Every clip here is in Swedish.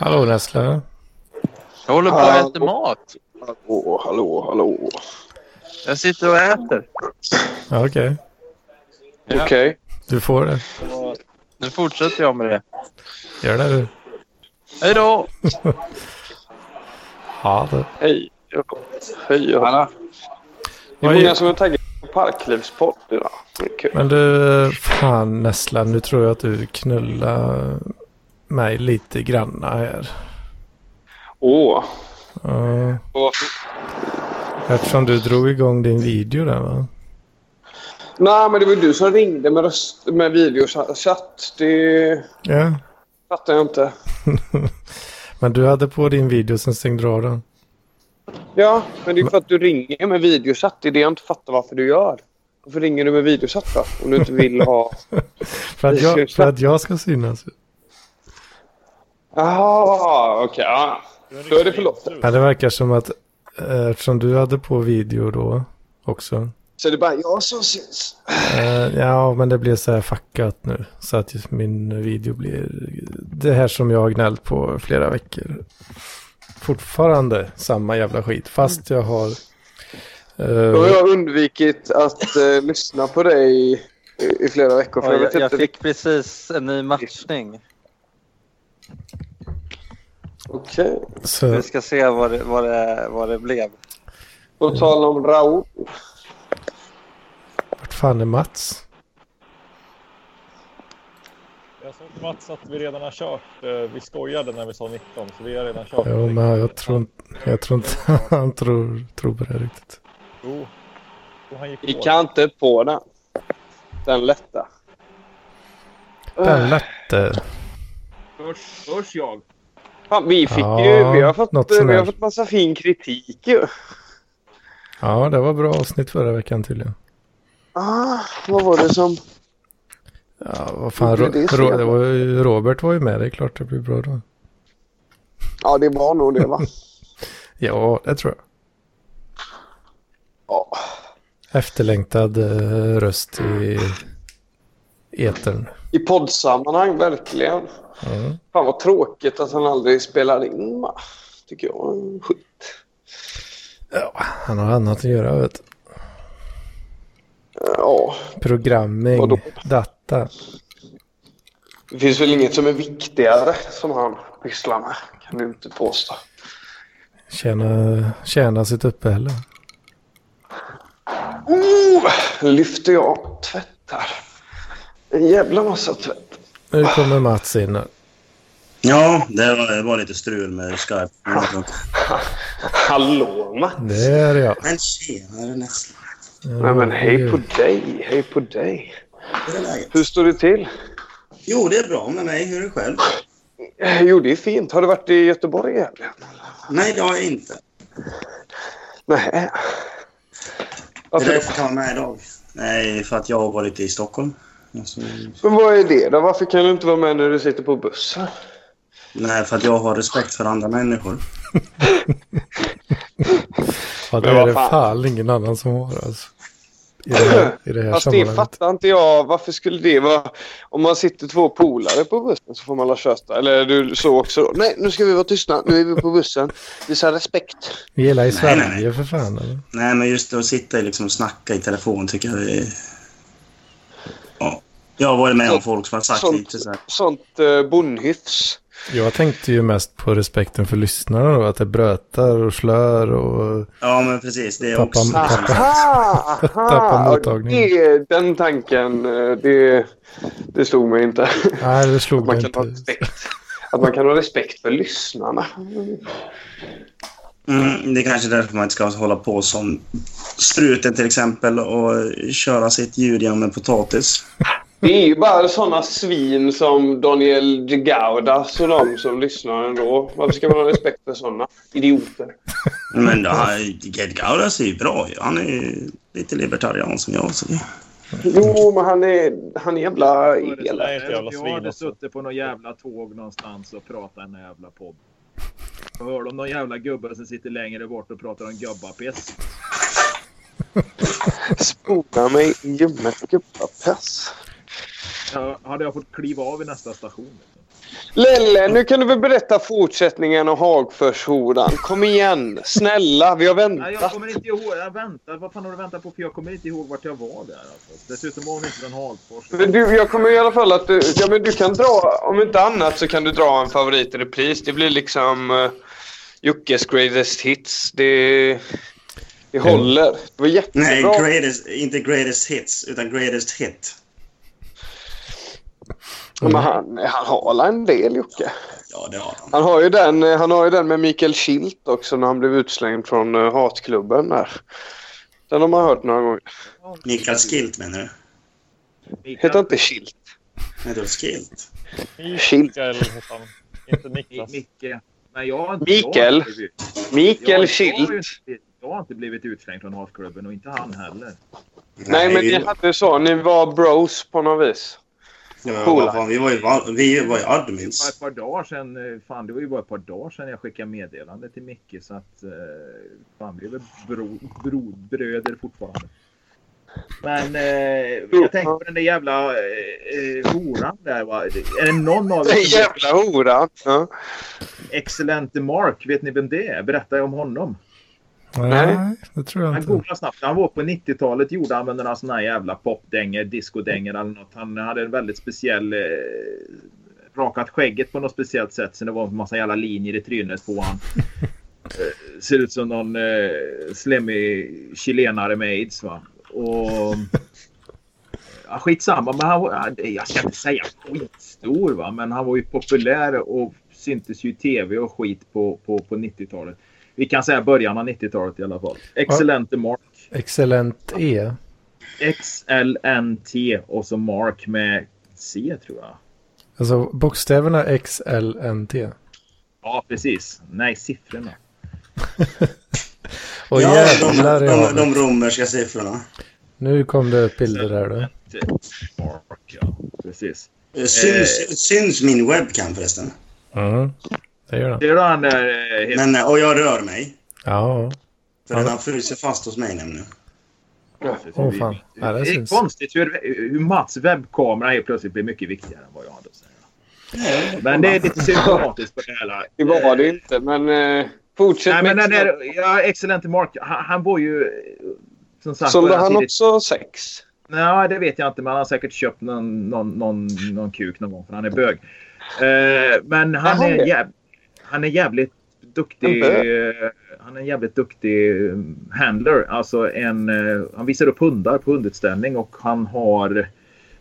Hallå Nessle. Jag håller på att äta mat. Hallå, hallå, hallå. Jag sitter och äter. Ja, Okej, Ja. Okej. du får det. Nu fortsätter jag med det. Gör det du. Hej då! Ja, det. Hej. Hej. Hallå. Det Vad är många är... som är taggade på Parklivspodd idag. Det är kul. Men du, fan Nessle, nu tror jag att du knullar mig lite granna här. Åh. Ja, Åh. eftersom du drog igång din video där va? Nej, men det var ju du som ringde med, röst, med videochatt. Det Ja. fattar jag inte. Men du hade på din video sen stängde du av den. Ja, men det är ju för att du ringer med videochatt. Det är det jag inte fattar varför du gör. Varför ringer du med videochatt då? Om du inte vill ha... För att jag, för att jag ska synas. Jaha, okej. ja. Då är det förlåtet. Ja, det verkar som att eh, eftersom du hade på video då också. Så det är bara jag som syns. Eh, ja, men det blev så här fuckat nu. Så att just min video blir det här som jag har gnällt på flera veckor. Fortfarande samma jävla skit. Fast jag har... Då har Eh, jag undvikit att eh, lyssna på dig i, i flera veckor. För jag, vet Jag, jag inte fick precis en ny matchning. Okej. så, Vi ska se vad det, vad det, vad det blev. På tal om Raoul. vart fan är Mats? Jag såg Mats att vi redan har kört. eh, Vi skojade när vi sa 19, så vi har redan kört. Jo, men jag tror, inte- jag tror inte han tror, tror på det riktigt. Jo. Jo, han gick på. Vi kan inte på den. Den lätta. Eh. Den lätte. Hörs, hörs jag? Fan, vi fick Ja, ju... Vi har fått, något vi sånär. har fått massa fin kritik ju. Ja, det var bra avsnitt förra veckan tydligen. Ah, vad var det som... Ja, vad fan. Det Ro, är det som Ro, är det bra. var ju, Robert var ju med. Det är klart det blir bra då. Ja, det var nog det va? Ja, det tror jag. Ja. Efterlängtad eh, röst i etern. I poddsammanhang, verkligen. Mm. Fan vad tråkigt att han aldrig spelar in va? Tycker jag är skit. Ja, han har annat att göra. Vet. du. Ja, Programming, Vadå? data. det finns väl inget som är viktigare som han pysslar med. Kan vi inte påstå. Tjäna, tjäna sitt uppehälle. Oh, lyfter jag tvätt här. En jävla massa tvätt. Nu kommer Mats in. här. Ja, det var, det var lite strul med Skype. Hallå Mats! Det är jag. Men tjenare Nessla. Nej men hej på dig, hej på dig. Hur är läget? Hur står det till? Jo, det är bra med mig. Hur är det själv? Eh, Jo det är fint. Har du varit i Göteborg i helgen? Nej, det har jag inte. Nej. Det är Varför? därför jag var med idag. Nej, för att jag har varit i Stockholm. Alltså, Men vad är det då? Varför kan du inte vara med när du sitter på bussen? nej, för att jag har respekt för andra människor. Ja, det Men vad är det fan. fan ingen annan som har alltså. I det här, i det här Fast det sammanhanget. fattar inte jag. Varför skulle det vara... Om man sitter två polare på bussen så får man la köta. Eller du så också då. Nej, nu ska vi vara tysta. Nu är vi på bussen. Visa respekt. Vi gillar i Nej, nej, Sverige för fan. Eller? Nej, men just att sitta och liksom och snacka i telefon tycker jag är... Ja. Jag har varit med om folk som har sagt Sånt. lite så här. Sånt eh, bonnhyfs. Jag tänkte ju mest på respekten för lyssnarna då. Att det brötar och slör och Ja, men precis. Det är Pappa- också... liksom- pappa. Aha, Tappa aha. mottagningen. Det, den tanken, eh, det, det slog mig inte. Nej, det Att slog man mig kan ha inte. respekt. Att man kan ha respekt för lyssnarna. Mm, det är kanske därför man inte ska hålla på som struten till exempel och köra sitt djur genom med potatis. Det är ju bara såna svin som Daniel De Gaudas och de som lyssnar ändå. Varför ska man ha respekt för såna idioter? Men ja, Ged Gaudas är ju bra ju. Han är ju lite libertarian som jag. Så. Jo, men han är, han är jävla elak. Nej, ett jävla Jag svin hade också. suttit på någon jävla tåg någonstans och pratat en jävla podd. Jag hörde om någon jävla gubbe som sitter längre bort och pratar om gubbapiss. Spola mig i ljummet gubbapass. Ja, hade jag fått kliva av i nästa station. liksom. Lelle, nu kan du väl berätta fortsättningen om Hagforshoran. Kom igen, snälla, vi har Nej, väntat. jag kommer inte ihåg. Jag väntar. Vad fan har du väntat på? För jag kommer inte ihåg vart jag var där. Alltså. Dessutom var hon inte från Hagfors. Men du, jag kommer i alla fall att du, ja, men du kan dra, om inte annat så kan du dra en favorit i repris. Det blir liksom uh, Jockes greatest hits. Det, det håller. Det var Nej, jättebra. greatest, inte greatest hits, utan greatest hit. Men han, han har la en del Jocke. Ja, det har han. Han har ju den, eh, han har ju den med Mikael Schildt också när han blev utslängd från eh, hatklubben där. Den har man hört några gånger. Mikael Skilt menar du? Heter han inte Schildt? Nej, det var Skilt. Mikael heter han. Inte Niklas. Micke. Nej, jag har inte... Mikael. jag har inte blivit- jag- jag har Mikael ju Schildt? inte- Jag har inte blivit utslängd från Hagklubben och inte han heller. Nej, men vi, ni hade så. Ni var bros på något vis. ja, coola. vad fan, vi var ju, val- vi var ju Det var admins. ett par dagar sedan, eh, fan det var ju bara ett par dagar sedan jag skickade meddelande till Micke så att eh, fan vi är väl bro, bro, bröder fortfarande. Men eh, jag tänkte på den där jävla eh, eh, horan där va. Är det någon av Den er som vet jävla horan! Ja. Excellent Mark? Vet ni vem det är? Berättar jag om honom? Nej, det tror jag Han inte. googlade snabbt. Han var på 90-talet gjorde han med några sådana här jävla popdänger, discodänger eller något. Han hade en väldigt speciell... Eh, rakat skägget på något speciellt sätt. Sen det var en massa jävla linjer i trynet på han. Eh, ser ut som någon eh, slemmig chilenare med aids va. Och... Ja, skitsamma, men han var, ja, det- jag ska inte säga skitstor va, men han var ju populär och syntes ju i tv och skit på, på, på 90-talet. Vi kan säga början av 90-talet i alla fall. Excellente Mark. Excellent E. XLNT och så Mark med C tror jag. Alltså bokstäverna XLNT. Ja, precis. Nej, siffrorna. Och ja, jävlar de, i de, havet. de romerska siffrorna. Nu kom det upp bilder här du. Mark, ja. Precis. Eh, Syns, syns min webcam förresten? Mm. Det gör den. Det är då han där... eh, heter- Men, eh, och jag rör mig. Ja, För den har frusit fast hos mig nämligen. åh fan. Ja, det Det är syns. konstigt hur, hur Mats webbkamera helt plötsligt blir mycket viktigare än vad jag hade att säga. Men det är lite symptomatiskt på det hela. Det var det inte, men eh, fortsätt Nej, men med den där, ja, Excellent Mark, han, han var ju... eh, Som sagt, Sålde var han tidigt- också sex? Nej, det vet jag inte. Men han har säkert köpt någon, någon, någon, någon kuk någon gång för han är bög. Eh, men han Jaha, är, det. jäv, han är jävligt duktig. En eh, Han är en jävligt duktig eh, handler. Alltså en, eh, han visar upp hundar på hundutställning och han har,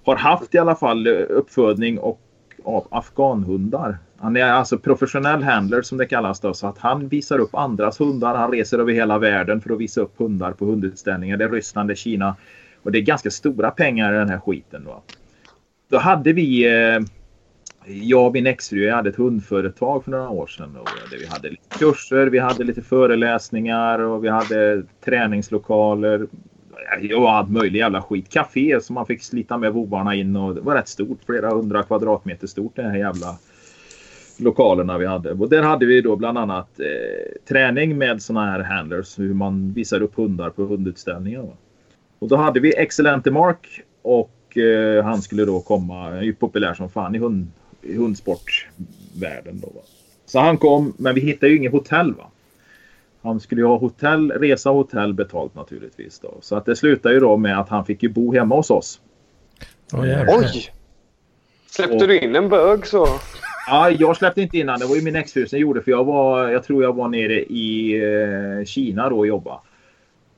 har haft i alla fall eh, uppfödning och av afghanhundar. Han är alltså professionell handler som det kallas då, så att han visar upp andras hundar. Han reser över hela världen för att visa upp hundar på hundutställningar. Det är Ryssland, det är Kina. Och det är ganska stora pengar i den här skiten. Då, då hade vi, eh, jag och min exfru, jag hade ett hundföretag för några år sedan. Och där vi hade lite kurser, vi hade lite föreläsningar och vi hade träningslokaler. Och allt möjligt jävla skit. Café som man fick slita med vovarna in och det var rätt stort. Flera hundra kvadratmeter stort det här jävla lokalerna vi hade. Och där hade vi då bland annat eh, träning med såna här handlers. Hur man visar upp hundar på hundutställningar. Va? Och då hade vi Excellente Mark och eh, han skulle då komma. Han är ju populär som fan i, hund, i hundsportvärlden. Då, va? Så han kom, men vi hittade ju inget hotell. va. Han skulle ju ha hotell, resa och hotell betalt naturligtvis. Då. Så att det slutade ju då med att han fick ju bo hemma hos oss. Åh, jävlar. Oj! Släppte du in en bög så? Ja, jag släppte inte in han. Det var ju min exfru som gjorde för jag var, jag tror jag var nere i eh, Kina då och jobba.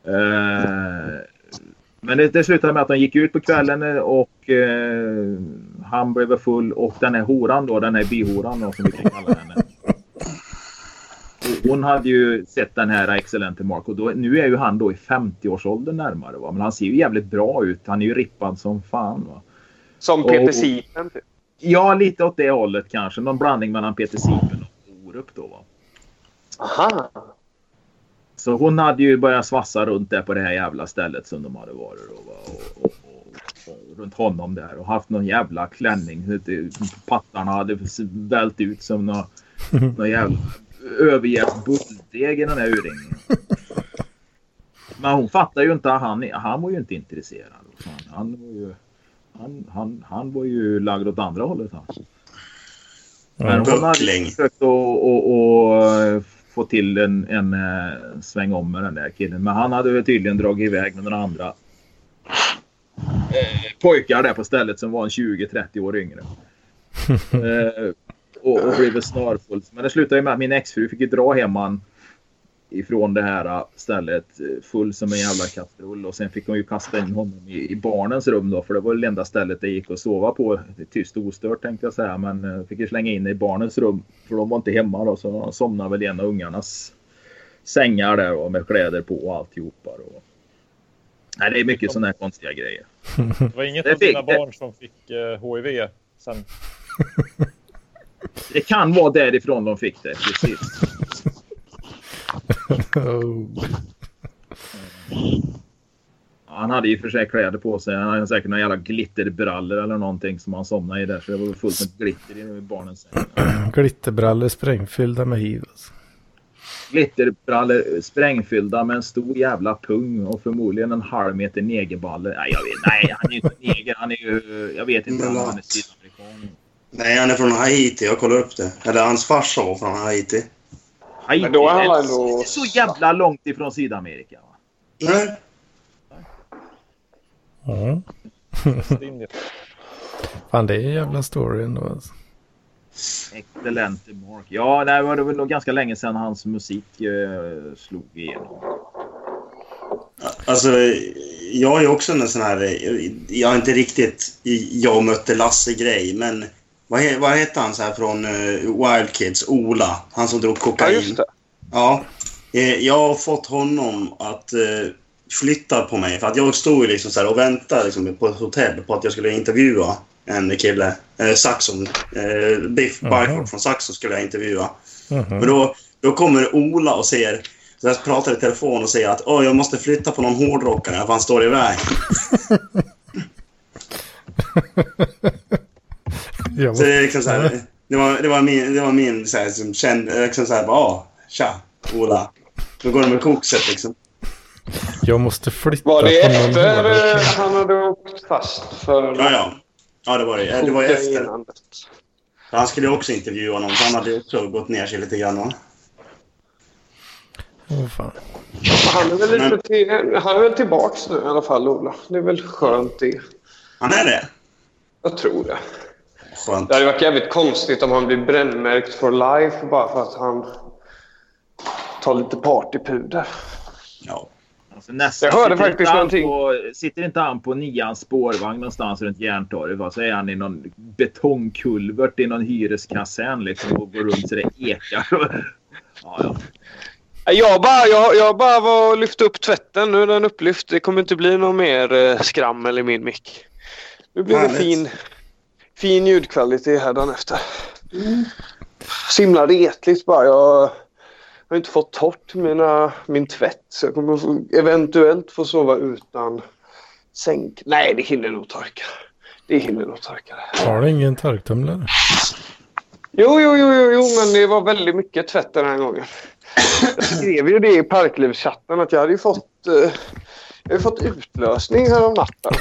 Eh, men det, det slutade med att de gick ut på kvällen och eh, han blev väl full och den här horan då, den här byhoran då som vi kan kalla henne. Hon hade ju sett den här excellente Mark och då, nu är ju han då i 50-årsåldern närmare. Va? Men han ser ju jävligt bra ut. Han är ju rippad som fan. Va? Som Och- Peter Sipen? typ. Ja, lite åt det hållet kanske. Någon blandning mellan Peter Sipen och Orup då. Va? Aha! Så hon hade ju börjat svassa runt där på det här jävla stället som de hade varit då, va? och, och, och, och runt honom där och haft någon jävla klänning. så att Pattarna hade vält ut som någon, någon jävla övergett bulldeg i den här urringningen. Men hon fattar ju inte. Han, han var ju inte intresserad. Fan, Han var ju, han, han, han var ju lagd åt andra hållet. Han. Men hon hade Buckling. försökt att, att, att få till en, en eh, sväng om med den där killen. Men han hade väl tydligen dragit iväg med några andra eh, pojkar där på stället som var en 20-30 år yngre. eh, och, och blev väl snarfull. Men det slutade ju med att min exfru fick ju dra hem han ifrån det här stället eh, full som en jävla kastrull och sen fick hon ju kasta in honom i, i barnens rum då för det var det enda stället det gick att sova på tyst och ostört tänkte jag säga men eh, fick ju slänga in i barnens rum för de var inte hemma då så de somnade väl i en av ungarnas sängar där och med kläder på och alltihopa. Då. Nej det är mycket sådana här konstiga grejer. Det var inget Det av dina fick- det- barn som fick eh, HIV sen. Det kan vara därifrån de fick det precis. Oh. Han hade ju för sig kläder på sig. Han hade säkert några jävla glitterbrallor eller någonting som han somnade i där. Så det var väl fullt med glitter i barnens säng. Glitterbrallor sprängfyllda med hiv. Alltså. Glitterbrallor sprängfyllda med en stor jävla pung och förmodligen en halv meter negerballe. Nej, jag vet, nej han är ju inte neger. Han är ju... Jag vet inte om han är sydamerikan. Nej, han är från Haiti. Jag kollade upp det. Eller hans farsa var från Haiti. Haiti Men då är han är ändå- inte så jävla långt ifrån Sydamerika. Va? Nej. Ja. Västindien. Fan, det är en jävla story ändå. Alltså. Excellent Mark. Ja, nej, det var väl nog ganska länge sedan hans musik eh, slog igenom. Alltså, jag är också en sån här... Jag är inte riktigt jag mötte Lasse-grej, men... Vad, he, vad hette han så här från eh, Wild Kids? Ola. Han som drog Ja, kokain. just det. Ja, eh, jag har fått honom att eh, flytta på mig. För att jag stod ju liksom så här och väntade liksom på ett hotell på att jag skulle intervjua en kille. Eh, Saxon. Eh, Biff Byford från Saxon skulle jag intervjua. Men då, då kommer Ola och säger... Så jag pratar i telefon och säger att Åh, jag måste flytta på någon hårdrockare för han står i väg. Jag Så måste... det, är liksom så här, det, var, det var min, det var min så här, som kände... Liksom så här, bara, "Åh, tja, Ola. Då går det med kokset liksom. Jag måste flytta Var det på någon efter hårdrock. eh, han hade åkt fast för Ja, ja. Ja, det var det. Det var ju efter. kokainandet? För Han skulle ju också intervjua någon, så han hade ju också gått ner sig lite grann. va? Åh, fan. Han är väl lite till, han är väl tillbaks nu i alla fall, Ola. Det är väl skönt det. Han är det? Jag tror det. Skönt. Det hade varit jävligt konstigt om han blir brännmärkt for life bara för att han tar lite partypuder. Ja. Alltså nästa, Jag hörde sitter faktiskt inte han någonting. På, sitter inte han på nians spårvagn någonstans runt Järntorget? Va? Så är han i någon betongkulvert i någon hyreskasern liksom, och går runt så det ekar. Ja, ja. Jag bara, jag, jag bara var och lyfte upp tvätten. Nu är den upplyft. Det kommer inte bli någon mer eh, skrammel i min mick. Nu blir det Härligt. fin, fin ljudkvalitet här efter. Så himla retligt bara. Jag har inte fått torrt mina, min tvätt. Så jag kommer få- eventuellt få sova utan sänk. Nej, det hinner nog torka. Det hinner nog torka. Har du ingen torktumlare? Jo, jo, jo, jo, jo, men det var väldigt mycket tvätt den här gången. Jag skrev ju det i Parklivschatten att jag hade ju fått, eh, jag hade fått utlösning här om natten.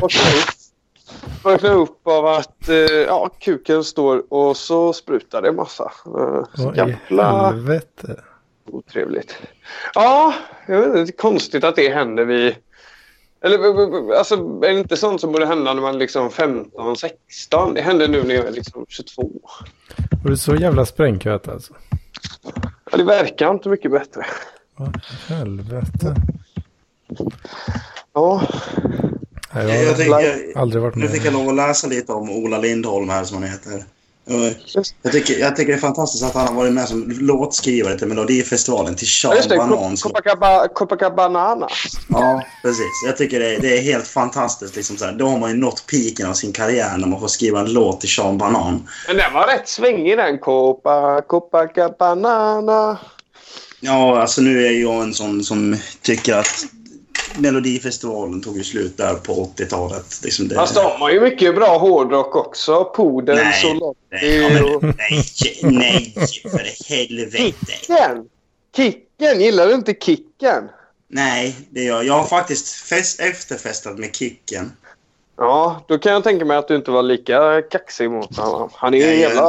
Vaknade upp- Vaknade upp av att eh, ja, kuken står och så sprutar det en massa. Eh, så Vad i jävla helvete? otrevligt. Ja, jag vet inte, det är konstigt att det händer vid... Eller v- v- v- alltså, är det inte sånt som borde hända när man liksom 15, 16? Det händer nu när jag är liksom 22. Var du så jävla sprängköt alltså? Ja, det verkar inte mycket bättre. Vad i helvete? Ja, Nej, Jag, jag, jag tänker, har aldrig varit nu med. fick jag lov att läsa lite om Ola Lindholm här, som han heter. Eh, just, Jag tycker, jag tycker det är fantastiskt att han har varit med som låtskrivare till Melodifestivalen, till ja, just Sean det. Banan. som- Copacabana. Copacabana. Ja, precis. Jag tycker det är, det är helt fantastiskt. Liksom så här. Då har man ju nått piken av sin karriär när man får skriva en låt till Sean Banan. Men den var rätt svängig den. Copa, Copacabana. Ja, alltså nu är jag en sån som tycker att Melodifestivalen tog ju slut där på 80-talet. Liksom det... Fast de har ju mycket bra hårdrock också. Poden, Nej. Nej, ja, Solange och... men, nej, nej, för helvete. Kicken! Kicken! Gillar du inte Kicken? Nej, det gör jag. Jag har faktiskt fest, efterfestat med Kicken. Ja, då kan jag tänka mig att du inte var lika kaxig mot honom. Han är ju en Nej, jag- jävla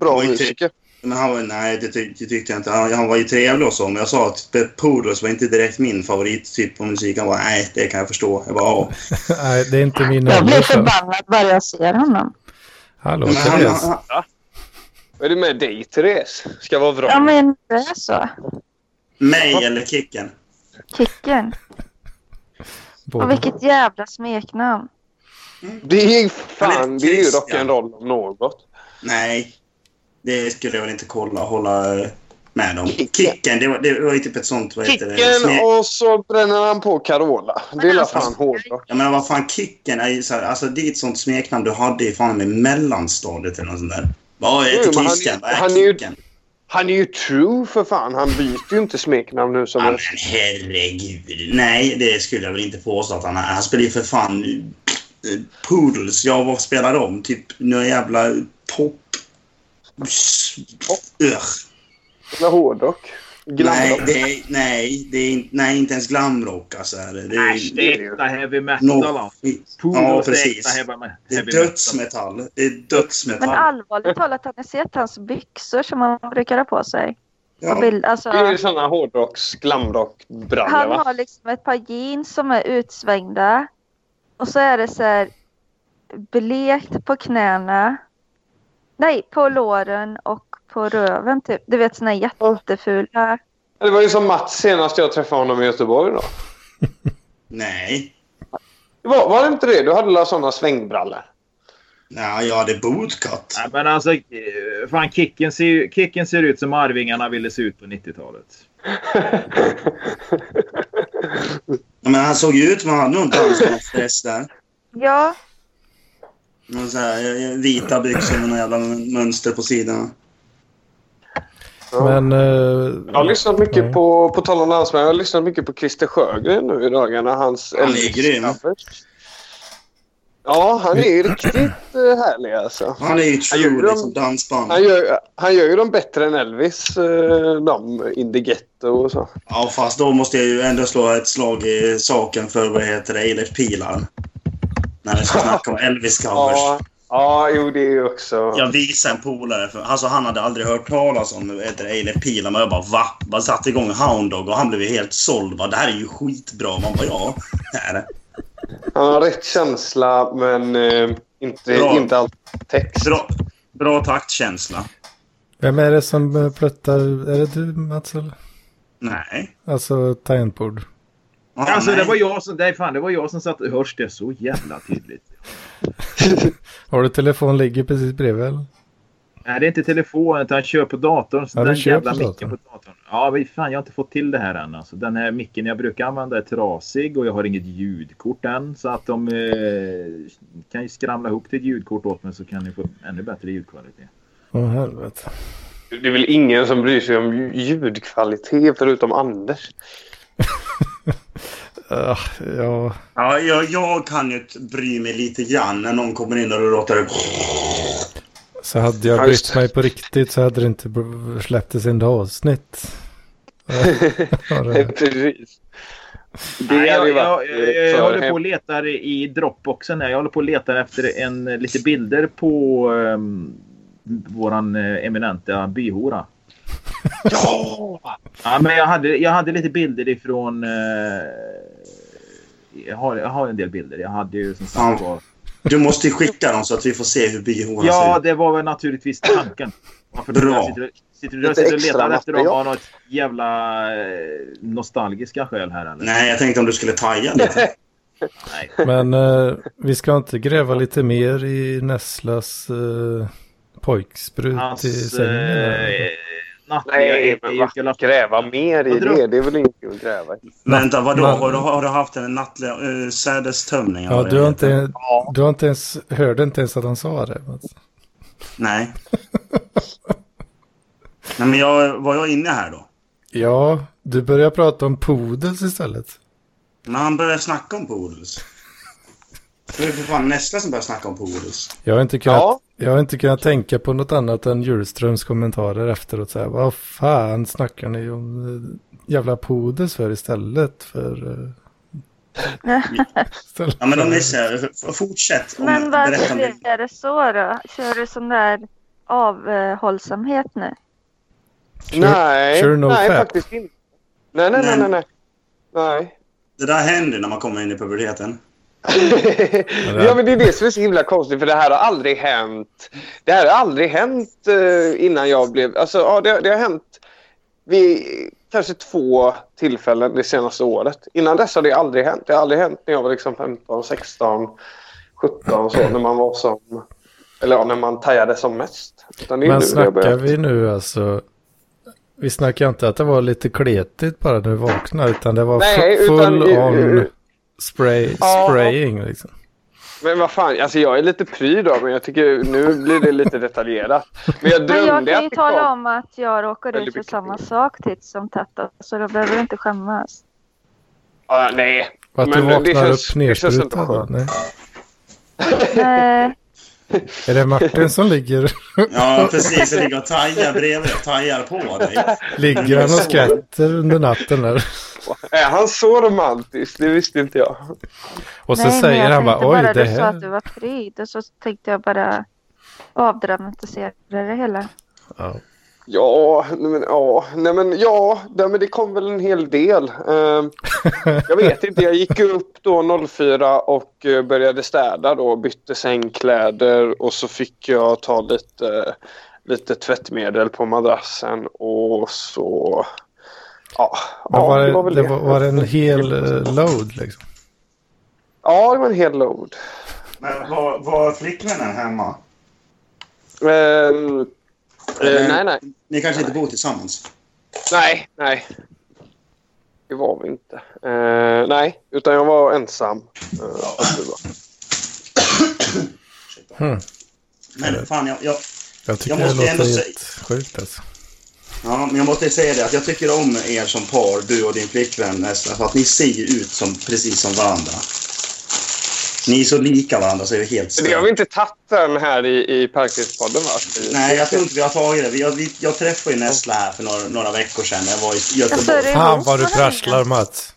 bra Oj, ty- musiker. Men han var, nej, det, ty, det tyckte jag inte. Han, han var ju trevlig och så, men jag sa att Pet Poodles var inte direkt min favorittyp av musik. Han bara, nej, det kan jag förstå. Jag bara, ja. Nej, det är inte min Jag blir ålder, så. förbannad bara jag ser honom. Hallå, Men han, Therese. han, Vad är det med dig, Therese? Ska vara Ja, vrak. men det är så. mig eller Kicken? Kicken. Och Både. vilket jävla smeknamn. Det är ju Han fan, är det är ju Christian. rock'n'roll om något. Nej, det skulle jag väl inte kolla, hålla eh, med om. Kicken, det var, det var ju typ ett sånt... Vad heter det? Kicken Smek- och så bränner han på Carola. Det är la alltså- fan hårdrock. Jag menar, vad fan, Kicken är ju så här, alltså det är ett sånt smeknamn du hade i fan i mellanstadiet eller något sånt där. Vad Jo, heter men han är- Kicken? Vad han är är ju- Kicken? Han är ju true för fan. Han byter ju inte smeknamn nu som Ja, men en- herregud. Nej, det skulle jag väl inte påstå att han är. Han spelar ju för fan eh, Poodles. Ja, vad spelar de? Typ några jävla pop... s- Ugh. jävla hårdrock. Nej, Glamrock. det är, nej, det är, in- nej, inte ens glamrock alltså. är Det, det är, Äsch, det är äkta heavy metal. No. alltså. Ja, Poodles är äkta precis. heavy me- Det är heavy metal. dödsmetall. Det är Men dödsmetall. allvarligt talat, har ni sett hans byxor som han brukar ha på sig? Ja. Och bild, alltså, Det är ju såna hårdrocks, glamrock-brallor han va? har liksom ett par jeans som är utsvängda. Och så är det så här blekt på knäna. Nej, på låren och på röven typ. Du vet såna här jättefula. Det var ju som Mats senast jag träffade honom i Göteborg då. Nej. Det Var, var det inte det? Du hade alla såna svängbrallor. Ja, ja, det är bootcut. Nej, men alltså, eh, fan, kicken, ser, ju- kicken ser ut som Arvingarna ville se ut på 90-talet. Ja, men han såg ju ut som han hade någon dansbandsdress där. Ja, Någon så här, eh, vita byxor med några jävla mönster på sidorna. Men... Jag har eh, lyssnat mycket Nej. på, på tal om landsmän, jag har lyssnat mycket på Christer Sjögren nu i dagarna. Hans är Elvis grym. covers. Ja, han är ju riktigt eh, härlig alltså. Han är ju true gjorde de- liksom, dansband. Han gör, han gör ju dem bättre än Elvis, eh, de in the ghetto och så. Ja, fast då måste jag ju ändå slå ett slag i saken för vad heter det, Eilert Pilar. När vi ska snacka om Elvis-covers. Ja, ja jo det är ju också... Jag visade en polare, för, alltså han hade aldrig hört talas om vad heter det, Eilert Pilar, men jag bara va? Bara satte igång Hound Dog och han blev ju helt såld. Bara, det här är ju skitbra. Man bara ja, det här är det. Han har rätt känsla men eh, inte, Bra. inte all text. Bra, bra taktkänsla. Vem är det som eh, pruttar? Är det du, Mats? eller? Nej. Alltså tangentbord. Ja, Alltså, nej. det var jag som, nej, fan, det var jag som satt... Hörs det så jävla tydligt? Har du telefon ligger precis bredvid? Eller? Nej, det är inte telefonen utan jag kör på datorn. Så Ja, du den kör jävla på micken datorn. på datorn. Ja, vi- fan jag har inte fått till det här än. Alltså, den här micken jag brukar använda är trasig och jag har inget ljudkort än. Så att de eh, kan ju skramla ihop till ett ljudkort åt mig så kan ni få ännu bättre ljudkvalitet. Åh helvete. Det är väl ingen som bryr sig om ljudkvalitet förutom Anders. Ah, ja, Ja, jag, jag kan ju t- bry mig lite grann när någon kommer in och det låter... så hade jag Ja, just brytt det. mig på riktigt så hade det inte b- släpptes en avsnitt. Ja, det- Precis. Det Nej, hade jag, ju jag, varit eh, jag, jag, för håller på hem- och letar i Dropboxen. Här. Jag håller på och letar efter en, eh, lite bilder på eh, våran eh, eminenta byhora. Ja, men jag hade, jag hade lite bilder ifrån... Eh, jag, har, jag har en del bilder. Jag hade ju som sagt var... Du måste ju skicka dem så att vi får se hur Alltså, bihålan Ja, ser ut. det var väl naturligtvis tanken. Varför då? Bra. Jag sitter, sitter, jag Lite sitter och extra letar efter dem material. av något jävla eh, nostalgiska skäl här eller? Nej, jag tänkte om du skulle taja lite. Nej. Men eh, vi ska inte gräva lite mer i Nesslas eh, pojksprut i Hans sängen? eh, eller? nattliga Nej, men eka vad gräva mer i Vad drar- det? Det är väl inget att gräva i. Vänta, vadå? Men- Har du, har du haft en nattlig uh, sädestömning? ja, eller vad du har, det heter? inte, du har inte ens, hörde inte ens att han sa det. Mats. Nej. Nej, men jag, var jag inne här då? Ja, du börjar prata om poodles istället. Men han började snacka om Poodles. Det är för fan nästa som börjar snacka om Poodles. Jag har inte kunnat, Ja. jag har inte kunnat tänka på något annat än Hjulströms kommentarer efteråt. Så här, Vad fan snackar ni om eh, jävla poodles för istället för eh, Ställ- Ja, men de är så här, f- fortsätt om, Men berätta om det. varför är det så då? Kör du sån där avhållsamhet nu? Nej, kör du no nej fap? faktiskt inte. Nej, nej, nej, nej. nej. nej. Det där händer när man kommer in i puberteten. ja, men det är det som är så himla konstigt, för det här har aldrig hänt. Det här har aldrig hänt eh, innan jag blev... Alltså, ja, det, det har hänt vid kanske två tillfällen det senaste året. Innan dess har det aldrig hänt. Det har aldrig hänt när jag var liksom 15, 16, 17 så, när man var som... Eller ja, när man tajade som mest. Utan det är Men nu det har snackar börjat. vi nu alltså... Vi snackar inte att det var lite kletigt bara när du vaknade, utan det var Nej, fu- utan- eh, full on spray, Ja. spraying liksom. Men vad fan, alltså jag är lite pryd av men jag tycker nu blir det lite detaljerat. Men jag Men drömde jag kan ju att det kom. tala om att jag råkar ut för samma sak titt som tätt. Så då behöver du inte skämmas. Ja, nej, Och Att Men du det vaknar känns- upp det känns inte nersprutad va? skönt. Nej. Nej, Är det Martin som ligger, Ja, precis. Jag ligger och tajar bredvid dig och tajar på dig. ligger han och skvätter under natten där? Är han så romantisk? Det visste inte jag. Och så nej, men säger jag han bara tänkte oj bara det du sa att här. du var pryd och så tänkte jag bara avdramatisera det hela. Ja. Ja, nej men ja, nej men ja, nej men det kom väl en hel del. Ehm, jag vet inte, jag gick ju upp då 04 och eh, började städa då, bytte sängkläder och så fick jag ta lite, lite tvättmedel på madrassen och så... Ja, Men ja var, det, väl det var, var det en hel eh, load liksom? Ja, det var en hel load. Men var, var flickvännen hemma? Ehm, eh, nej, nej. Ni kanske inte bor tillsammans? Nej, nej. Det var vi inte. Eh, nej, utan jag var ensam. Eh, och du var- Men fan, jag, jag, Jag tycker Jag måste det ändå låter säga- helt sjukt alltså. ja, men jag måste säga det att jag tycker om er som par, du och din flickvän nästan, för att ni ser ju ut som, precis som varandra. Ni är så lika varandra så är det helt Det har stört. vi inte tagit den här i, i Parkridspodden va? Nej, jag tror inte vi har tagit det. Vi- Jag, vi, jag träffade ju Nessla här för några, några veckor sedan. Jag var i Alltså, är Göteborg. det Fan ihop vad du så länge? prasslar Mats.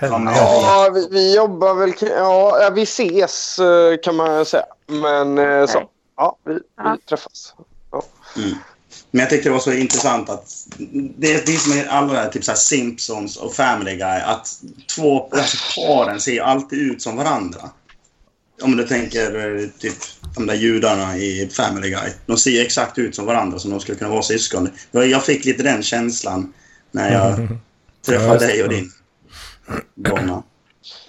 men- Helvete. Ja, vi, vi jobbar väl... k- Ja, eh, vi ses eh, kan man säga. Men eh, så. Ja, vi, Ja. vi träffas. Men jag tyckte det var så intressant att det är det som är alla där, typ så här Simpsons och Family Guy, att två, alltså paren ser ju alltid ut som varandra. Om du tänker eh, typ de där judarna i Family Guy. De ser ju exakt ut som varandra som de skulle kunna vara syskon. Jag jag fick lite den känslan när jag Ja, träffade just dig och det. din donna.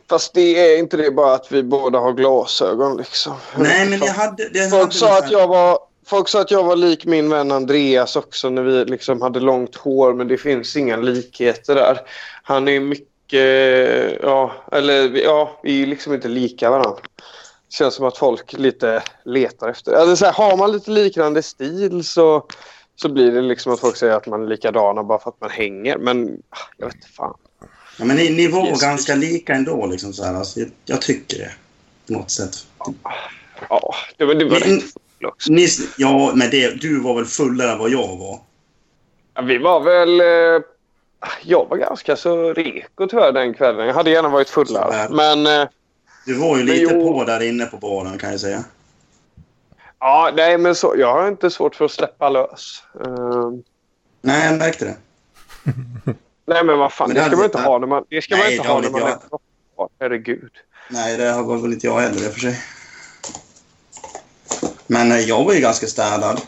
Fast det är inte det bara att vi båda har glasögon liksom. Nej, men jag hade... Det Folk hade sa att jag var... Folk sa att jag var lik min vän Andreas också när vi liksom hade långt hår men det finns inga likheter där. Han är mycket, ja, eller vi- ja, vi är liksom inte lika varandra. Känns som att folk lite letar efter. Alltså så här, har man lite liknande stil så, så blir det liksom att folk säger att man är likadana bara för att man hänger. Men ah, jag vet inte fan. Ja, men ni, ni var Just det. ganska lika ändå. Liksom, så här. Alltså, jag, jag tycker det. På något sätt. Ja, det var, det var Ni- rätt full också. Ni, ja, men det, du var väl fullare än vad jag var? Ja, vi var väl... Eh, jag var ganska så reko tyvärr den kvällen. Jag hade gärna varit fullare. Men eh, Du var ju Men lite jo. på där inne på baren kan jag säga. ja, nej, men så, jag har inte svårt för att släppa lös. Eh, Nej, jag märkte det. nej, men vad fan. Men det det ska hade man inte- inte ha när man, det ska man Nej, inte det ha har när inte man jag. är kvar. Herregud. Nej, det var väl inte jag heller i och för sig. Men eh, jag var ju ganska städad.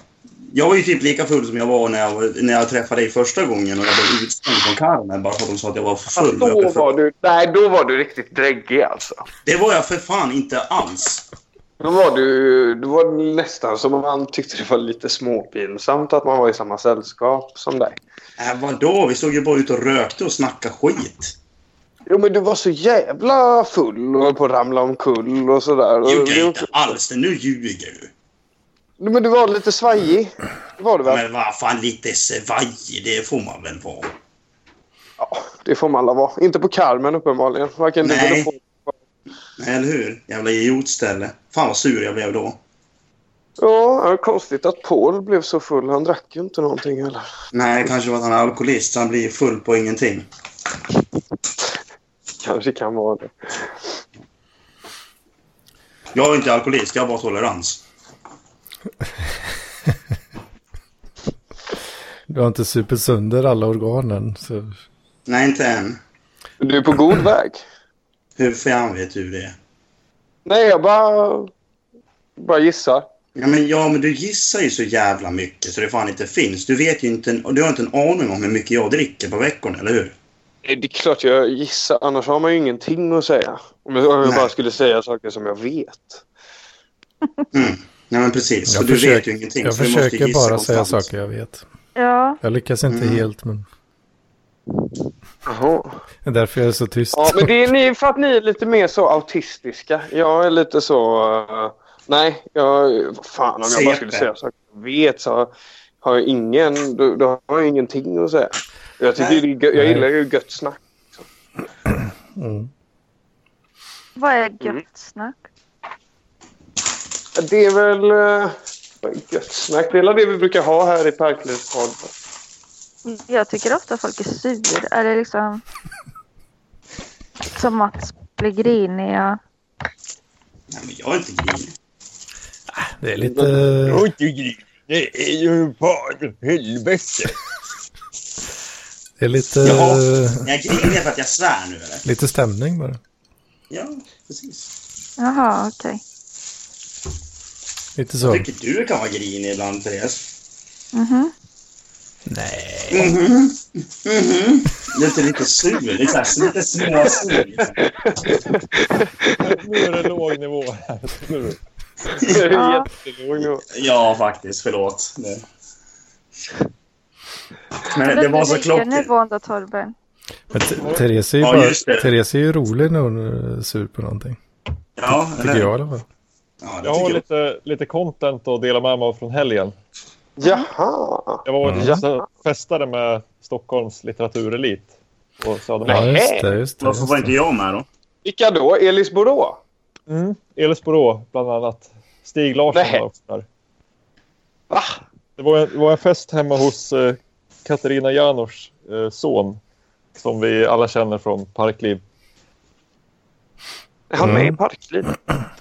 Jag var ju typ lika full som jag var när jag, var- när jag träffade dig första gången och jag blev utslängd från Carmen bara för att de sa att jag var för Fast full. Och jag då blev var för... du, nej, då var du riktigt dräggig alltså. Det var jag för fan inte alls. Då var du, då var det nästan som om man tyckte det var lite småpinsamt att man var i samma sällskap som dig. Äh, vadå? Vi stod ju bara ute och rökte och snackade skit. Jo, men du var så jävla full och höll på att ramla omkull och sådär. Och Gjorde det- jag inte alls det. Nu ljuger du. Nej, Men du var lite svajig. Det var du väl? Men vad fan, lite svajig, det får man väl vara. Det får man alla vara. Inte på Carmen uppenbarligen. Varken du Nej. eller på. Nej, eller hur? Jävla idiotställe. Fan vad sur jag blev då. Ja, det är konstigt att Paul blev så full. Han drack ju inte någonting heller. Nej, det kanske var att han är alkoholist så han blir full på ingenting. kanske kan vara det. Jag är inte alkoholist, jag har bara tolerans. Du har inte supit sönder alla organen. Så. Nej, inte än. Du är på god väg. Hur fan vet du det? Nej, jag bara, bara gissar. Ja men, ja, men du gissar ju så jävla mycket så det fan inte finns. Du vet ju inte, en- och du har inte en aning om hur mycket jag dricker på veckorna, eller hur? Nej, Det är klart jag gissar, annars har man ju ingenting att säga. Om jag, om jag Nej. bara skulle säga saker som jag vet. Mm. Nej, men precis. Jag och du försöker- vet ju ingenting. Jag så du måste försöker gissa bara säga konstant. saker jag vet. Ja, Jag lyckas inte Mm. helt, men Jaha. det är därför jag är så tyst. Ja, men det är ni, för att ni är lite mer så autistiska. Jag är lite så... eh, nej, jag... vad Fan, om jag bara skulle CP. säga saker jag vet så har jag ingen... Då, då har jag ingenting att säga. Jag, tycker Nej. det är gö- jag Nej. gillar ju gött snack. Mm. vad är gött Mm. snack? Det är väl... eh, vad är gött snack. Det är väl det vi brukar ha här i Parklivets podd. Jag tycker ofta folk är sur. Eller liksom... Som Mats blir griniga. Nej, men jag är inte grinig. Det är lite... Det är ju bara helvete. Det är lite... Jaha. Jag är grinig för att jag svär nu, eller? Lite stämning bara. Ja, precis. Jaha, okej. Lite så. Jag tycker du kan vara grinig ibland, Therese. Mhm. Mhm. Mhm. Du är inte lite sur. Det är så här, lite småsur. liksom. Nu är det låg nivå här. tror du. Det är Ja. jättelåg nivå. Ja, faktiskt. Förlåt. Det. Men Men det var så klockrent. klockrent. nivån då, Torben. Men Th- Therese är ju Ja, bara... just det. Therese är ju rolig när hon är sur på någonting. Ja, Tycker jag i alla fall. Ja, Jag det har tycker jag. lite, lite content att dela med mig av från helgen. Jaha. Jag var Mm. och festade med Stockholms litteraturelit på Ja, Södermalm. just det. Just det, Varför just var inte det. jag med då? Vilka då? Elis Borå? Mm. Elisborå bland annat. Stig Larsson Nej. var också där. Va? Det var, en, det var en fest hemma hos eh, Katarina Janors eh, son. Som vi alla känner från Parkliv. Är han med Mm. i Parkliv?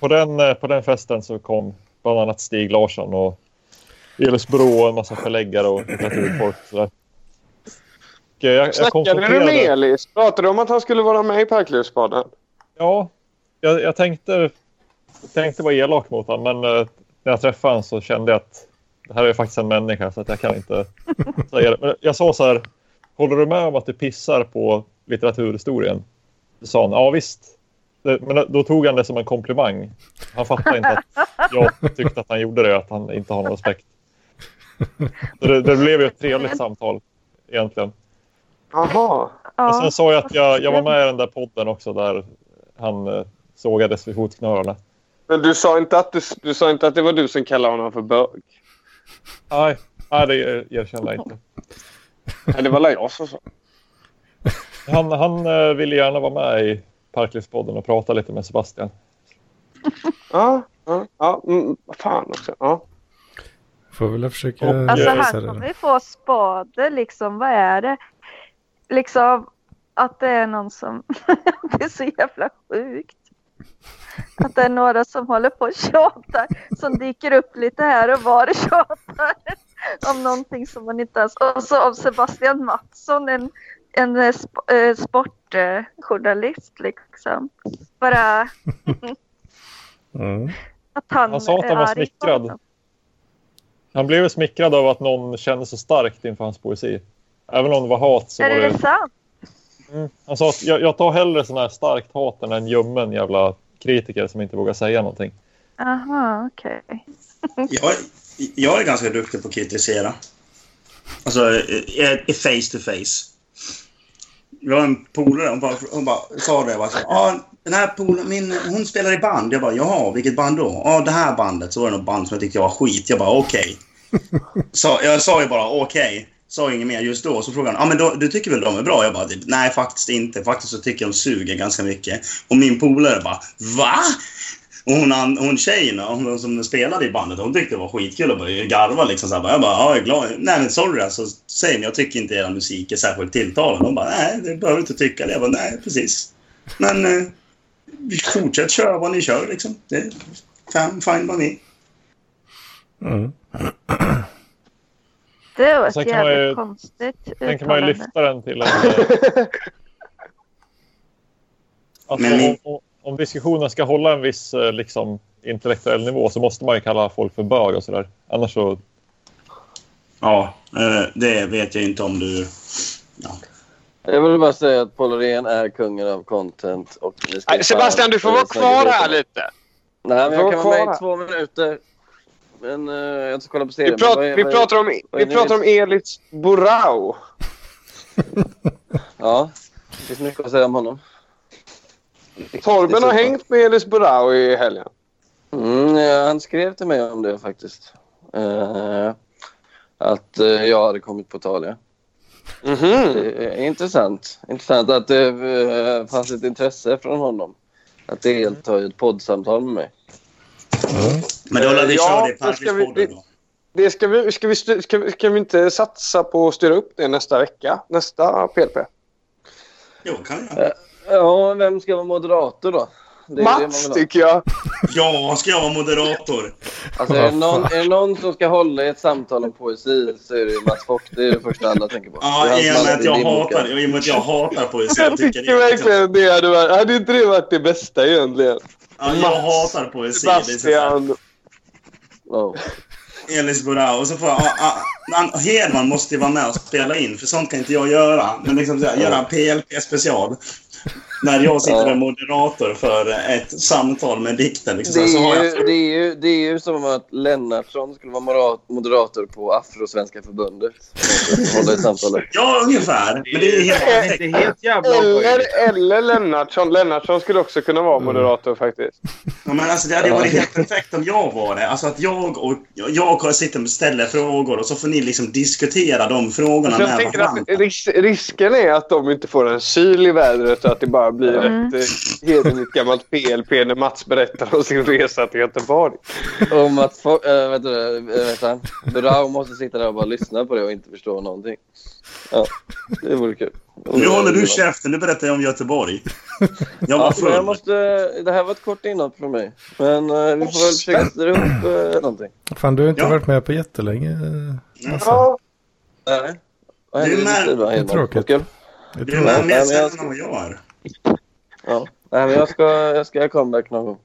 På den, eh, på den festen så kom bland annat Stig Larsson och Elisborå och en massa förläggare och litteraturfolk. och sådär. Och, eh, jag, jag Snackade du konstaterade- med Elis? Pratade du om att han skulle vara med i Parklivspodden? Ja, jag, jag tänkte, tänkte vara elak mot honom, men eh, när jag träffade honom så kände jag att det här är faktiskt en människa så att jag kan inte säga det. Men jag sa så här, håller du med om att du pissar på litteraturhistorien? Då sa han, ja visst. Det, men då tog han det som en komplimang. Han fattade inte att jag tyckte att han gjorde det, att han inte har någon respekt. Så det, det blev ju ett trevligt samtal egentligen. Jaha. Och Ja. sen sa jag att jag, jag var med i den där podden också där han eh, sågades vid fotknölarna. Men du sa, inte att du, du sa inte att det var du som kallade honom för bög? Nej, nej det er- erkände jag inte. Nej, det var väl jag som sa. Han, han eh, ville gärna vara med i Parklivspodden och prata lite med Sebastian. Ja, ja, ja. Mm, vad fan också. Ja. Får väl försöka... Och- Alltså Ja, visa han det då. kommer ju få spade liksom. Vad är det? Liksom att det är någon som... det är så jävla sjukt. Att det är några som håller på och tjatar. Som dyker upp lite här och var och tjatar. Om någonting som man inte ens... Och så om Sebastian Mattsson, en, en eh, sp- eh, sportjournalist liksom. Bara Mm. att han... Han sa att han är var arg på smickrad. honom. Han blev ju smickrad av att någon kände så starkt inför hans poesi. Även om det var hat så var Är det det... sant? Mm. Han sa att jag, jag tar hellre sån här starkt hat än en ljummen jävla kritiker som inte vågar säga någonting. Aha, okej. Jag, jag är ganska duktig på att kritisera. Alltså, eh, eh, face to face. Jag har en polare, hon bara, hon bara sa det. Jag bara, så, ah, den här polaren, min, hon spelar i band. Jag bara, jaha, vilket band då? Ja, ah, det här bandet. Så var det något band som jag tyckte var skit. Jag bara, okej. Så Jag sa ju bara, okej. Sa inget mer just då. Så frågade han, ah, men då, du tycker väl de är bra? Jag bara, nej faktiskt inte. Faktiskt så tycker jag de suger ganska mycket. Och min polare bara, va? Och hon, an- hon tjejen hon som spelade i bandet, hon tyckte det var skitkul och började garva liksom. Så här, bara, jag bara, ja, jag är glad. Nej men sorry alltså, säg men jag tycker inte er musik är särskilt tilltalande. Hon bara, nej, det behöver du inte tycka det. Jag bara, nej precis. Men eh, fortsätt köra vad ni kör liksom. Det är fan, fine by me. Mm. Det var ett Sen kan man jävligt ju- konstigt Sen kan man ju uttalande. lyfta den till en... eh, Alltså, Men om, ni- om- om diskussionen ska hålla en viss eh, liksom, intellektuell nivå så måste man ju kalla folk för bög och sådär. Annars så... Ja, eh, det vet jag inte om du... Ja. Jag vill bara säga att Paul Rehn är kungen av content. Och ni ska Nej, Sebastian, fan- du får vara snacka kvar vidare. här lite. Nej, men Du får jag kan vara vara kvar med i två minuter. Men eh, jag ska kolla på Vi, serien. prat, men vad är- vi vad är- pratar om, vad vi är din pratar om Elis Borau. Ja, det finns mycket att säga om honom. Det är Torben så har bra. hängt med Elis Borau i helgen. Mm, ja, han skrev till mig om det faktiskt. Eh, att eh, jag hade kommit på tal, ja. Mhm. Det är intressant. Intressant att det eh, fanns ett intresse från honom. Att delta i ett poddsamtal med mig. Men då lär vi Eh, Ja, köra det i då ska vi- Parklyspodden då. Det ska vi, ska, vi, stu- ska, vi, ska vi inte satsa på att styra upp det nästa vecka? Nästa PLP? Jo, kan vi göra. Ja, vem ska vara moderator då? Det är det man vill Mats, ha. tycker jag. Ja, ska jag vara moderator? Alltså, är, det någon, är det någon som ska hålla i ett samtal om poesi så är det ju Mats Fock. Det är det första alla tänker på. Det är Ja, han i och som med alltid att jag är inbokad. hatar, i och med att jag hatar poesi. Jag tycker verkligen det hade varit... Hade inte det varit det bästa egentligen? Ja, jag hatar poesi. Det är så här, Sebastian. Ja. Elis Borau. Och så får jag, ah, ah, han- Hedman måste ju vara med och spela in, för sånt kan inte jag göra. Men liksom så här, göra en PLP-special. När jag sitter Ja. där moderator för ett samtal med dikten. Liksom, Det så, här, så har är, jag, ju, det, är ju, det är ju som att Lennartsson skulle vara morat- moderator på Afrosvenska förbundet. Och Hålla i samtalet. ja, ungefär. Men det är helt Det perfekt. Det är helt jävla omöjligt. Eller, eller Lennartsson. Lennartsson skulle också kunna vara Mm. moderator faktiskt. Ja, men alltså, det hade ju varit helt perfekt om jag var det. Alltså att jag och jag sitter och ställer frågor och så får ni liksom diskutera de frågorna Så Alltså, jag med tänker varandra. att ris risken är att de inte får en syl i vädret och att det bara blir Mm. ett eh, hederligt gammalt PLP när Mats berättar om sin resa till Göteborg. Och Mats Fock, äh, vet du, äh, vet han, Brau måste sitta där och bara lyssna på det och inte förstå någonting. Ja, det vore kul. Nu håller du käften, nu berättar jag om Göteborg. Jag var Ja, Alltså- men jag full. måste, det här var ett kort inhopp från mig. Men eh, vi får väl försöka styra upp eh, någonting. Fan, du har inte Ja. varit med på jättelänge. eh, Lasse. Ja, Nej. Vad Du händer i med- ditt liv, va, Hedman? tråkigt. Vad kul. Jag Du är tror med Nej, men mer jag sällan ska- än vad jag är. Ja. Nej, men jag ska, jag ska göra comeback någon gång.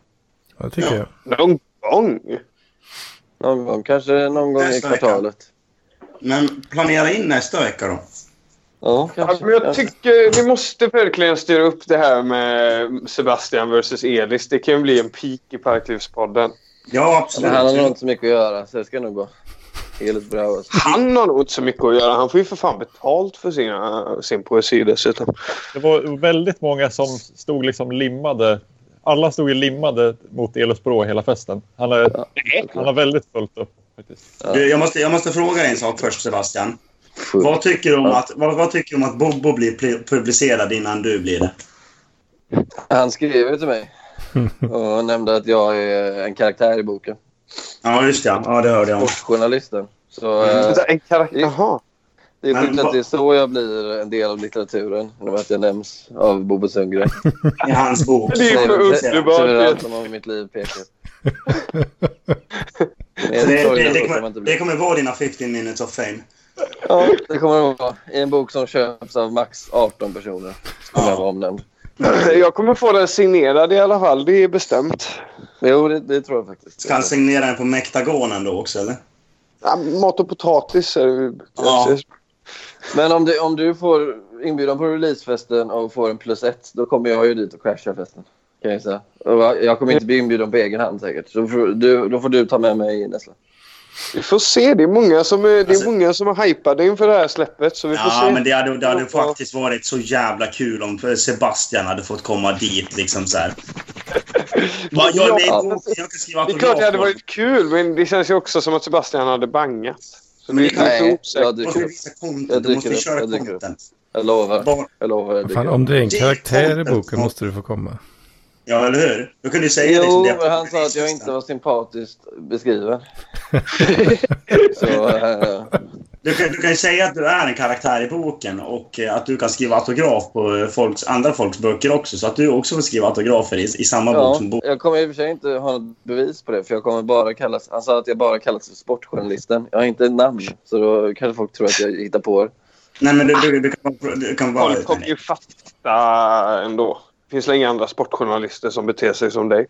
Jag tycker jag. någon gång. Någon gång. Kanske någon gång i Nästa vecka. kvartalet. Men planera in nästa vecka då. Ja, Ja, kanske. men jag kanske. tycker vi måste verkligen styra upp det här med Sebastian versus Elis. Det kan ju bli en peak i Parklivspodden. Ja, Men han har nog absolut. inte så mycket att göra, så det ska nog gå. Helt bra. Alltså. Han har nog inte så mycket att göra. Han får ju för fan betalt för sina, sin poesi dessutom. Det var väldigt många som stod liksom limmade. Alla stod ju limmade mot Elos Brå hela festen. Han, är, han har väldigt fullt upp faktiskt. Du, jag, måste, jag måste fråga en sak först, Sebastian. Full. Vad tycker du om att, vad, vad tycker du om att Bobo blir pl- publicerad innan du blir det? Han skrev ju till mig och nämnde att jag är en karaktär i boken. Ja, just det. Ja, det hörde jag om. Sportjournalisten. Så eh, Vänta, En karaktär. Jaha. det är Mm. Men sjukt att vad- det är så jag blir en del av litteraturen. Genom att jag nämns av Bobo Sundgren. I hans bok. Det är ju för Så- underbart. Så det är allt som har med mitt liv pekat. Det, Mer det, sorgligt det, så kan man inte kommer, det bli. kommer vara dina 15 minutes of fame. Ja, det kommer det vara. I en bok som köps av max 18 personer. Skulle Ja. jag vara omnämnd. Jag kommer få den signerad i alla fall. Det är bestämt. Jo, det, det tror jag faktiskt. Ska han signera den på Mektagonen då också, eller? Ja, mat och potatis är det vi Ja. Men om du, om du får inbjudan på releasefesten och får en plus ett, då kommer jag ju dit och crashar festen. Kan jag, säga. Och jag jag kommer inte bli inbjuden på egen hand säkert. Så får du, då får du ta med mig nästa. Vi får se. Det är många som är, det är, Alltså- många som är hypade inför det här släppet. Så vi får Ja, se. men det hade, det hade Ja. faktiskt varit så jävla kul om Sebastian hade fått komma dit. Liksom så här. Va, jag, är med i Ja. boken, jag kan skriva Det är klart det hade autografer. varit kul, men det känns ju också som att Sebastian hade bangat. Så det är Men det- lite osäkert. jag Du måste dyker upp. visa Jag content. Du dyker måste upp, köra jag dyker upp. content. Jag lovar. Bara- Jag lovar. Jag dyker Fan, upp. om du är en Det är karaktär i content. boken måste du få komma. Ja, eller hur? Då kan du säga liksom Jo, det. men han sa att jag inte var sympatiskt beskriven. Så, eh, Du kan, du kan ju säga att du är en karaktär i boken och eh, att du kan skriva autograf på eh, folks, andra folks böcker också. Så att du också får skriva autografer i, i samma bok Ja, som bok. jag kommer i och för sig inte ha något bevis på det. För jag kommer bara kallas, han sa att jag bara kallas för sportjournalisten. Jag har inte ett namn, så då kanske folk tror att jag hittar på det. Nej, men du, du, du, kan, bara- du kan bara... Folk kommer ju fatta ändå. Finns det inga andra sportjournalister som beter sig som dig?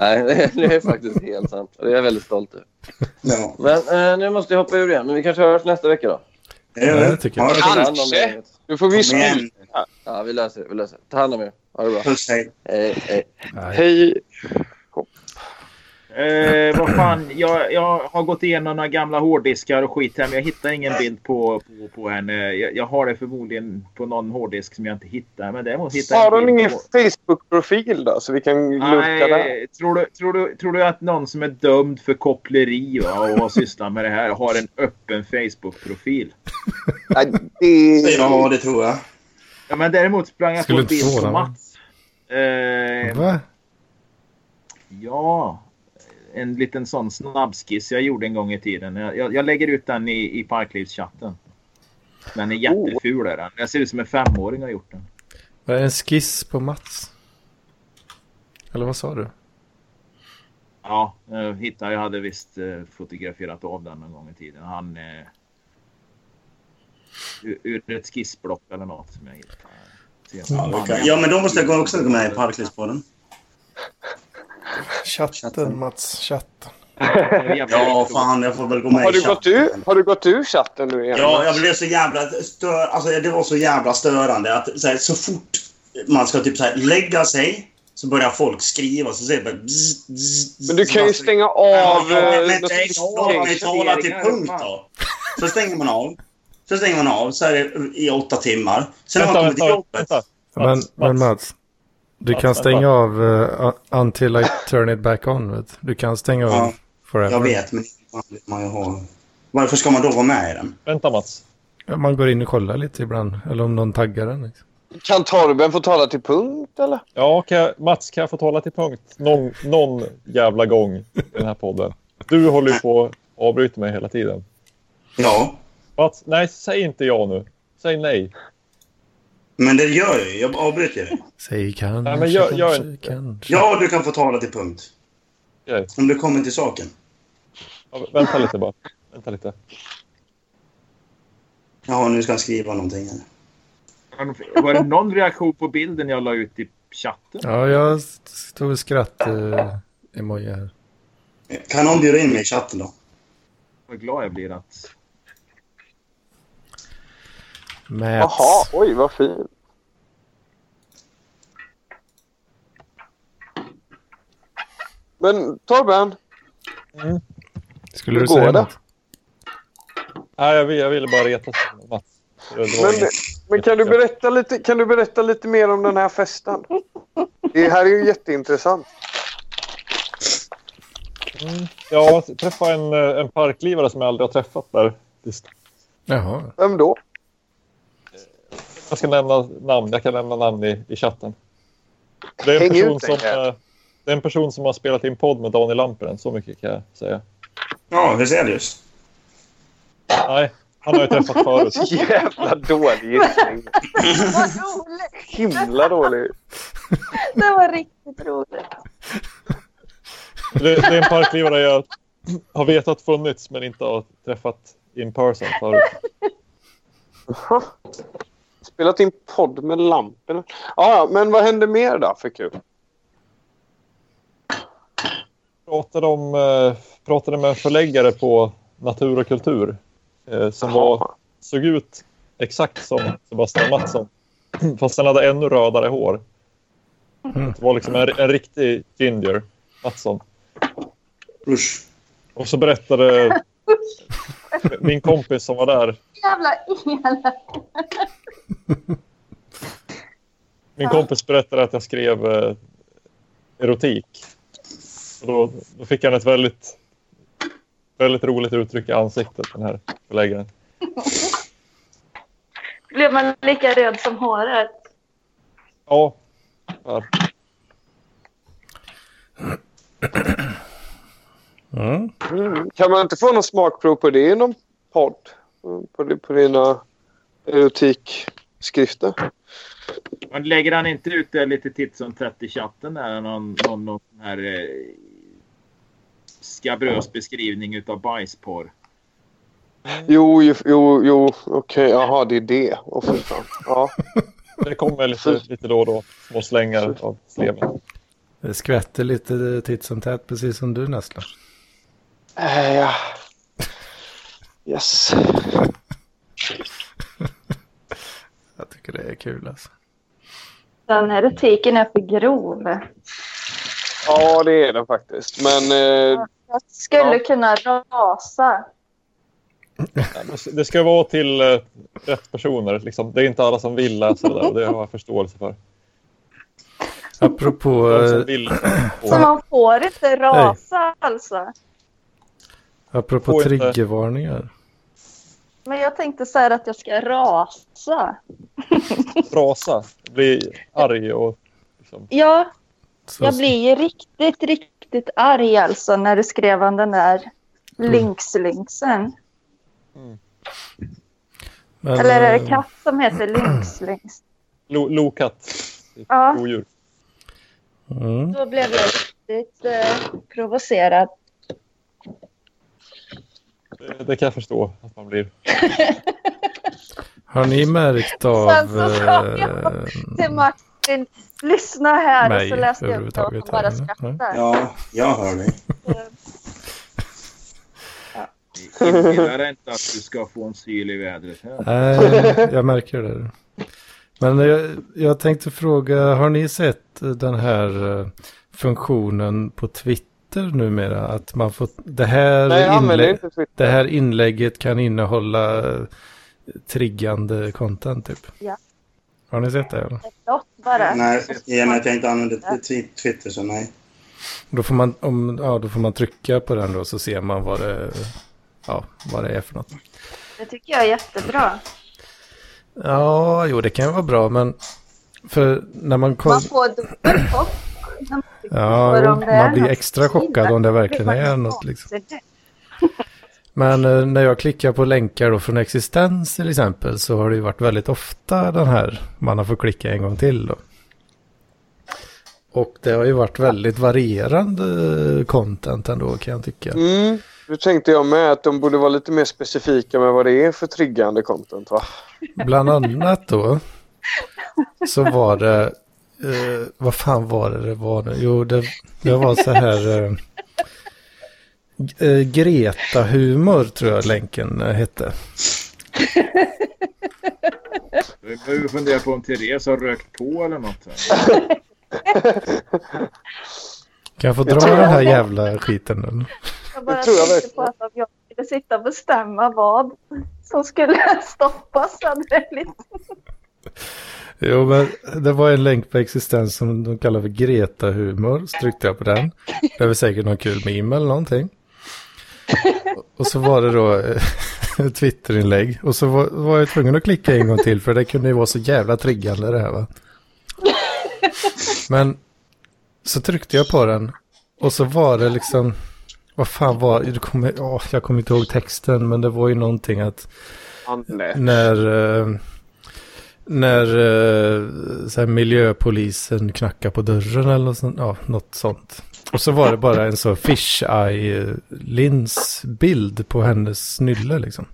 Nej, det- det är faktiskt helt sant. Och det är jag väldigt stolt över. Ja. Men eh, nu måste jag hoppa ur igen. Men vi kanske hörs nästa vecka då. Ja, det tycker jag. Ja, det- Ta hand om Kanske. läget. Nu får vi Kom igen. skriva. Ja, vi löser det. Vi löser det. Ta hand om er. Ha det bra. Puss, hej. Hej, hej. Nej. Hej. Eh, vad fan, jag, jag har gått igenom några gamla hårddiskar och skit här men jag hittar ingen bild på, på, på henne. Jag, jag har det förmodligen på någon hårddisk som jag inte hittar. Men däremot hittar jag Har hon bild ingen på- Facebook-profil då? Så vi kan lurka där. Nej, tror du, tror, du, tror du att någon som är dömd för koppleri va, och har sysslat med det här har en öppen Facebook-profil? Nej, det... Ja, det tror jag. Ja, men däremot sprang jag Skulle på en inte bild på förvåna mig. Mats. Eh, Va? ja, en liten sån snabbskiss jag gjorde en gång i tiden. Jag, jag, jag lägger ut den i, i Parklivschatten. Den är jätteful. Är den. Jag ser ut som en femåring har gjort den. Var det en skiss på Mats? Eller vad sa du? Ja, eh, hittade, jag hade visst eh, fotograferat av den någon gång i tiden. Han... Eh, ur- ur ett skissblock eller något som jag hittade. Ja, det kan- ja, men då måste jag gå- också gå med i Parklivspodden. Chatten Mats, chatten. Ja, fan, jag får väl gå med Har i du, chatten. gått ur, har du gått ur chatten nu igen? Ja, jag blev så jävla stör... Alltså, det var så jävla störande att så, här, så fort man ska typ så här, lägga sig så börjar folk skriva. Så säger det bara... Bzz, bzz, Men du så kan ju bara- stänga Ja, av... eh, men stäng av notifications. man tala till punkt då. Så stänger man av. Så stänger man av så är det i åtta timmar. Sen har man Vänta, kommit till vänta, jobbet. vänta. Men, Mats, men Mats. Mats, du Mats, kan Mats, stänga Mats. av eh, Until I Turn It Back On. Vet. du. Du kan stänga av Ja, Forever. Jag vet, men man, man har... Varför ska man då vara med i den? Vänta Mats. Ja, Man går in och kollar lite ibland. Eller om någon taggar den. Liksom. Kan Torben få tala till punkt eller? Ja, kan jag, Mats, kan jag få tala till punkt någon, någon jävla gång i den här podden? Du håller ju på att avbryta mig hela tiden. Ja, Mats, nej, säg inte ja nu. Säg nej. men det gör jag ju. Jag avbryter dig. Säg kanske, Nej, men gör- gör kanske, inte. kanske. Ja, du kan få tala till punkt. Okej. Om du kommer till saken. Ja, vänta lite bara. Vänta lite. Jaha, nu ska han skriva någonting här. Var det någon reaktion på bilden jag la ut i chatten? Ja, jag stod och skrattade emoji här. Kan någon bjuda in mig i chatten då? Vad glad jag blir att... Mats. Jaha, oj vad fin. Men Torben, Skulle hur du går säga det? något? Nej, jag, vill, jag ville bara reta Mats. Det var men, inget- men kan, du berätta lite, kan du berätta lite mer om den här festen? Det här är ju jätteintressant. Ja, jag träffade en, eh, en parklivare som jag aldrig har träffat där. Just- Jaha. Vem då? Jag ska nämna namn. Jag kan nämna namn i, i chatten. Det är, en Häng person ut som, den här. eh, det är en person som har spelat in podd med Daniel Lampinen. Så mycket kan jag säga. Ja, Hyselius. Nej, han har jag träffat förut. Jävla dålig gissning. Vad roligt! Himla dålig. Det var riktigt roligt. Det, det är en parklivare jag har vetat från nytt men inte har träffat in person förut. Spelat in podd med lamporna. Ja, ja, men vad hände mer då för kul? Pratade, om, eh, pratade med en förläggare på Natur och kultur eh, som var, såg ut exakt som Sebastian Mattsson. Fast han hade ännu rödare hår. Det var liksom en, en riktig ginger, Mattsson. Usch. Och så berättade min kompis som var där Jävla elak! Min kompis berättade att jag skrev eh, erotik. Och då, då fick han ett väldigt, väldigt roligt uttryck i ansiktet, den här förläggaren. Blev man lika röd som håret? Ja. ja. Mm. Mm. Mm. Kan man inte få någon smakprov på det i någon podd? på, di- på dina erotikskrifter. Men lägger han inte ut det lite titt som tätt i chatten där? Någon, någon, någon sån här eh, skabrös beskrivning utav bajsporr. Jo, ju- jo, jo, okej, jaha, det är det. Åh, fy fan. Ja. Det kommer lite, lite då och då små slängar av sleven. Det skvätter lite titt som tätt, precis som du nästan. Eh, ja. Yes. Jag tycker det är kul alltså. Den här etiken är för grov. Ja, det är den faktiskt. Men eh, Alltså, Jag skulle Ja. kunna rasa. Det ska vara till eh, rätt personer. Liksom. Det är inte alla som vill läsa det där och det har jag förståelse för. Apropå, De som eh, vill Så man får inte rasa alltså. apropå Får inte- triggervarningar. Men jag tänkte så här att jag ska rasa. rasa, bli arg och liksom, Ja, Så, jag blir ju riktigt, riktigt arg alltså när du skrev om den där Mm. Lynx-Lynxen. men, Eller Mm. är det eh, katt som heter Lynx-Lynx? lo, lokatt. Ja. Odjur. Mm. Då blev jag riktigt eh, provocerad. Det, det kan jag förstå att man blir. Har ni märkt av... Sen så sa jag eh, Till Martin, lyssna här Nej, och så läste jag upp det och han överhuvudtaget bara här, nej. skrattade. Ja, jag hör dig. Inbillar dig inte att du ska få en syl i vädret. här. Nej, jag märker det. Men jag, jag tänkte fråga, har ni sett den här eh, funktionen på Twitter numera? Att man får, det här, nej, jag använder inlä- inte Twitter. det här inlägget kan innehålla eh, triggande content typ. Ja. Har ni sett det? Eller? Blått bara. Nej, i och med att jag inte använder tw- Twitter så nej. Då, får man, om, ja, då får man trycka på den då så ser man vad det, ja, vad det är för något. Det tycker jag är jättebra. Ja, jo det kan ju vara bra men för när man kollar... Man får dubbel chock. när man trycker Ja, på jo, dem. Det är man blir något extra chockad om det verkligen är något. Liksom. konstigt. Men eh, när jag klickar på länkar då från existens till exempel så har det ju varit väldigt ofta den här man har fått klicka en gång till då. Och det har ju varit väldigt varierande eh, content ändå kan jag tycka. Mm. Nu tänkte jag med att de borde vara lite mer specifika med vad det är för triggande content va? Bland annat då så var det, eh, vad fan var det det var nu? Jo, det, det var så här, eh, G- eh, Greta-humor tror jag länken eh, hette. Vi behöver fundera på om Therese har rökt på eller något. här. Kan jag få dra den här jävla skiten nu? Jag bara Det tror jag tänkte på att om jag skulle sitta och bestämma vad som skulle stoppas så hade det blivit Jo, men det var en länk på existens som de kallar för Greta-humor. Så tryckte jag på den. Det var säkert någon kul meme eller någonting. Och så var det då eh, ett Twitterinlägg. Och så var, var jag tvungen att klicka en gång till för det kunde ju vara så jävla triggande det här va. Men så tryckte jag på den. Och så var det liksom, vad fan var det? Kommer, åh, jag kommer inte ihåg texten men det var ju någonting att när, eh, när eh, så här, miljöpolisen knackar på dörren eller något sånt, ja, något sånt. Och så var det bara en så fish eye lins bild på hennes nylle liksom.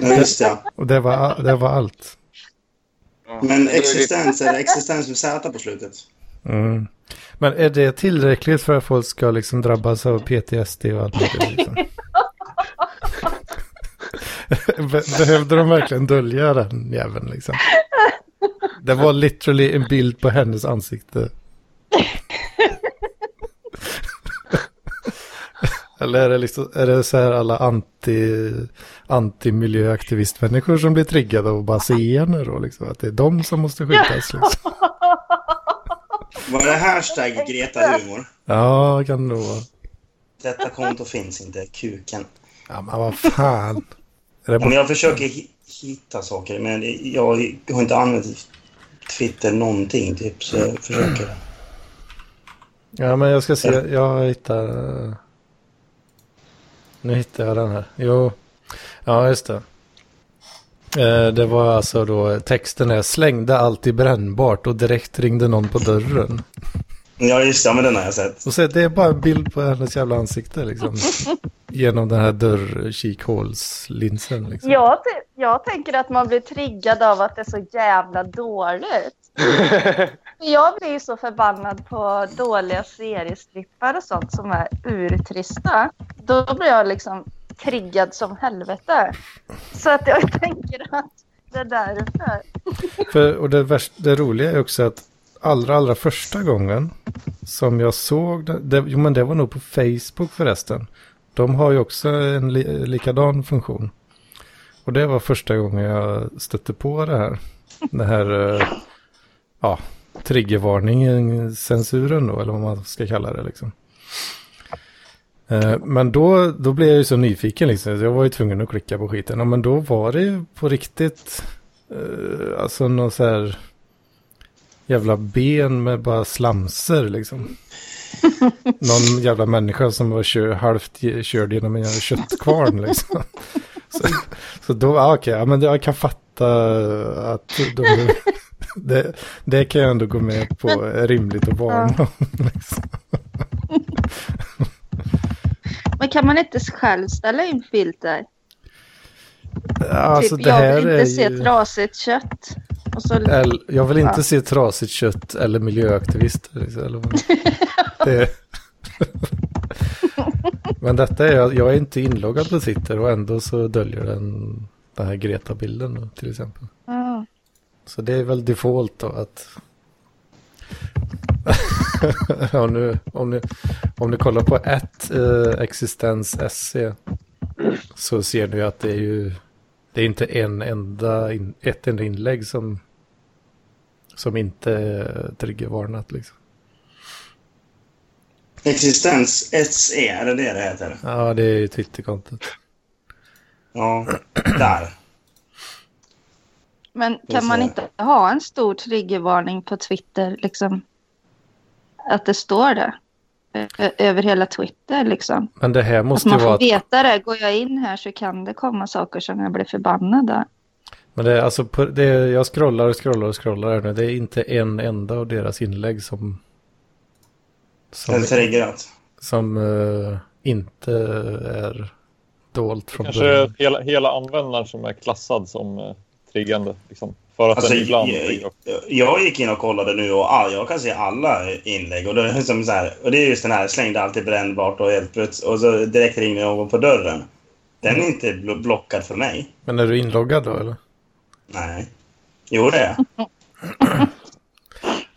Ja, just det. ja. Och det var, det var allt. Men existens, är det existens med Z på slutet? Mm. Men är det tillräckligt för att folk ska liksom drabbas av PTSD och allt det där, liksom? Be- Behövde de verkligen dölja den jäveln liksom? Det var literally en bild på hennes ansikte. Eller är det, liksom, är det så här alla anti, anti-miljöaktivistmänniskor som blir triggade av att bara se henne då? Liksom? Att det är de som måste skyddas liksom? Var det hashtag Greta Humor? Ja, kan det nog vara. Detta konto finns inte, kuken. Ja, men vad fan. Är det Ja, men bara... jag försöker hi- hitta saker, men jag har inte använt Twitter någonting typ, så jag försöker. Ja, men jag eh, ska se. Jag hittar... Nu hittar jag den här. Jo. Ja, just det. Eh, Det var alltså då texten är slängde allt i brännbart och direkt ringde någon på dörren. Ja, just det. Ja, men den har jag sett. Och så det är bara en bild på hennes jävla ansikte liksom. Genom den här dörrkikhålslinsen liksom. Jag, t- jag tänker att man blir triggad av att det är så jävla dåligt. För Jag blir ju så förbannad på dåliga seriestrippar och sånt som är urtrista. Då blir jag liksom triggad som helvete. Så att jag tänker att det är därför. För, och det, värst, det roliga är också att allra, allra första gången som jag såg det, det, jo men det var nog på Facebook förresten. De har ju också en li, likadan funktion. Och det var första gången jag stötte på det här. Det här, eh, ja, triggervarningen, censuren då, eller vad man ska kalla det liksom. Eh, Men då, då blev jag ju så nyfiken liksom, så jag var ju tvungen att klicka på skiten. Ja, Men då var det ju på riktigt Eh, alltså någon så här jävla ben med bara slamser liksom. någon jävla människa som var kör, halvt ge- körd genom en jävla köttkvarn liksom. så, så då, ah, okej, ja, men det- jag kan fatta att de, det, det kan jag ändå gå med på är rimligt att varna om. Liksom. Men kan man inte själv ställa in filter? Alltså typ, det jag här vill är inte se ju... trasigt kött. Och så, Eller, jag vill inte Ja. se trasigt kött eller miljöaktivister. liksom, Eller vad. det. Men detta är, jag är inte inloggad på Twitter och ändå så döljer den den här Greta-bilden då, till exempel. Ja. Så det är väl default då att... ja, nu, om, ni, om ni kollar på ett eh, existens.se så ser ni ju att det är ju... Det är inte en enda in, ett enda inlägg som, som inte är triggervarnat liksom. Existens SE, är det det det heter? Ja, det är ju Twitter-kontot. Ja, där. Men Det är kan man så. inte ha en stor triggervarning på Twitter? Liksom, att det står det Ö- över hela Twitter. Liksom. Men det här Att måste ju man vara... får att- veta det. Går jag in här så kan det komma saker som jag blir förbannad av. Men det är alltså, på- det är, jag scrollar och scrollar och scrollar här nu. Det är inte en enda av deras inlägg som... Som, Eller triggerat. som eh, inte är dolt från Kanske början. hela, hela användaren som är klassad som eh, triggande. Liksom, för att Alltså, den ibland triggar jag, upp. jag gick in och kollade nu och all, jag kan se alla inlägg. Och det, är liksom så här, och det är just den här slängde allt i brännbart och helt plötsligt och så direkt ringde någon på dörren. Den är inte bl- blockad för mig. Men är du inloggad då eller? Nej. Jo, det är jag.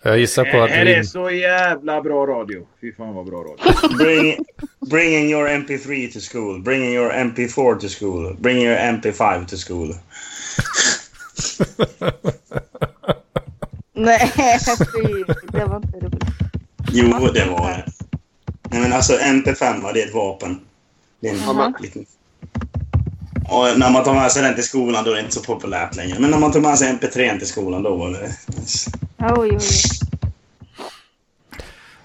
Jag gissar på att Är du... det så jävla bra radio? Fy fan vad bra radio. Bring, bringing your MP3 to school. Bringing your MP4 to school. Bringing your MP5 to school. Nej, fy, det var inte roligt. Jo, det var det. Nej, men alltså MP5, det är ett vapen. Det är en Jaha. liten... Och när man tar med sig den till skolan då är det inte så populärt längre. Men när man tar med sig MP3 till skolan då var det... Oj, oj, oj.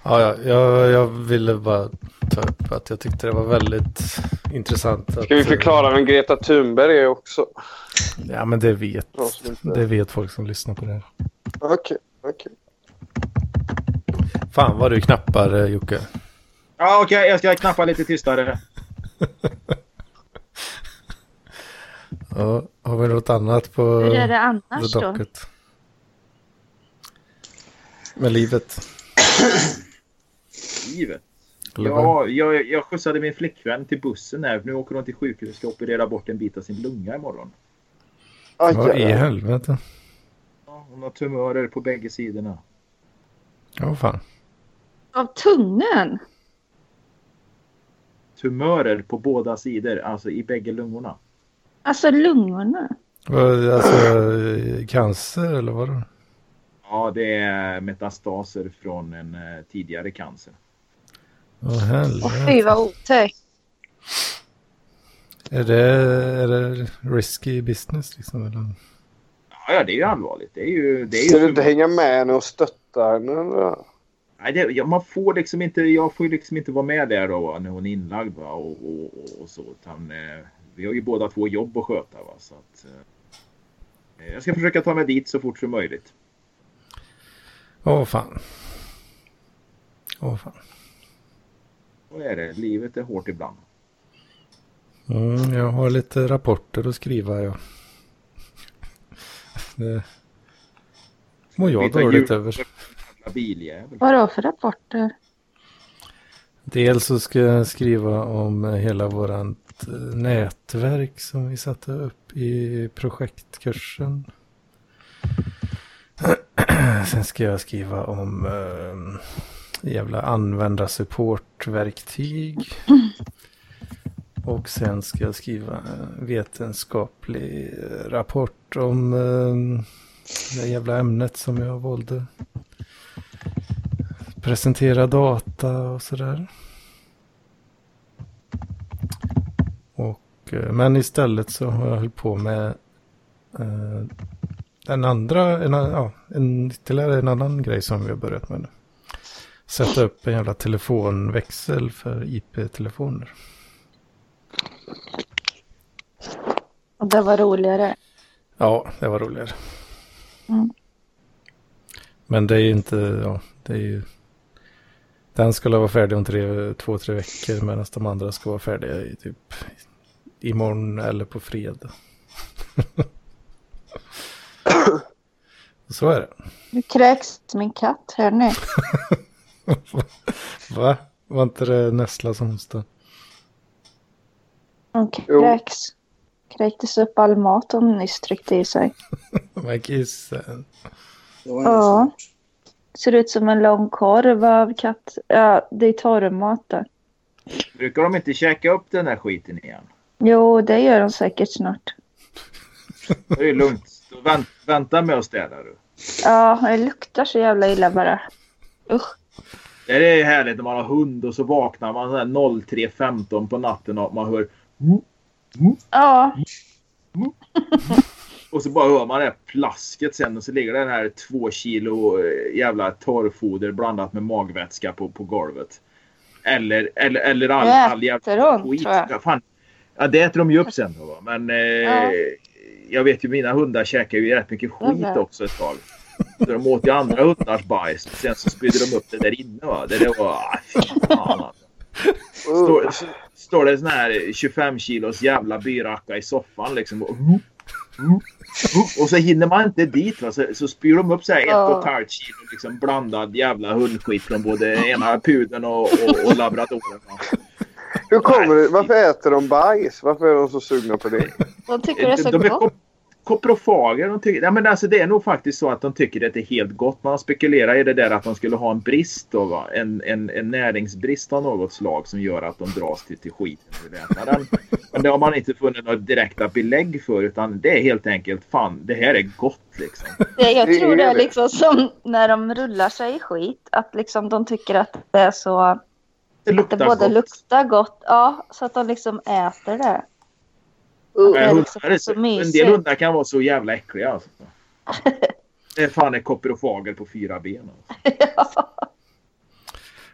Ja, ja jag, jag ville bara ta upp att jag tyckte det var väldigt intressant. Att, eh, Ska vi förklara vem Greta Thunberg är också? Ja, men det vet, För oss som inte- det vet folk som lyssnar på det här. Okej, okej. Fan vad du knappar eh, Jocke. Ja, Okej, jag ska knappa lite tystare. Ja, har vi något annat på... Hur är det The annars då? Docket. Med livet. Livet. Eller Ja, jag, jag skjutsade min flickvän till bussen här. Nu åker hon till sjukhus och ska operera bort en bit av sin lunga imorgon. Aj, vad? Vad i jävlar. helvete? Ja, hon har tumörer på bägge sidorna. Ja, fan. Av tungan? Tumörer på båda sidor, alltså i bägge lungorna. Alltså lungorna? Vad, Alltså, eh, cancer eller vad? då? Ja, det är metastaser från en eh, tidigare cancer. Åh Och helvete. fy vad otäckt. Är det, är det risky business liksom? Eller? Ja, ja, det är ju allvarligt. Det är ju... Det är ju Ska du inte hänga med henne och stötta henne? eller? Nej, det, ja, man får liksom inte, jag får ju liksom inte vara med där då va, när hon är inlagd va, och, och, och, och så. Utan, eh, vi har ju båda två jobb att sköta. Va? Så att, eh, jag ska försöka ta mig dit så fort som möjligt. Åh fan. Åh fan. Så är det. Livet är hårt ibland. Mm, jag har lite rapporter att skriva. Ja. Det mår jag byta dåligt hjul? över. Jävla Biljävel. Vadå för rapporter? Dels så ska jag skriva om hela vårt nätverk som vi satte upp i projektkursen. Sen ska jag skriva om eh, jävla användarsupportverktyg. Och sen ska jag skriva en vetenskaplig rapport om eh, det jävla ämnet som jag valde. Presentera data och sådär. Och, eh, men istället så har jag hållit på med eh, den andra, en, an- ja, en, ytterligare en annan grej som vi har börjat med nu. Sätta upp en jävla telefonväxel för IP-telefoner. Och det var roligare. Ja, det var roligare. Mm. Men det är ju inte, ja, det är ju... Den skulle vara färdig om tre, två, tre veckor medan de andra ska vara färdiga i typ imorgon eller på fredag. Så är det. Nu kräks min katt, hör ni? Va? Var inte det Nessla som hostade? Hon Jo. kräks. Kräktes upp all mat hon nyss tryckte i sig. Men kissen. Det var Ja. ja. Ser ut som en lång korv av katt. Ja, det är torrmat där. Brukar de inte käka upp den här skiten igen? Jo, det gör de säkert snart. Det är ju lugnt. Då vänt, vänta med att städa du. Ja, det luktar så jävla illa bara. Usch. Det är ju härligt när man har hund och så vaknar man sådär 03.15 på natten och man hör "Mm", Ja, och så bara hör man det här plasket sen och så ligger den här två kilo eh, jävla torrfoder blandat med magvätska på, på golvet. Eller, eller, eller all, Det all jävla äter hon, tror jag. Ja, fan. ja, det äter de ju upp sen då. va. Men eh, Ja. jag vet ju mina hundar käkar ju rätt mycket skit Jävlar. också ett tag. Så de åt ju andra hundars bajs. Sen så spydde de upp det där inne. Va? Det där var... ah, fy Fan, alltså. Står, s- står det sån här 25 kilos jävla byracka i soffan liksom. Och, Mm. och så hinner man inte dit va? Så, så spyr de upp så här ett Ja. och ett halvt kilo liksom blandad jävla hundskit från både ena pudeln och, och, och labradoren. Va? Hur kommer det? Varför äter de bajs? Varför är de så sugna på det? de tycker det är så Eh, de är gott. kop- koprofager. De tycker, ja, men alltså, det är nog faktiskt så att de tycker att det är helt gott. Man spekulerar i det där att de skulle ha en brist. Då, va? En, en, en näringsbrist av något slag som gör att de dras till, till skiten. när de äter den. Men det har man inte funnit några direkta belägg för. Utan det är helt enkelt fan, det här är gott liksom. Det, jag Det tror det är är det. liksom som när de rullar sig i skit. Att liksom de tycker att det är så... Det Att det luktar både gott. luktar gott, ja, så att de liksom äter det. Ja, det är liksom hundar är så så- en mysigt. del hundar kan vara så jävla äckliga. Alltså. Det är fan en koprofager på fyra ben. Alltså.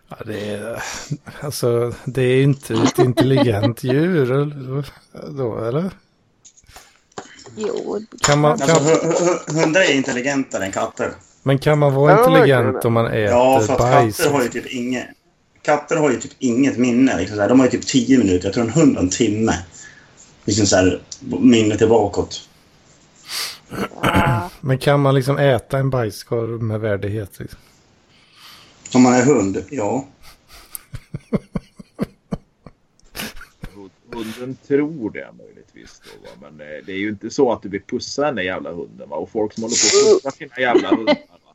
Ja, det är, alltså, det är inte ett intelligent djur. eller- Då, eller? Jo, Kan man, Alltså, kan, hu- hu- hundar är intelligentare än katter. Men kan man vara Ja, intelligent verkligen. om man äter Ja, för att bajs? katter har ju typ inget... Katter har ju typ inget minne. Liksom så här. De har ju typ 10 minuter. Jag tror en hund har en timme. Liksom så här, minnet är bakåt. ja. Men kan man liksom äta en bajskorv med värdighet? Liksom? Om man är hund, ja. Hunden tror det möjligtvis. Då, va? Men eh, det är ju inte så att du vill pussa den där jävla hunden. Va? Och folk som håller på att pussa sina jävla hundar. Va?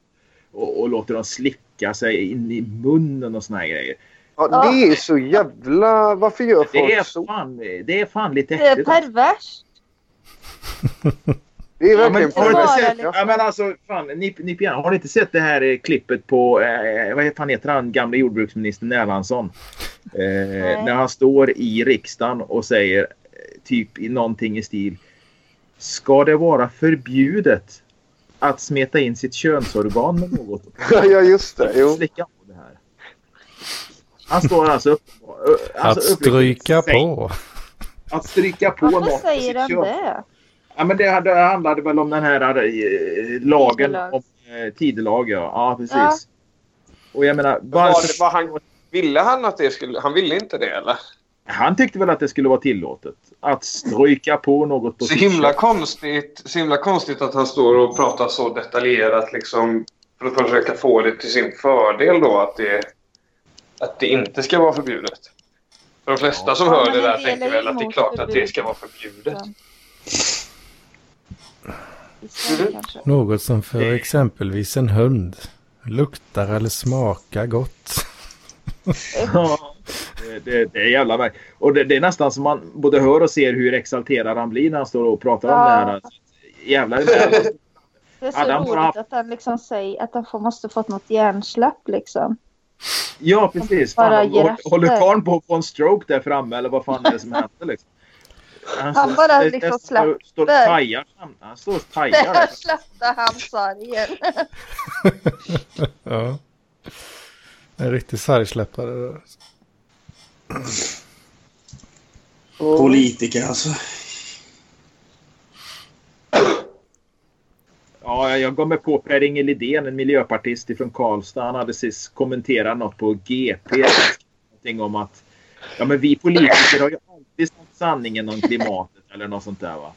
Och, och låter dem slicka sig in i munnen och såna här grejer. Ja, det är så jävla... Varför gör folk Det är så? fan, det är fan lite det är äckligt. alltså. perverst. Det är Ja, men, verkligen har, du Bara inte sett, liksom. ja, men alltså, fan, nipp, nipp igen. har du inte sett det här eh, klippet på, eh, vad fan heter han, gamle jordbruksministern Erlandsson? Eh, när han står i riksdagen och säger eh, typ i någonting i stil. Ska det vara förbjudet att smeta in sitt könsorgan med något? Ja, just det. Jo. Slicka på det här. Han står alltså upp... ö, Alltså att uppriktigt stryka säger- på. Att stricka på Varför något för säger sitt han köp. det? Ja, men det hade- handlade väl om den här eh, lagen Tidelag. om eh, tidelag. Ja, ja precis. Ja. Och jag menar, Var, varför... var han, ville han att det skulle... Han ville inte det eller? Han tyckte väl att det skulle vara tillåtet att stryka på något. På Så sitt himla köp. konstigt, så himla konstigt att han står och pratar så detaljerat liksom för att försöka få det till sin fördel då att det, att det inte ska vara förbjudet. För de flesta som Ja, hör men det en där del tänker är väl att det är emot klart att det förbud. ska vara förbjudet. Mm. I Sverige kanske. Något som för exempelvis en hund luktar eller smakar gott. Ja, det, det, det är jävla verk. Och det, det är nästan som man både hör och ser hur exalterad han blir när han står och pratar om Ja. det här. Alltså, jävlar det där. Det är så Adam får roligt att han liksom säger att han får, måste fått något hjärnsläpp liksom. Ja, precis. Bara Fan, ger håller- efter. håller karln på att få en stroke där framme eller vad fan är det som händer liksom? Han bara det- det liksom står- står och släpper. tajar. fram- Han står och tajar. liksom. Där där. släppte han sargen. Ja. En riktig sargsläppare. där. Politiker alltså. Ja, jag gav mig på Per-Inge Lidén, en miljöpartist ifrån Karlstad. Han hade sist kommenterat något på GP. Någonting om att ja, men vi politiker har ju alltid sagt sanningen om klimatet eller något sånt där. Va?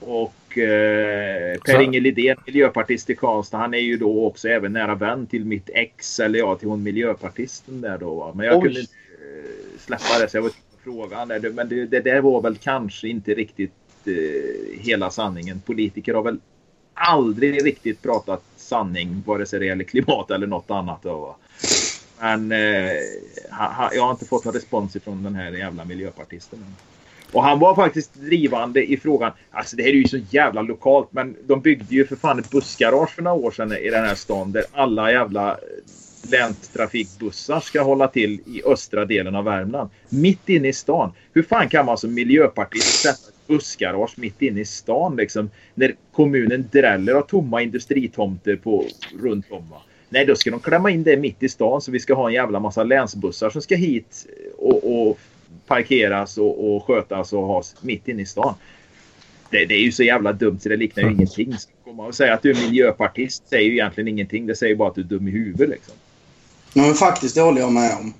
Och eh, Per-Inge Lidén, miljöpartist i Karlstad, han är ju då också även nära vän till mitt ex eller ja, till hon miljöpartisten där då. Va? Men jag Oj. kunde inte eh, släppa det så jag var tvungen att fråga han. är du- Men det, det där var väl kanske inte riktigt eh, hela sanningen. Politiker har väl aldrig riktigt pratat sanning vare sig det gäller klimat eller något annat. Då. va. Men eh, ha, ha, jag har inte fått någon respons ifrån den här jävla miljöpartisten. än. Och han var faktiskt drivande i frågan. Alltså det här är ju så jävla lokalt men de byggde ju för fan ett bussgarage för några år sedan i den här stan där alla jävla eh, länstrafikbussar ska hålla till i östra delen av Värmland. Mitt inne i stan. Hur fan kan man som miljöpartist sätta ett bussgarage mitt inne i stan liksom? När kommunen dräller av tomma industritomter på, runt om. Va? Nej, då ska de klämma in det mitt i stan så vi ska ha en jävla massa länsbussar som ska hit och, och parkeras och, och skötas och has mitt inne i stan. Det, det är ju så jävla dumt så det liknar ju ingenting. Så komma och säga att du är miljöpartist säger ju egentligen ingenting. Det säger bara att du är dum i huvudet. Liksom. Ja, men faktiskt, det håller jag med om.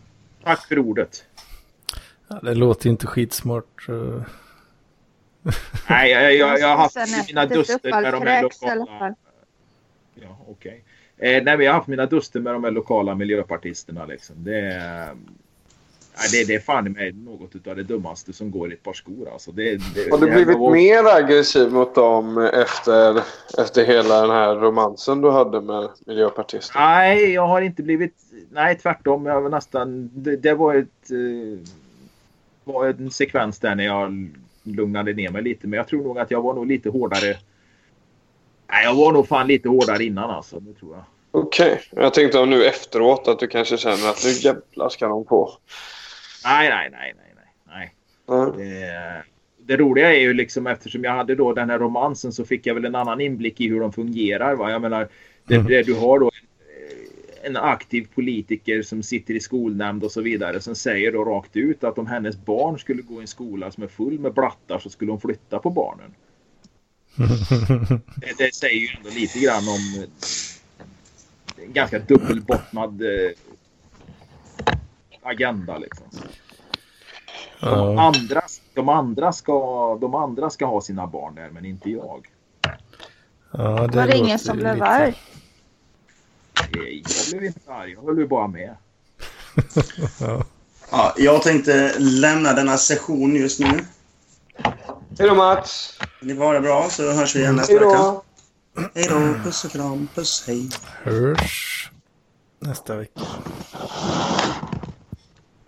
Tack för ordet. Ja, det låter ju inte skitsmart. eh. Nej, jag, jag, jag har Sen haft mina ätit upp duster all med de här kräks i alla lokala fall. Ja, okej. Eh, nej, men jag har haft mina duster med de här lokala miljöpartisterna. Liksom. Det, är, nej, det, det är fan i mig något av det dummaste som går i ett par skor. Alltså. Det, det, Har du det här blivit var- mer aggressiv mot dem efter, efter hela den här romansen du hade med Miljöpartister? Nej, jag har inte blivit... Nej, tvärtom. Jag var nästan... Det, det var ett... Eh, var en sekvens där när jag lugnade ner mig lite. Men jag tror nog att jag var nog lite hårdare. Nej, jag var nog fan lite hårdare innan alltså. Det tror jag. Okej, jag tänkte om nu efteråt att du kanske känner att nu jävlar ska de på. Nej, nej, nej, nej, nej. nej. Ja. Det, Eh, det roliga är ju liksom eftersom jag hade då den här romansen så fick jag väl en annan inblick i hur de fungerar. Va? Jag menar, det, det du har då en- en aktiv politiker som sitter i skolnämnd och så vidare som säger då rakt ut att om hennes barn skulle gå i en skola som är full med blattar så skulle hon flytta på barnen. Det, det säger ju ändå lite grann om eh, en ganska dubbelbottnad eh, agenda liksom. De Ja. andra, de, andra ska, de andra ska ha sina barn där, men inte jag. Ja, Det var det ingen låter som ju blev lite- arg. Nej, Jag blev inte arg, jag höll ju bara med. Ja. Ja, jag tänkte lämna denna session just nu. Hej då Mats! Ni var det bra, så hörs vi igen nästa Mm. Hej vecka. då! Hej då, puss och kram, puss, hej. Hörs nästa vecka.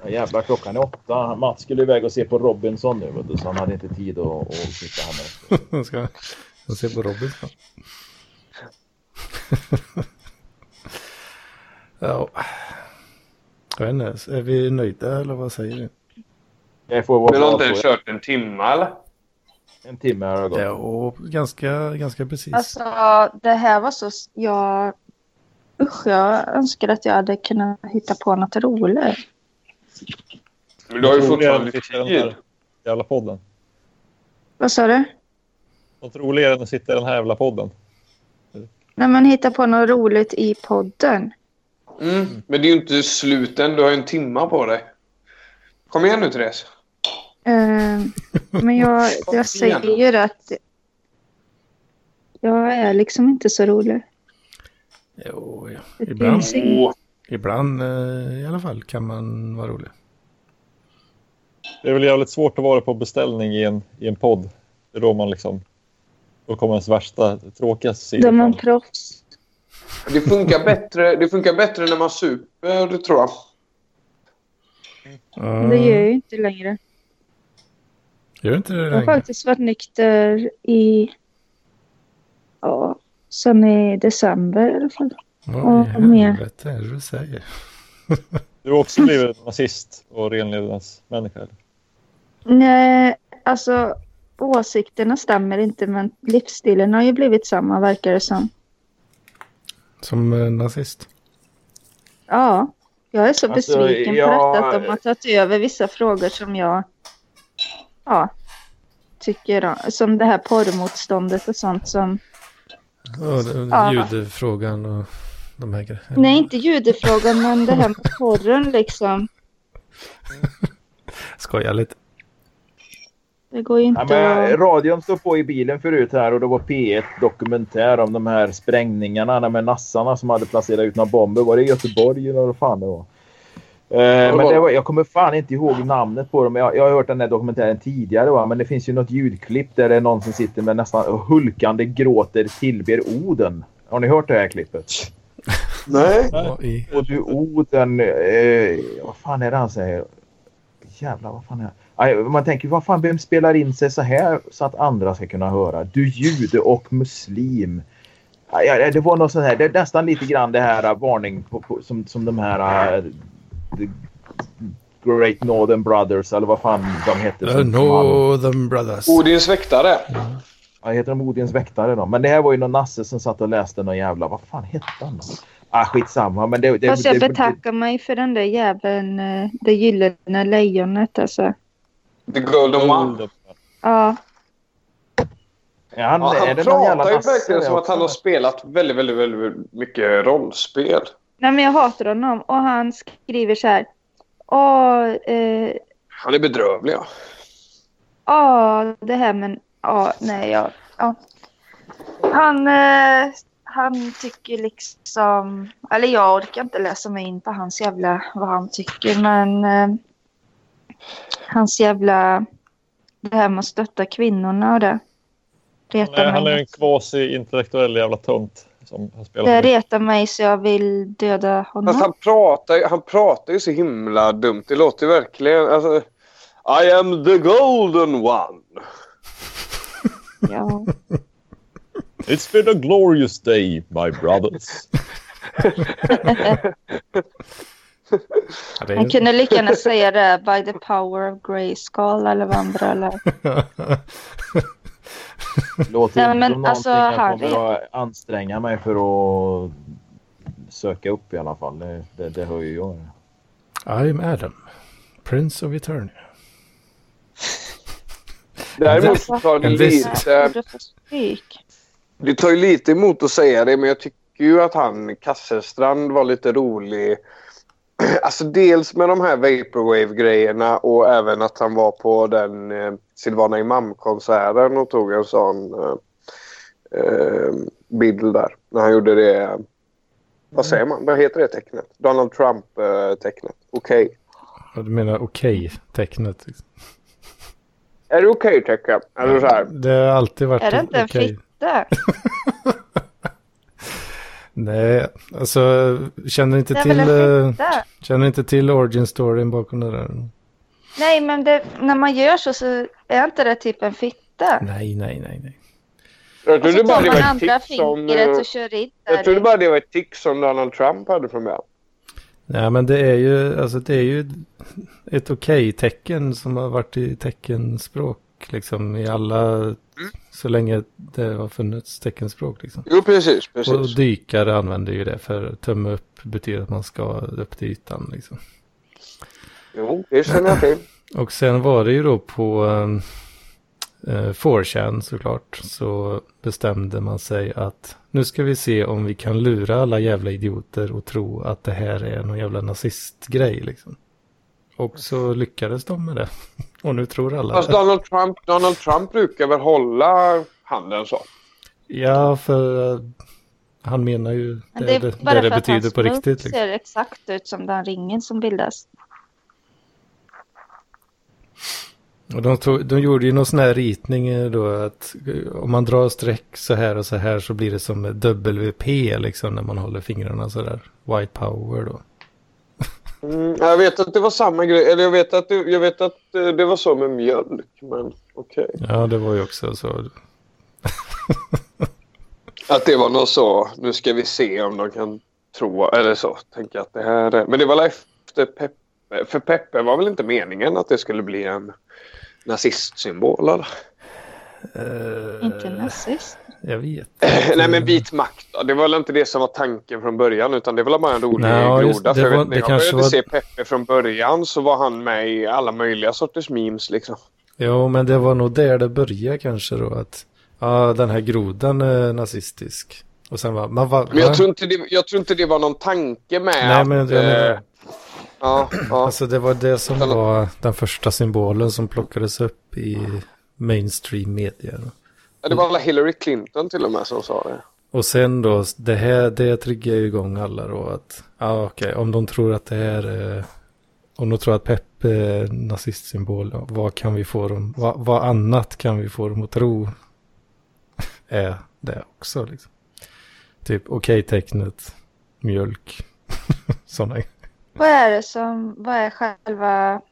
Ja, jävlar, klockan är åtta. Mats skulle iväg och se på Robinson nu, vet du, så han hade inte tid att, att sitta här med. Ska jag se på Robin snart. ja. Jag vet inte, är vi nöjda eller vad säger ni? Jag får vara Men har inte bra ens på kört en timme eller? en timme här har gått. Ja, och ganska, ganska precis. Alltså det här var så... Jag... Usch, jag önskar att jag hade kunnat hitta på något roligt. Men du har ju Jag tror vi fortfarande redan fick tid. den jävla podden. Vad sa du? Något roligare än att sitta i den här jävla podden. När man hittar på något roligt i podden. Mm. Men det är ju inte slut än. Du har ju en timma på dig. Kom igen nu, Therese. Eh, men jag, jag säger ju det att jag är liksom inte så rolig. Jo, ja. Det Ibland, finns ing- ibland eh, i alla fall kan man vara rolig. Det är väl jävligt svårt att vara på beställning i en, i en podd. Det är då man liksom... Då kommer ens värsta, Då tråkigaste sida är man fram. proffs. Det funkar bättre, det funkar bättre när man super, det tror jag. Ja. Men Det gör jag ju inte längre. Gör inte det Jag har längre? faktiskt varit nykter i... Ja, sen i december i alla fall. Vad i Ja, mer. helvete är det du säger? Du har också blivit nazist och renlevnadsmänniska. eller? Nej, alltså åsikterna stämmer inte men livsstilen har ju blivit samma verkar det som. Som eh, nazist? Ja, jag är så Alltså, besviken på jag- detta att de har tagit över vissa frågor som jag ja, tycker om. Som det här porrmotståndet och sånt som... Ja, det- Ja. ljudfrågan och de här grejerna. Nej, inte judefrågan men det här med porren liksom. Skoja lite. Det går ju inte Ja, men att... radion stod på i bilen förut här och det var P1 Dokumentär om de här sprängningarna de här nassarna som hade placerat ut några bomber. Var det i Göteborg eller vad fan det var? Eh, men det var, jag kommer fan inte ihåg namnet på dem. Jag, jag har hört den här dokumentären tidigare. Va? Men det finns ju något ljudklipp där det är någon som sitter med nästan hulkande gråter tillber Oden. Har ni hört det här klippet? Nej. Vad i... Och du Oden, eh, vad fan är det han säger? Jävlar, vad fan är det? Aj, Man tänker, vad fan, vem spelar in sig så här så att andra ska kunna höra? Du jude och muslim. Aj, aj, det var något sånt här, det är nästan lite grann det här eh, varning på, på, som, som de här eh, the Great Northern Brothers eller vad fan de hette. Uh, som- som hade- Northern Brothers. Odins väktare. Ja, heter de Odins väktare då? Men det här var ju någon nasse som satt och läste någon jävla, vad fan hette han då? Ah, skitsamma. Men det, det, Fast jag det, betackar mig för den där jäveln, eh, det gyllene lejonet alltså. The golden Mm. one. Ja, Ja, han, Ja, är han det någon jävla pratar ju nasse verkligen där som att också? han har spelat väldigt, väldigt, väldigt mycket rollspel. nej men jag hatar honom och han skriver så här. Åh, eh, Han är bedrövlig. Ja. Ja, det här men ja, nej, ja. ja. Han, eh, han tycker liksom, eller jag orkar inte läsa mig in på hans jävla, vad han tycker, men eh, hans jävla, det här med att stötta kvinnorna och det. Han är, Retar han är mig. en kvasi-intellektuell jävla tunt som har spelat Det med. retar mig så jag vill döda Fast honom. han pratar, ju- han pratar ju så himla dumt. Det låter ju verkligen... Alltså, I am the golden one. Ja. It's been a glorious day, my brothers. Ja, det är Han ju- kunde lika gärna säga det, by the power of Grayskull eller vad andra eller. Låter Nej, inte men som alltså, någonting jag Harry- kommer att anstränga mig för att söka upp i alla fall. Det, det, det hör ju jag. I'm Adam. Prince of Eternia. Däremot Alltså, så tar det Men det- lite... Jag får stryk. Det tar ju lite emot att säga det, men jag tycker ju att han Kasselstrand var lite rolig. Alltså dels med de här Vaporwave-grejerna och även att han var på den eh, Silvana Imam-konserten och tog en sån eh, eh, bild där. När han gjorde det, Mm. vad säger man, vad heter det tecknet? Donald Trump-tecknet. Okej. Ja, Du menar okej-tecknet? Är det okej tecken? Eller så här. Det har alltid varit Är det inte en okej. fitta? Nej, alltså känner inte Det är till... väl en eh, fitta? Känner inte till origin storyn bakom det där? Nej, men det, när man gör så, så är inte det typ en fitta. Nej, nej, nej, nej. Jag Och så trodde bara Alltså, det tar var man ett andra tics som... fingret och kör in eh, Jag där. trodde i. bara det var ett tick som Donald Trump hade från början. Nej, men det är ju, alltså det är ju ett okej-tecken som har varit i teckenspråk liksom i alla, så länge det har funnits teckenspråk liksom. Jo, precis. precis. Och dykare använder ju det för tumme upp betyder att man ska upp till ytan liksom. Jo, det känner jag till. Och sen var det ju då på ehm, eh, 4chan såklart så bestämde man sig att nu ska vi se om vi kan lura alla jävla idioter och tro att det här är någon jävla nazistgrej liksom. Och så lyckades de med det. Och nu tror alla Fast det. Donald Trump, Donald Trump brukar väl hålla handen så? Ja, för eh, han menar ju Men det, det är det, bara det, det för att betyder hans på punkt riktigt. Liksom. ser exakt ut som den ringen som bildas. Och de, tog, de gjorde ju någon sån här ritning eh, då att eh, om man drar streck så här och så här så blir det som ett WP liksom när man håller fingrarna så där. White power då. Mm, jag vet att det var samma grej. Eller jag vet att det, jag vet att eh, det var så med mjölk. Men okej. Ja, det var ju också så. Att det var något så. Nu ska vi se om de kan tro. Eller så. Tänker jag att det här är. Men det var väl efter Peppe. För Peppe var väl inte meningen att det skulle bli en nazistsymbol? Eller? Inte nazist. Eh, Jag vet. Nej Mm. men vit makt. då. Det var väl inte det som var tanken från början utan det var väl bara en rolig Nej, just- groda. det för jag var- vet, när det jag kanske började var- se Peppe från början så var han med i alla möjliga sorters memes liksom. Jo, men det var nog där det började kanske då att ja, den här grodan är nazistisk. Och sen var man va, Men jag va? tror, inte det, jag tror inte det var någon tanke med Nej, men att... jag menar- eh, ja, ja. Alltså det var det som Utan- var den första symbolen som plockades upp i mainstream media. Då. Ja, det var alla Hillary Clinton till och med som sa det. Och sen då, det här, det triggar ju igång alla då att, ja ah, okej, om de tror att det här är, om de tror att Pepp är en nazistsymbol, ja, vad kan vi få dem, vad, vad annat kan vi få dem att tro är det också liksom. Typ, okej tecknet, mjölk, sådana Vad är det som, vad är själva,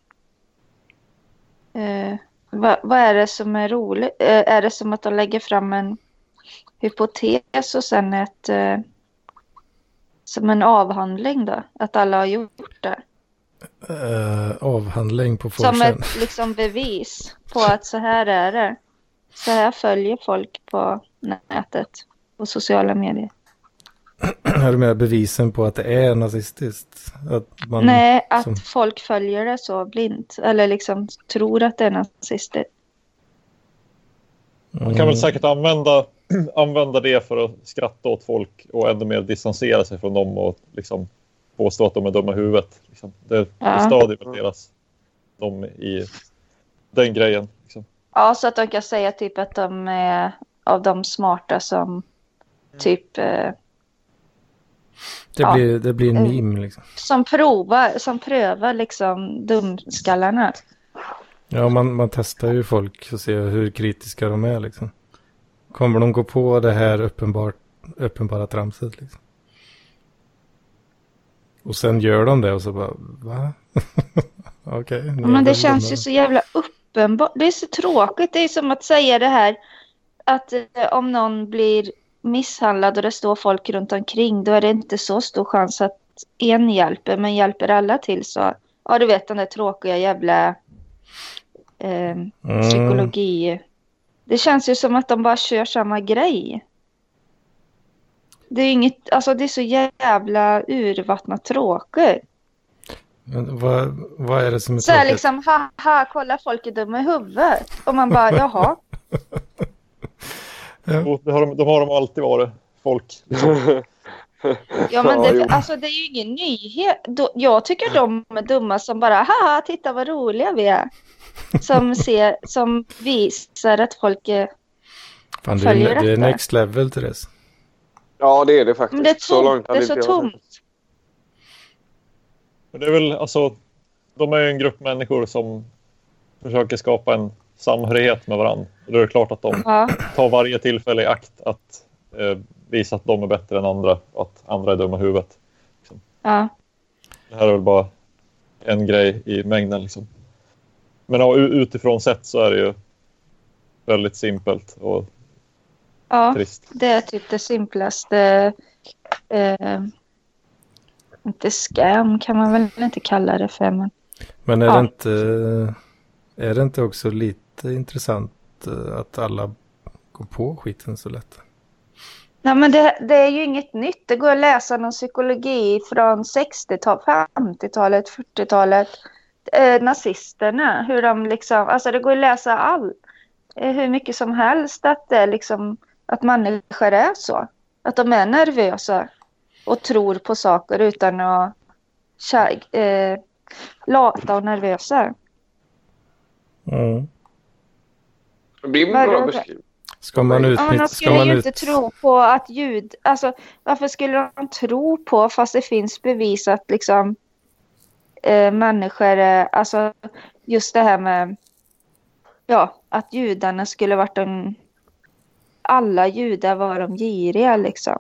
eh, vad, vad är det som är roligt? Eh, är det som att de lägger fram en hypotes och sen ett, eh, som en avhandling då? Att alla har gjort det? eh, avhandling på Som forsen. ett liksom bevis på att så här är det. Så här följer folk på nätet och sociala medier. Är du med bevisen på att det är nazistiskt? Att man, Nej, att som- folk följer det så blint. Eller liksom tror att det är nazister. Mm, Man kan väl säkert använda, använda det för att skratta åt folk och ännu mer distansera sig från dem och liksom påstå att de är dumma i huvudet. Liksom. Det, det Ja. stadier väl deras, de i den grejen. Liksom. Ja, så att de kan säga typ att de är av de smarta som typ eh, det, ja. blir, det blir en Mm. meme liksom. som provar, som prövar liksom dumskallarna. Ja, man, man testar ju folk och ser hur kritiska de är liksom. Kommer de gå på det här uppenbart, uppenbara tramset liksom? Och sen gör de det och så bara, va? Okej. ni är Men det väl känns dumma. ju så jävla uppenbart. Det är så tråkigt. Det är som att säga det här att eh, om någon blir misshandlad och det står folk runt omkring då är det inte så stor chans att en hjälper men hjälper alla till så ja du vet den där tråkiga jävla ehm, Mm. psykologi. Det känns ju som att de bara kör samma grej. Det är inget, alltså det är så jävla urvattnat tråkigt. Men vad, vad är det som är Så här tråkigt? liksom, haha, kolla folk är dumma i huvudet. Och man bara, jaha. Och det har de, de har de alltid varit, folk. Ja, men Ja, jo. det, alltså, det är ju ingen nyhet. Då- Jag tycker de är dumma som bara, haha, titta vad roliga vi är. Som, ser, som visar att folk är... Fan, det är, ju- följer det är efter. next level till det. Ja, det är det faktiskt. Men det är tomt, det hade är så inte jag- tomt. Men det är väl alltså, de är ju en grupp människor som försöker skapa en samhörighet med varandra. Och då är det klart att de Ja. tar varje tillfälle i akt att eh, visa att de är bättre än andra och att andra är dumma i huvudet. ja. Det här är väl bara en grej i mängden. Liksom. Men ja, u- utifrån sett så är det ju väldigt simpelt och ja. trist. Det är typ det simplaste. Eh, inte scam kan man väl inte kalla det för. Men Men är, Ja. det inte, är det inte också lite intressant eh, att alla går på skiten så lätt? Nej, men det, det är ju inget nytt. Det går att läsa någon psykologi från 60-talet, 50-talet, 40-talet, eh, nazisterna. Hur de liksom, alltså det går att läsa all, eh, hur mycket som helst att, det är liksom, att människor är så. Att de är nervösa och tror på saker utan att kä- eh, lata och nervösa. Mm. Det är en Vad är bra det? beskrivning. Ska man Ja, men utnyttja... de Ska skulle man ju ut... inte tro på att ljud... Alltså, varför skulle de tro på, fast det finns bevis att liksom eh, människor... Eh, alltså, just det här med... Ja, att judarna skulle varit de... Alla judar var de giriga, liksom.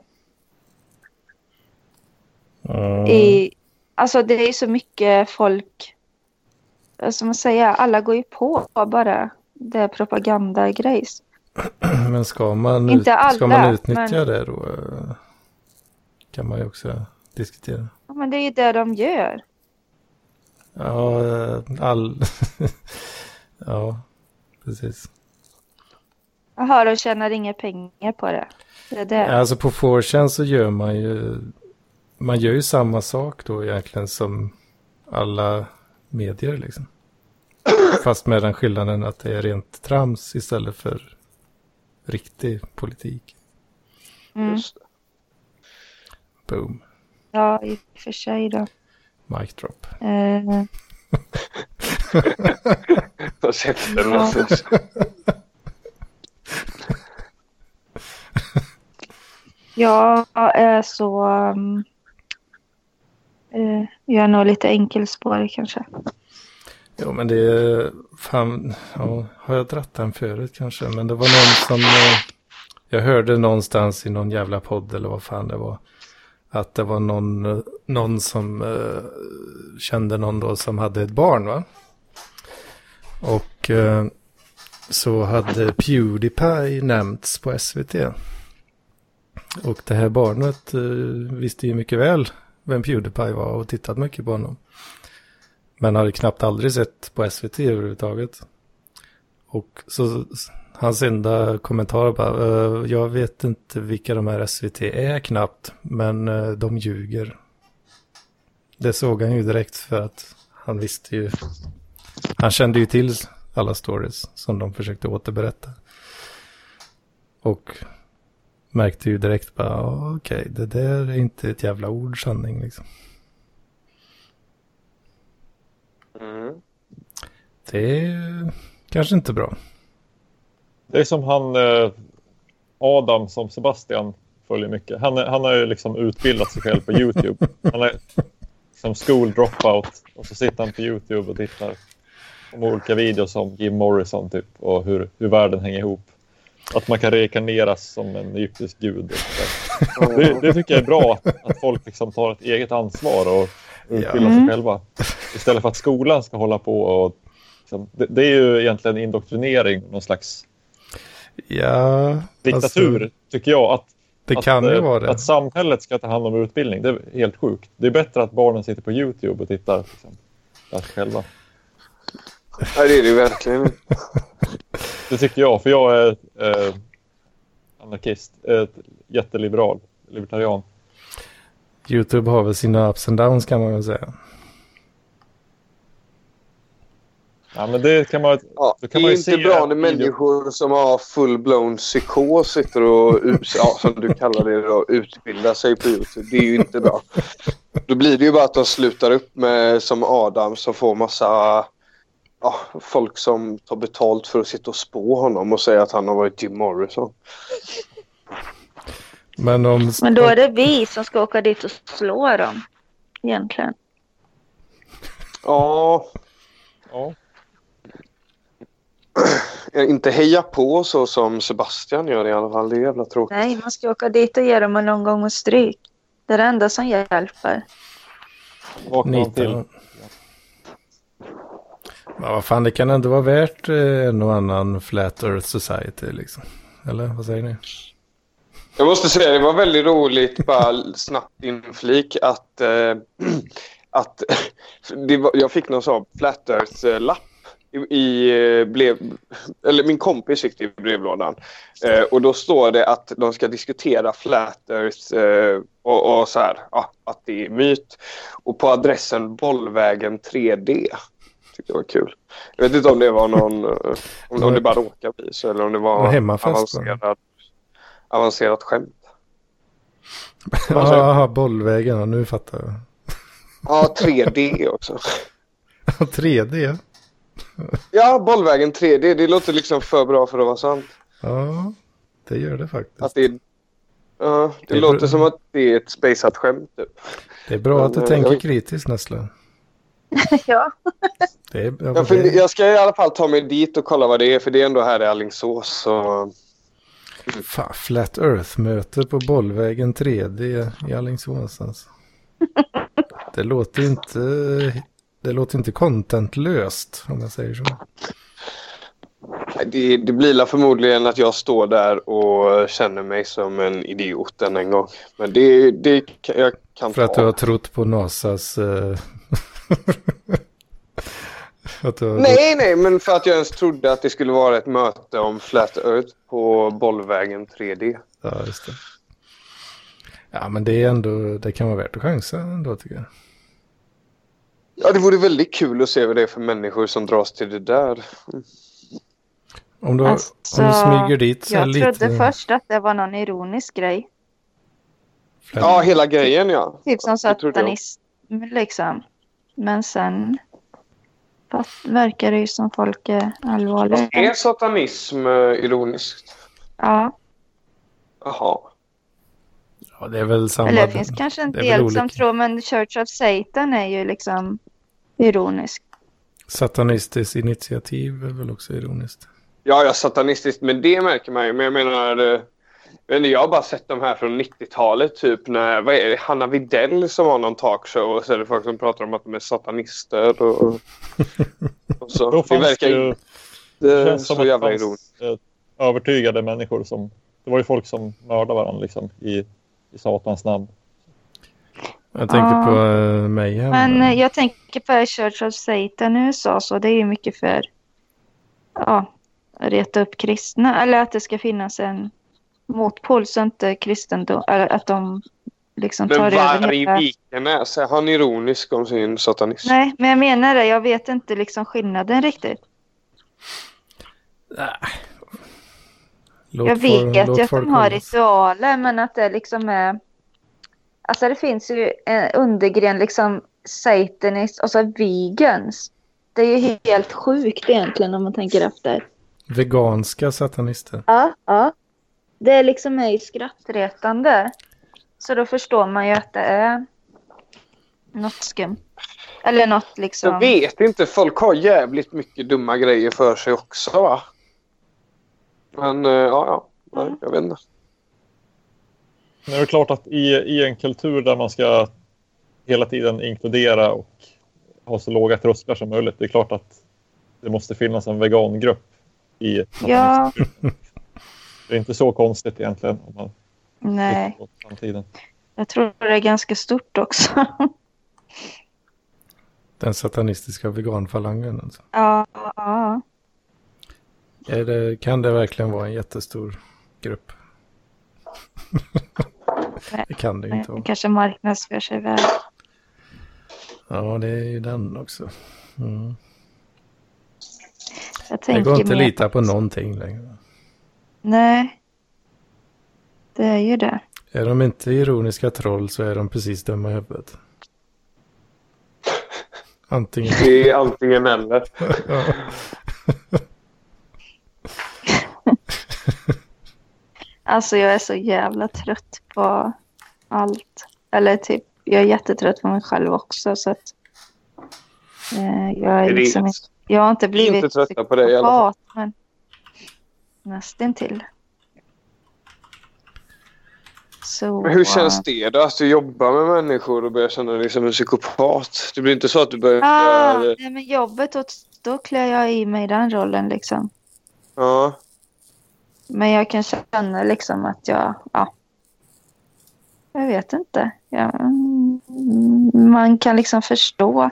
Mm. I, alltså, det är ju så mycket folk... eh, Som man säger, alla går ju på bara det propagandagrejs. Men ska man, ut... Inte alla, ska man utnyttja men- det då? eh, Kan man ju också diskutera. Ja, Men det är ju det de gör. Ja, eh, all... ja, precis. Jaha, de tjänar inga pengar på det. Det är det. Alltså på 4chan så gör man ju... Man gör ju samma sak då egentligen som alla medier liksom. Fast med den skillnaden att det är rent trams istället för riktig politik. Mm. Just det. Boom. Ja, i och för sig då. Mic drop. Eh, Jag sätter den någonstans. jag är så... Um, eh, jag är nog lite enkelspårig kanske. Jo, men det är fan, ja, har jag dratt den förut kanske? Men det var någon som, eh, jag hörde någonstans i någon jävla podd eller vad fan det var, att det var någon, eh, någon som eh, kände någon då som hade ett barn, va? Och eh, så hade Pewdiepie nämnts på SVT. Och det här barnet eh, visste ju mycket väl vem Pewdiepie var och tittat mycket på honom. Men hade knappt aldrig sett på SVT överhuvudtaget. Och så s- hans enda kommentar bara, "Eh, jag vet inte vilka de här SVT är knappt, men eh, de ljuger. Det såg han ju direkt för att han visste ju, han kände ju till alla stories som de försökte återberätta. Och märkte ju direkt bara, "Ja, okej, det där är inte ett jävla ord sanning liksom. Mm. Det är kanske inte bra. Det är som han eh, Adam som Sebastian följer mycket. Han, är- han har ju liksom utbildat sig själv på YouTube. Han är som school dropout och så sitter han på YouTube och tittar om olika videos om Jim Morrison typ och hur, hur världen hänger ihop. Att man kan reinkarneras som en egyptisk gud. och sådär. Det, det tycker jag är bra att, att folk liksom tar ett eget ansvar och utbildar sig Mm. själva. Istället för att skolan ska hålla på och liksom, det, det är ju egentligen indoktrinering, någon slags Ja, diktatur, alltså, tycker jag. Att, det att, kan ju eh, vara det. Att samhället ska ta hand om utbildning, det är helt sjukt. Det är bättre att barnen sitter på YouTube och tittar liksom, där själva. Ja, det är det ju verkligen. Det tycker jag, för jag är eh, anarkist, eh, jätteliberal, libertarian. YouTube har väl sina ups and downs kan man väl säga. Ja, men det kan man, Ja, då det kan man är ju inte se bra en när video- människor som har full-blown psykos sitter och us- ja, som du kallar det då, utbildar sig på Youtube. Det är ju inte bra. Då blir det ju bara att de slutar upp med som Adam som får massa ja, folk som tar betalt för att sitta och spå honom och säga att han har varit Jim Morrison. Men om... Men då är det vi som ska åka dit och slå dem. Egentligen. Ja, ja, inte heja på så som Sebastian gör i alla fall. Det är jävla tråkigt. Nej, man ska åka dit och ge dem en lång gång och stryk. Det är det enda som hjälper. vaknar man Nita. till. Ja. Men vad fan, det kan ändå vara värt eh, en och annan Flat Earth Society liksom. Eller vad säger ni? Jag måste säga, det var väldigt roligt, bara snabbt inflik, att, eh, att det var, jag fick någon sån flat earth-lapp. I, i eh, brev, eller min kompis fick det i brevlådan. Eh, och då står det att de ska diskutera flat earth eh, och, och så här, ja, att det är myt. Och på adressen Bollvägen 3D. tyckte det var kul. Jag vet inte om det var någon... eh, om, om det bara råkade bli så eller om det Det var var hemmafest, va? avancerat, avancerat skämt. Ja, bollvägen. Ja, nu fattar jag. Ja, 3D också. 3D. Ja, bollvägen 3D. Det låter liksom för bra för att vara sant. Ja, det gör det faktiskt. Att det, ja, det, Det- låter som att det är ett spejsat skämt. Typ. Det är bra att du Men, tänker jag- kritiskt Nessla. Ja. Det är, ja, Jag, fund- det, jag ska i alla fall ta mig dit och kolla vad det är, för det är ändå här i Alingsås. Så... fan, Flat Earth-möte på bollvägen 3D i Alingsås. Alltså. Det låter inte... Det låter inte contentlöst om jag säger så. Det, det blir la förmodligen att jag står där och känner mig som en idiot än en gång. Men det, det kan- jag kan För att du ta. har trott på Nasas... eh, att du har Nej, nej, men för att jag ens trodde att det skulle vara ett möte om Flat Earth på bollvägen 3D. Ja, just det. Ja, men det är ändå, det kan vara värt att chansa ändå tycker jag. Ja, det vore väldigt kul att se vad det är för människor som dras till det där. Om du, Alltså, om du smyger dit så här Jag lite. trodde först att det var någon ironisk grej. Ja, hela grejen ja. Typ som Det trodde jag. satanism liksom. Men sen fast verkar det ju som folk är allvarliga. Mm. Är satanism eh, ironiskt? Ja. Jaha. Ja, det är väl samma. Eller det finns kanske en det är väl del som olika. tror men Church of Satan är ju liksom ironisk. Satanistiskt initiativ är väl också ironiskt. Ja, ja, satanistiskt, men det märker man ju. Men jag menar, eh, jag vet inte, jag har bara sett de här från 90-talet, typ när, vad är det, Hanna Widell som har någon talkshow och så är det folk som pratar om att de är satanister och, och så. Då Det fanns verkar det ju... ju inte känns som så att det jävla fanns, ironiskt. eh, övertygade människor som... Det var ju folk som mördade varandra liksom, i, i satans namn. Jag tänkte Ja. på uh, mig här. Men eh, jag tänker på Church of Satan i USA så det är ju mycket för ja, att reta upp kristna. Eller att det ska finnas en motpol så inte kristendom, eller att de liksom Men tar över Varg hela... Vikenäs, är han ironisk om sin satanism? Nej, men jag menar det. Jag vet inte liksom skillnaden riktigt. låt jag folk- vet låt ju att folk de har hållas. ritualer, men att det liksom är... Alltså det finns ju en undergren, liksom satanist och så vegans. Det är ju helt sjukt egentligen om man tänker efter. Veganska satanister. Ja, ja. Det är liksom är ju skrattretande. Så då förstår man ju att det är något skumt. Eller något liksom... Jag vet inte, folk har jävligt mycket dumma grejer för sig också va? Men eh, ja, ja. Nej, jag vet inte. Men det är klart att i, i en kultur där man ska hela tiden inkludera och ha så låga trösklar som möjligt, det är klart att det måste finnas en vegangrupp i Ja, Det är inte så konstigt egentligen om man nej. tittar på framtiden. Jag tror det är ganska stort också. Den satanistiska veganfalangen. Alltså. ja, ja, ja. Är det, kan det verkligen vara en jättestor grupp? det kan det ju inte vara. Det kanske marknadsför sig väl. Ja, det är ju den också. Mm. Jag Det tänker går inte att mer- lita på någonting längre. Nej. Det är ju det. Är de inte ironiska troll så är de precis dumma i huvudet. Antingen. Det är antingen eller. Ja. Alltså jag är så jävla trött på allt. Eller typ, jag är jättetrött på mig själv också så att... Eh, jag, är Det är- liksom, inte- jag har inte blivit inte trötta på det i alla fall. psykopat, men nästintill. Så... eh, Men hur känns det då? Att du jobbar med människor och börjar känna dig som en psykopat? Det blir inte så att du börjar... Ah, nej, men jobbet, då, då klär jag i mig den rollen liksom. Ja. Men jag kan känna liksom att jag, ja. Jag vet inte. Jag, mm, man kan liksom förstå.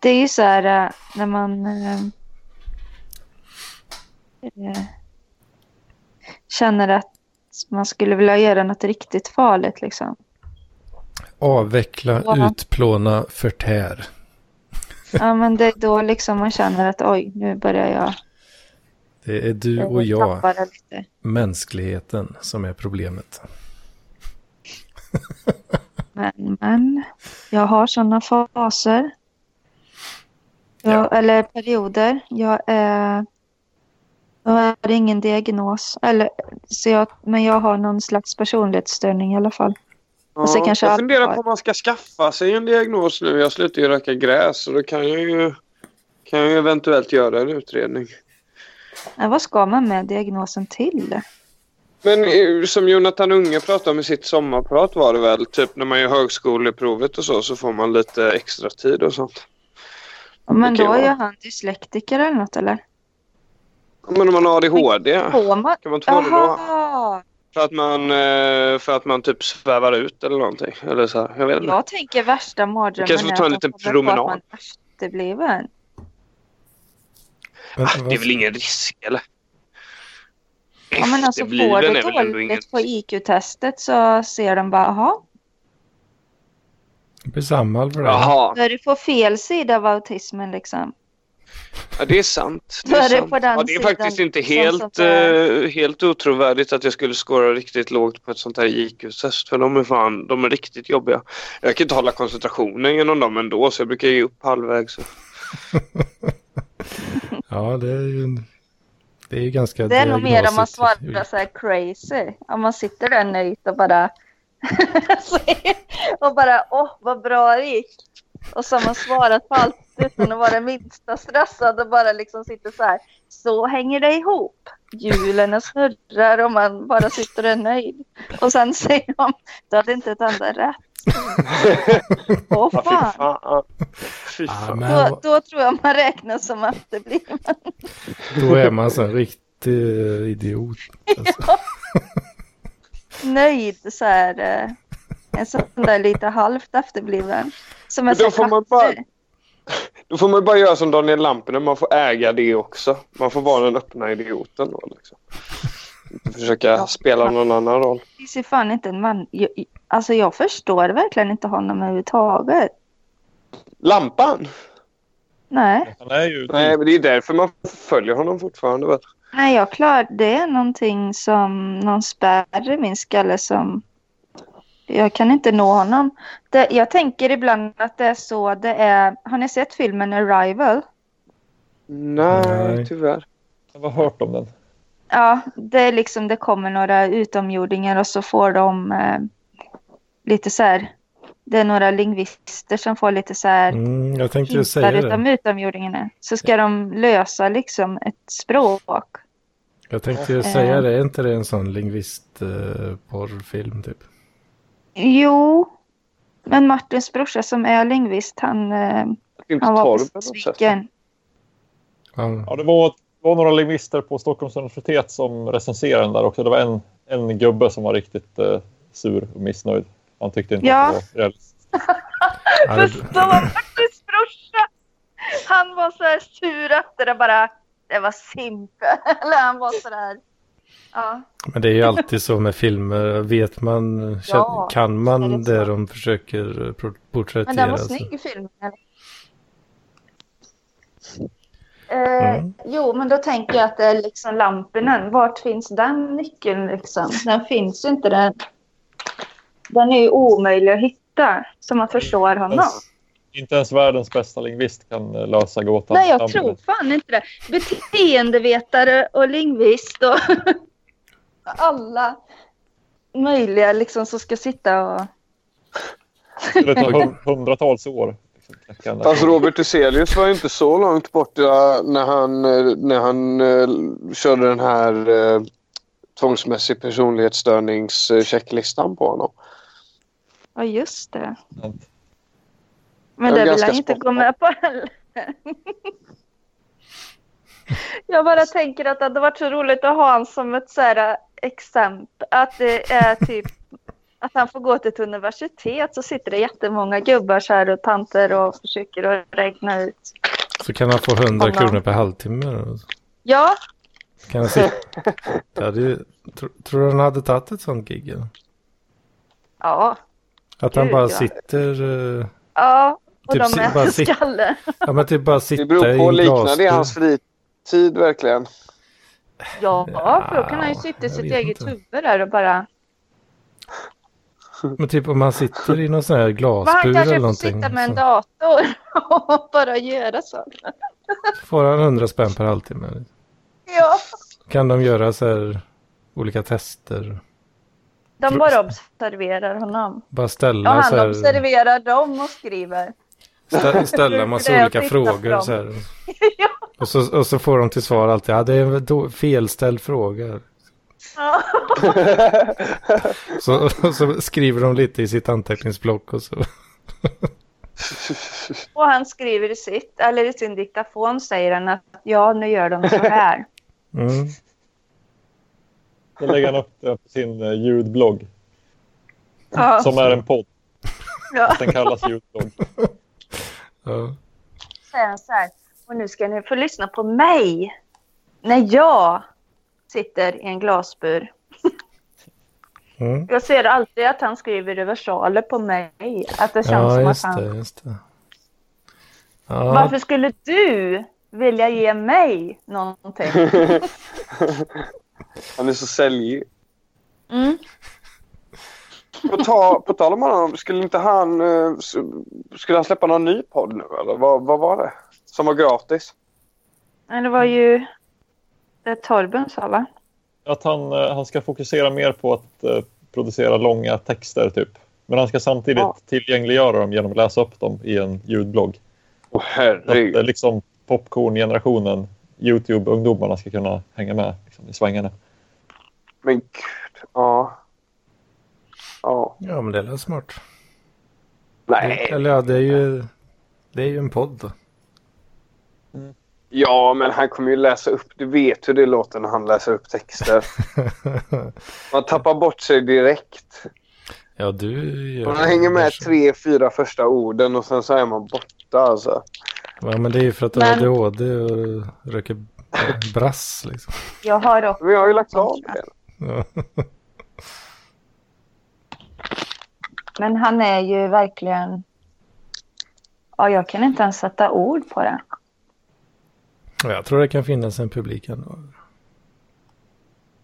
Det är ju så här eh, när man eh, eh, känner att man skulle vilja göra något riktigt farligt liksom. Avveckla, Ja. utplåna, förtär. Ja, men det är då liksom man känner att oj, nu börjar jag. Det är du och jag, tappar det Lite. mänskligheten, som är problemet. Men, men. Jag har sådana faser. Jag, Eller perioder. Jag är... Jag har ingen diagnos. Eller, så jag, men jag har någon slags personlighetsstörning i alla fall. Och så kanske jag allt funderar var- på om man ska skaffa sig en diagnos nu. Jag slutar ju röka gräs och då kan jag ju, kan jag ju eventuellt göra en utredning. Nej, vad ska man med diagnosen till? Men eh, som Jonathan Unge pratade om i sitt sommarprat var det väl, typ när man gör högskoleprovet och så, så får man lite extra tid och sånt. Men Det kan då är vara- ju han dyslektiker eller något eller? Men om man har ADHD, Får man? kan man inte få det då? Jaha! För att man, eh, för att man typ svävar ut eller någonting. Eller så här. Jag vet inte. Jag tänker värsta mardrömmen kanske får är ta en att liten de kommer på att promenad. man är efterbliven. Men Ah, det är varför- väl ingen risk eller? Ja, men alltså får Efterbliven du är väl ändå ingen dåligt på IQ-testet så ser de bara, jaha, Jag blir sammal för det. här. Jaha, då är du på fel sida av autismen liksom. ja, det är sant. Det Då är, är det sant. på den ja, det är sidan faktiskt inte som sånt helt, där. eh, helt otrovärdigt att jag skulle skåra riktigt lågt på ett sånt här IQ-test. För de är fan, de är riktigt jobbiga. Jag kan inte hålla koncentrationen genom dem ändå så jag brukar ge upp halvvägs. Ja, det är ju, en- det är ju ganska Det är nog mer om man diagnosigt. svarar så här crazy. Om man sitter där nöjt och bara... och bara, åh vad bra det gick. Och så har man svarat på allt utan att vara minsta stressad och bara liksom sitter så här. Så hänger det ihop. Hjulen snurrar och man bara sitter där nöjd. Och sen säger de, du hade inte ett enda rätt. Åh Ja, fy fan. fan. Fy Ah, fan. men, Då, då tror jag man räknas som efterbliven. då är man så en riktig idiot. Alltså. nöjd så här. eh, En sån där lite halvt efterbliven. Som en Men då sån får man bara- katter. Då får man bara göra som Daniel Lampinen, man får äga det också. Man får vara den öppna idioten då liksom. Inte försöka spela någon annan roll. Det finns ju fan inte en man. Jag, alltså jag förstår verkligen inte honom överhuvudtaget. Lampan! Nej, Han är ju... Nej, men det är därför man följer honom fortfarande. Vet. du. nej jag klar. Det är någonting som någon spärr i min skalle som jag kan inte nå honom. Det, jag tänker ibland att det är så det är. Har ni sett filmen Arrival? Nej, Nej. tyvärr. Jag har hört om den. Ja, det är liksom det kommer några utomjordingar och så får de eh, lite så här. Det är några lingvister som får lite så här Mm, jag tänkte ju säga hintar utom det. utomjordingarna. Så ska de lösa liksom ett språk. Jag tänkte ju säga det. Är inte det en sån lingvistporrfilm typ? Jo, men Martins brorsa som är lingvist, han, eh, Det är Inte han var torv på något sätt. besviken. Ja. Ja, det, var, det var några lingvister på Stockholms universitet som recenserade den där också. Det var en, en gubbe som var riktigt eh, sur och missnöjd. Han tyckte inte Ja. att det var realistiskt. Ja, det- Förstå Martins brorsa! Han var så här sur efter det bara. Det var simpel. Eller han var så där. Ja. Men det är ju alltid så med filmer. Vet man, kän- kan är man det så? det de försöker pro- Men porträttera? den var så- snygg filmen. Eller? Eh, Mm. Jo, men då tänker jag att det är liksom Lampinen. Vart finns den nyckeln liksom? Den finns ju inte. Den, den är ju omöjlig att hitta. Så man förstår honom. Ens, inte ens världens bästa lingvist kan eh, lösa gåtan. Nej, jag Han- tror fan inte det. Beteendevetare och lingvist och alla möjliga liksom som ska sitta och... Det tar hund- hundratals år. Liksom, knäcka den där. Fast Robert Hyselius var ju inte så långt borta när han, eh, när han eh, körde den här eh, tvångsmässig personlighetsstörningschecklistan på honom. Ja, just det. Sant. Jag Men är det vill ganska han inte spontan. gå med på heller. Jag bara tänker att det hade varit så roligt att ha han som ett så här exempel. Att det är typ att han får gå till ett universitet så sitter det jättemånga gubbar så här och tanter och försöker att räkna ut. Så kan han få 100 Kolla. kronor per halvtimme. då. Ja, Kan han sitta. Det hade ju, tro, tror du han hade tagit ett sånt gig? eller? ja, Att han Gud, bara ja. sitter eh, ja. Och Typ de si- är bara en sitta- skalle. Ja, men typ bara sitta Det beror på, i en liknar det hans glasdörr. fritid verkligen? Ja, för då kan han ju Ja, sitta i jag sitt vet eget inte. huvud där och bara... Men typ om man sitter i någon sån här Men han glasbur kanske eller får någonting. liksom. sitta med en så dator och bara göra så. får han 100 spänn per halvtimme. Ja. Kan de göra så här olika tester? De bara observerar honom. Bara Och ställa så han här, observerar dem och skriver. stä, ställa massa Det är olika att titta på frågor dem. så här. Och så, och så får de till svar alltid, ja det är en då- felställd fråga. Ja. Så, och så skriver de lite i sitt anteckningsblock och så. Och han skriver i sitt, eller i sin diktafon säger han att ja, nu gör de så här. Mm. Då lägger han upp det på sin eh, ljudblogg, Ja. som är en podd. Ja. Den kallas ljudblogg. Ja. säger han så här. Och nu ska ni få lyssna på mig. När jag sitter i en glasbur. Mm. Jag ser alltid att han skriver reversaler på mig. Att det känns Ja, som att just han... det. Just det. Ja, Varför skulle du vilja ge mig någonting? Han är så säljig. Mm. På, ta, på tal om honom, skulle inte han, eh, s- skulle han släppa någon ny podd nu eller vad, vad var det? Som var gratis? Men det var ju det Torben sa va? Att han, eh, han ska fokusera mer på att eh, producera långa texter, typ. Men han ska samtidigt Ja. tillgängliggöra dem genom att läsa upp dem i en ljudblogg. Åh Så att eh, herregud. liksom popcorn-generationen, Youtube-ungdomarna ska kunna hänga med liksom, i svängarna. Men gud. Ja. Ja. ja men det lät smart. Nej. Eller ja, det är ju, det är ju en podd. då. Ja, men han kommer ju läsa upp. Du vet hur det låter när han läser upp texter. Man tappar bort sig direkt. ja, du gör Man det. hänger med tre, fyra första orden och sen så är man borta alltså. Ja, men det är ju för att du har Men- ADHD och röker eh, brass liksom. Jag har också... Men jag har ju lagt av det. Ja. Men han är ju verkligen... Ja, jag kan inte ens sätta ord på det. Och Jag tror det kan finnas en publik ändå.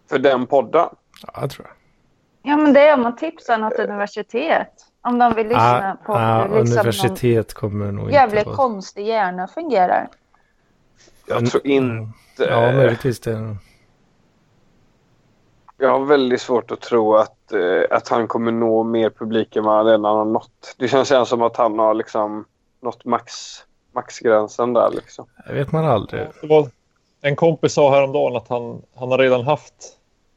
För den podden. Ja, jag tror jag. Ja, men det är om man tipsar något universitet. Om de vill lyssna på ah, hur liksom någon universitet kommer nog jävligt inte konstig hjärna fungerar. Jag tror inte... Mm. Ja, möjligtvis det. Jag har väldigt svårt att tro att, eh, att han kommer nå mer publik än vad han redan har nått. Det känns ju som att han har liksom nått max, maxgränsen där. Liksom. Det vet man aldrig. Det var, en kompis sa häromdagen att han, han har redan haft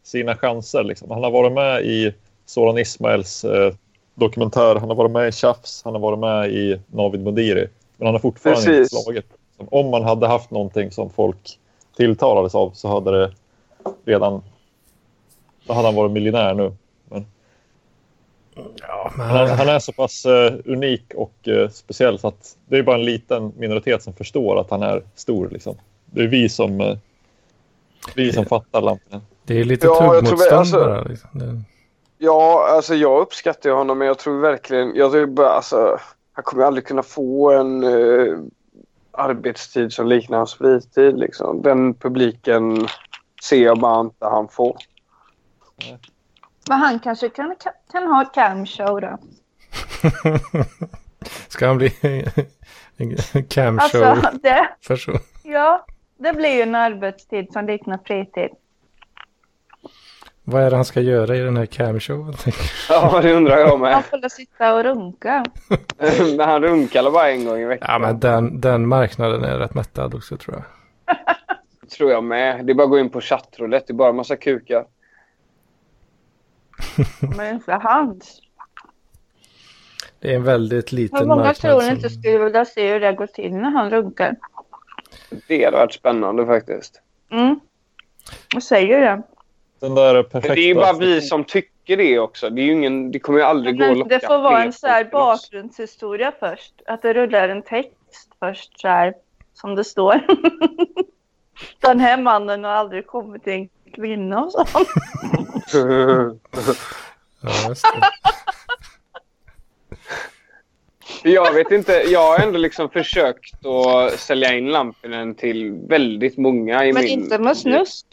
sina chanser. Liksom. Han har varit med i Soran Ismails eh, dokumentär, han har varit med i Tjafs, han har varit med i Navid Modiri. Men han har fortfarande Precis. inte slagit. Liksom, Om man hade haft någonting som folk tilltalades av så hade det redan... Då hade han varit miljonär nu. Ja, men Han, han är så pass eh, unik och eh, speciell så att det är bara en liten minoritet som förstår att han är stor. Liksom. Det är vi som, eh, vi som fattar lamporna. det är lite Ja, jag tror vi- tuggmotstånd alltså- bara. Liksom. Det, Ja, alltså jag uppskattar ju honom men jag tror verkligen... Jag tror bara, alltså, han kommer aldrig kunna få en eh, arbetstid som liknar hans fritid. Liksom. Den publiken ser jag bara inte han får. Men han kanske kan, kan ha ett camshow då. ska han bli en Alltså, camshow-person? det, ja, det blir ju en arbetstid som liknar fritid. Vad är det han ska göra i den här camshowen? Ja, det undrar jag Han med. får väl sitta och runka. Men han runkar bara en gång i veckan. Ja, men den, den marknaden är rätt mättad också tror jag. tror jag med. Det är bara att gå in på chattroulette. Det är bara en massa kukar. Men inte hans. Det är en väldigt liten Hur många marknad. tror ni som- inte skulle vilja se hur det går till när han runkar? Det hade varit spännande faktiskt. Mm. Jag säger det. Den där Det perfekta... är ju bara vi som tycker det också. Det, är ju ingen, det kommer ju aldrig gå att Men locka det får vara fler en så här till oss. bakgrundshistoria först. Att det rullar en text först så här som det står. Den här mannen har aldrig kommit till en kvinna och sånt. Ja, just det. Jag vet inte. Jag har ändå liksom försökt att sälja in Lampinen till väldigt många i Men min... inte med snusk.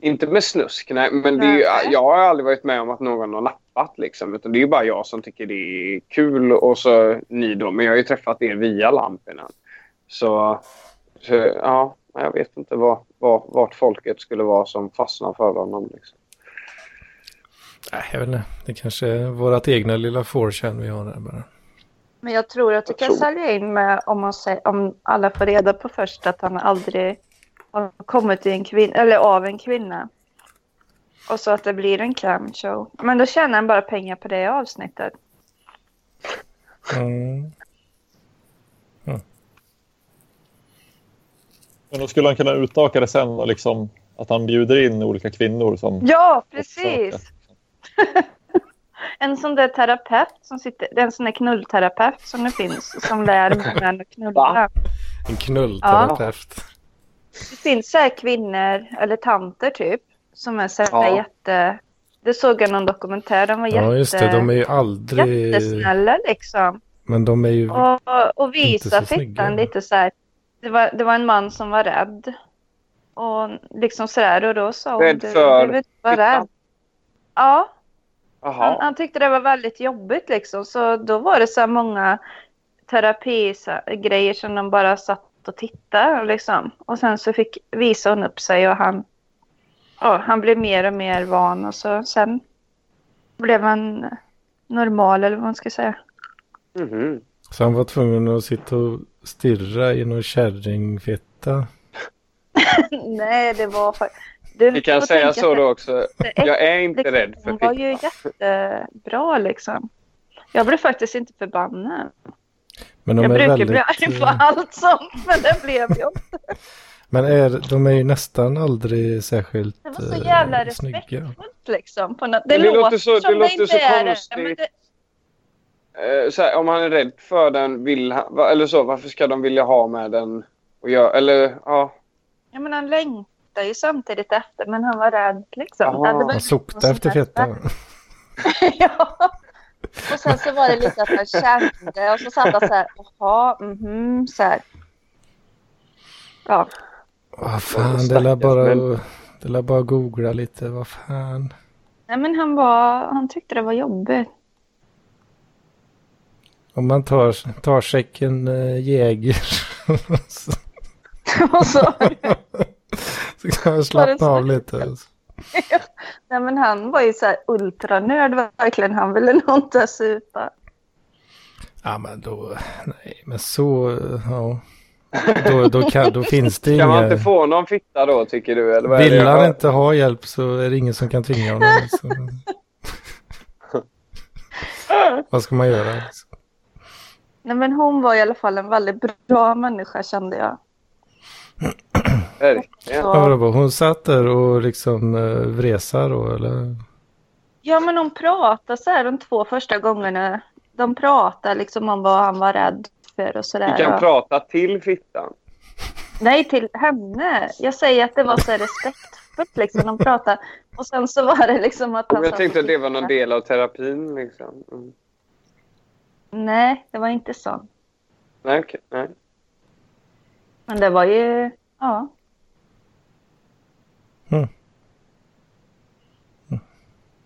Inte med snusk, nej. Men det är ju, Nej. jag har aldrig varit med om att någon har nappat. Liksom, utan det är ju bara jag som tycker det är kul och så ni då. Men jag har ju träffat er via Lampinen. Så, så ja, jag vet inte vad, vad, vart folket skulle vara som fastnar för honom. Liksom. Nej, jag vet inte. Det kanske är vårt egna lilla 4chan vi har där bara. Men jag tror att du kan tror- sälja in med om, man sä- om alla får reda på först att han aldrig har kommit till en kvinna, eller av en kvinna. Och så att det blir en clamshow. Men då tjänar han bara pengar på det avsnittet. Mm. Men då skulle han kunna utöka det sen och liksom att han bjuder in olika kvinnor Mm. som... Ja, precis! En sån där terapeut som sitter, det är en sån där knullterapeut som det finns, som lär män att knulla. Va? En knullterapeut. Det finns så här kvinnor, eller tanter typ, som är så här Ja. jätte... Det såg jag någon dokumentär, de var Ja, jätte... just det. De är ju aldrig... jättesnälla liksom. Men de är ju... Och, och visa Inte så snygga. fittan lite så här. Det var, det var en man som var rädd. Och liksom så där och då sa hon. Rädd "Du- för Du vet vara fittan?" rädd. Ja, han, Jaha. han tyckte det var väldigt jobbigt liksom. Så då var det så här många terapigrejer som de bara satt och tittade liksom. Och sen så fick visa hon upp sig och han, ja, han blev mer och mer van och så sen blev han normal eller vad man ska säga. Mhm. Så han var tvungen att sitta och stirra i någon kärringfitta. Nej, det var fa- du, Vi kan får säga tänka så dig då också. att det Jag är inte äckligt, rädd för Hon var ju fitta. jättebra liksom. Jag blev faktiskt inte förbannad. Men de jag är brukar väldigt... bli arg på eh, allt sånt, men det blev jag. Men är, de är ju nästan aldrig särskilt Det var så eh, jävla snygga. respektfullt liksom. På något. Det, Men det låter låter så- det som låter inte så är det. konstigt. Men det. Eh, så här, om han är rädd för den, vill han, va- eller så, varför ska de vilja ha med den? Och göra, eller, ja. Ja, men han längtade ju samtidigt efter, men han var rädd liksom. Jaha. Ja, det var Han ju soktade som efter helst. fettan. ja. Och sen så var det lite att han kände och så satt han så här, jaha, mhm, så här. Ja, Vad Ja, fan, det lär stackars, men- bara... Det lär bara googla lite, vad fan. nej men han var, han tyckte det var jobbigt. Om man tar, tar säcken eh, Jäger så, Och så, så kan man slappna av lite. nej men han var ju så här ultranörd verkligen, han ville nog inte supa. Ja men då, nej men så, ja. Då, då, kan, då finns det Kan man inga... inte få någon fitta då, tycker du? Eller vad är det Vill jag han hör? inte ha hjälp så är det ingen som kan tvinga honom. Så. Vad ska man göra? liksom? Nej men hon var i alla fall en väldigt bra människa kände jag. Verkligen. Ja, Så, vadå, hon satt där och liksom eh, vresar då eller? ja men hon pratade så här de två första gångerna. De pratade liksom om vad han var rädd för och sådär. Vi kan prata till fittan. Nej, till henne. Jag säger att det var så här respektfullt liksom. De pratade. Och sen så var det liksom att han Jag sa- tänkte att det var någon del av terapin. Liksom. Mm. Nej, det var inte så. Nej, okej. Nej. Men det var ju... Ja.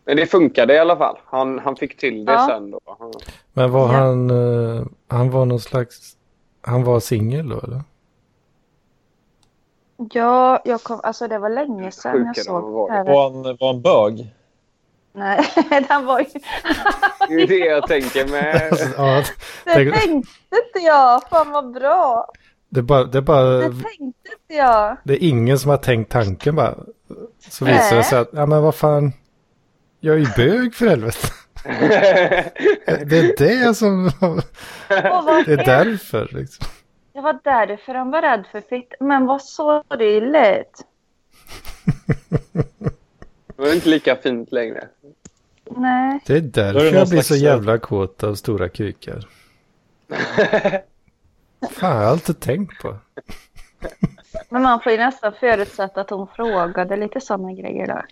Men det funkade i alla fall. Han, han fick till det Ja. sen. Då. Han, Men var Ja. han, eh, han var någon slags, han var singel då eller? Ja, jag kom... Alltså det var länge sedan jag Sjukare än såg vad det här. Var han, var han bög? Nej, han var ju... det är ju det jag tänker med. Ja, Det Tänk- tänkte inte jag. Fan vad bra. det, är bara, det, är bara, Det tänkte inte jag. det är ingen som har tänkt tanken bara. Så visar det Nej. sig att, ja men vad fan, jag är ju bög för helvete. Det är det som, Åh, vad det är därför liksom. Det var därför han var rädd för fitt. Men vad sorgligt. Det var inte lika fint längre. Nej. Det är Då är det därför någon jag blir slags- eh, så jävla kåt av stora kukar. Fan, jag har alltid tänkt på. Men man får ju nästan förutsätta att hon frågade lite sådana grejer där.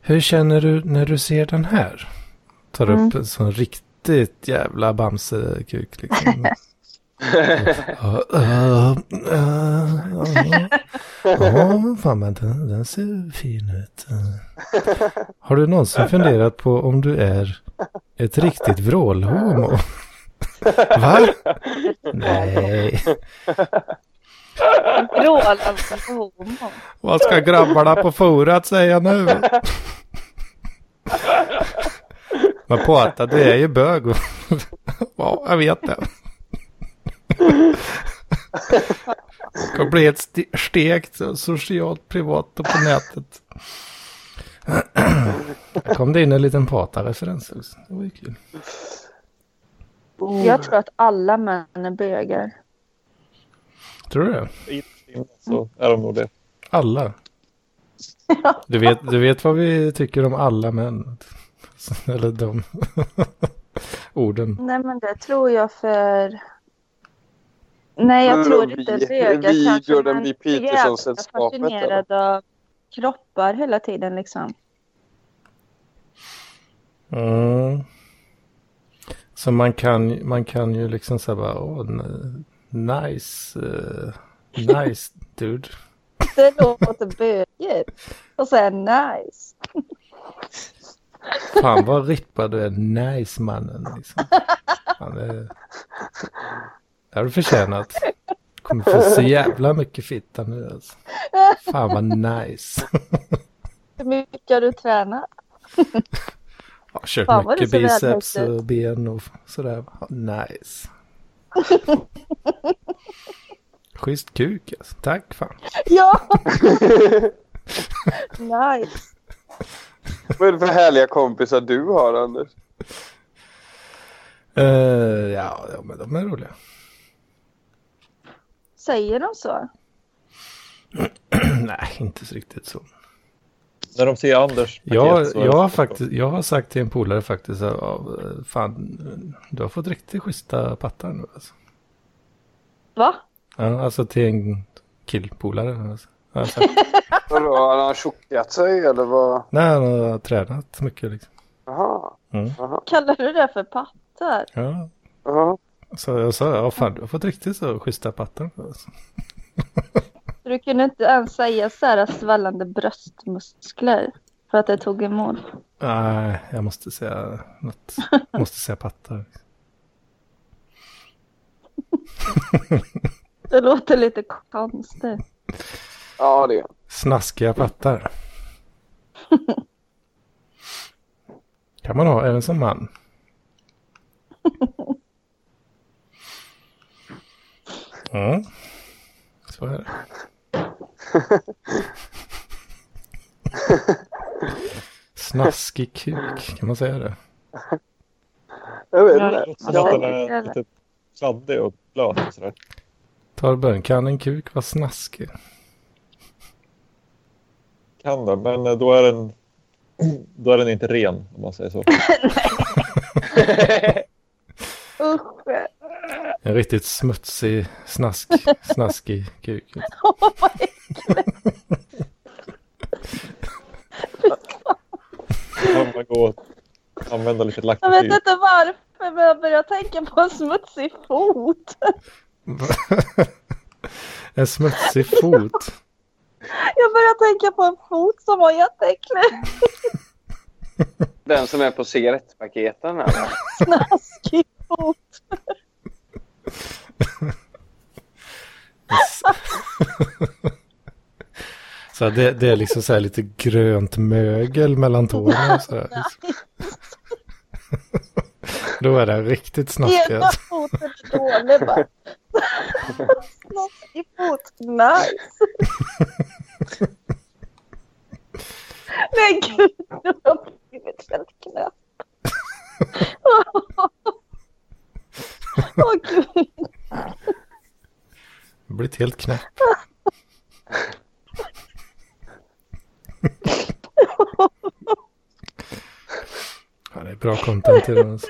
Hur känner du när du ser den här? Tar Mm. upp en sån riktig riktigt jävla Bamse-kuk liksom. Ja, ja, ja, ja, fan men den, den ser fin ut. Har du någonsin funderat på om du är ett riktigt vrålhomo? Va? Nej. Vrål alltså för homo. Vad ska grabbarna på forat säga nu? Men på att du är ju bög. och- ja, jag vet det. Ska bli helt ste- stekt socialt privat och på nätet. Här kom det in en liten pata-referens också. Det var ju kul. Mm. Jag tror att alla män är bögar. Tror du det? så är de nog det. Alla. Du vet, du vet vad vi tycker om alla män. Eller de orden. Nej men det tror jag för... Nej jag Men tror Mm, vi- inte bögar vi kanske. Jordan men B. är jävla Peterson-sällskapet, eller? fascinerad av kroppar hela tiden liksom. Mm. Så man kan, man kan ju liksom säga bara, åh, n- nice, eh, nice dude. Det låter bögigt. Och säga nice. Fan vad rippad du är, nice mannen. Liksom. Fan, det, det har du förtjänat. Kommer få så jävla mycket fitta nu alltså. Fan vad nice. Hur mycket har du tränat? Jag har kört Fan, vad mycket du ser väldigt biceps ut. och ben och sådär. Ja, Nice. Schysst kuk alltså. Tack fan. Ja! nice. Vad är det för härliga kompisar du har, Anders? Eh, ja, ja, men de är roliga. Säger de så? Nej, inte så riktigt så. När de ser Anders paket Jag, så är det jag, har så. faktiskt, jag har sagt till en polare faktiskt, att, ja, fan, du har fått riktigt schyssta pattar nu. Alltså, Va? ja, alltså till en killpolare. Alltså. Jag har sagt, Vadå, har han tjockat sig eller vad? Nej, han har tränat mycket liksom. Jaha. Kallar du det för pattar? Ja. jaha. Så jag sa, ja fan du har fått riktigt så schyssta pattar nu. Alltså. Så du kunde inte ens säga så här svällande bröstmuskler? För att det tog emot? Nej, jag måste säga något. måste säga pattar. Det låter lite konstigt. Ja, det är han. Snaskiga pattar. Kan man ha även som man. Mm. Så är det. Snaskig kuk, kan man säga det? Jag vet Ja. inte. Det låter som att den Ja. är lite kladdig och blöt och sådär. Torben, kan en kuk vara snaskig? Kan den, men eh, då är den, då är den inte ren om man säger så. Usch! En riktigt smutsig, snask, snaskig kuk. Oh my Då kan man gå och använda lite jag vet lakrityl. inte varför men jag börjar tänka på en smutsig fot. en smutsig fot. Jag börjar tänka på en fot som var jätteäcklig. Den som är på cigarettpaketen här. va? Snaskig fot. Så det, det är liksom så här lite grönt mögel mellan tårna. och Så här. Då är det riktigt snaskigt. Ena foten är dålig bara. Snaskig fot. Nice! Nej gud, nu har jag blivit helt knäpp. Åh gud. Det blir ett helt knäpp. Ja, det är bra content i den. Alltså.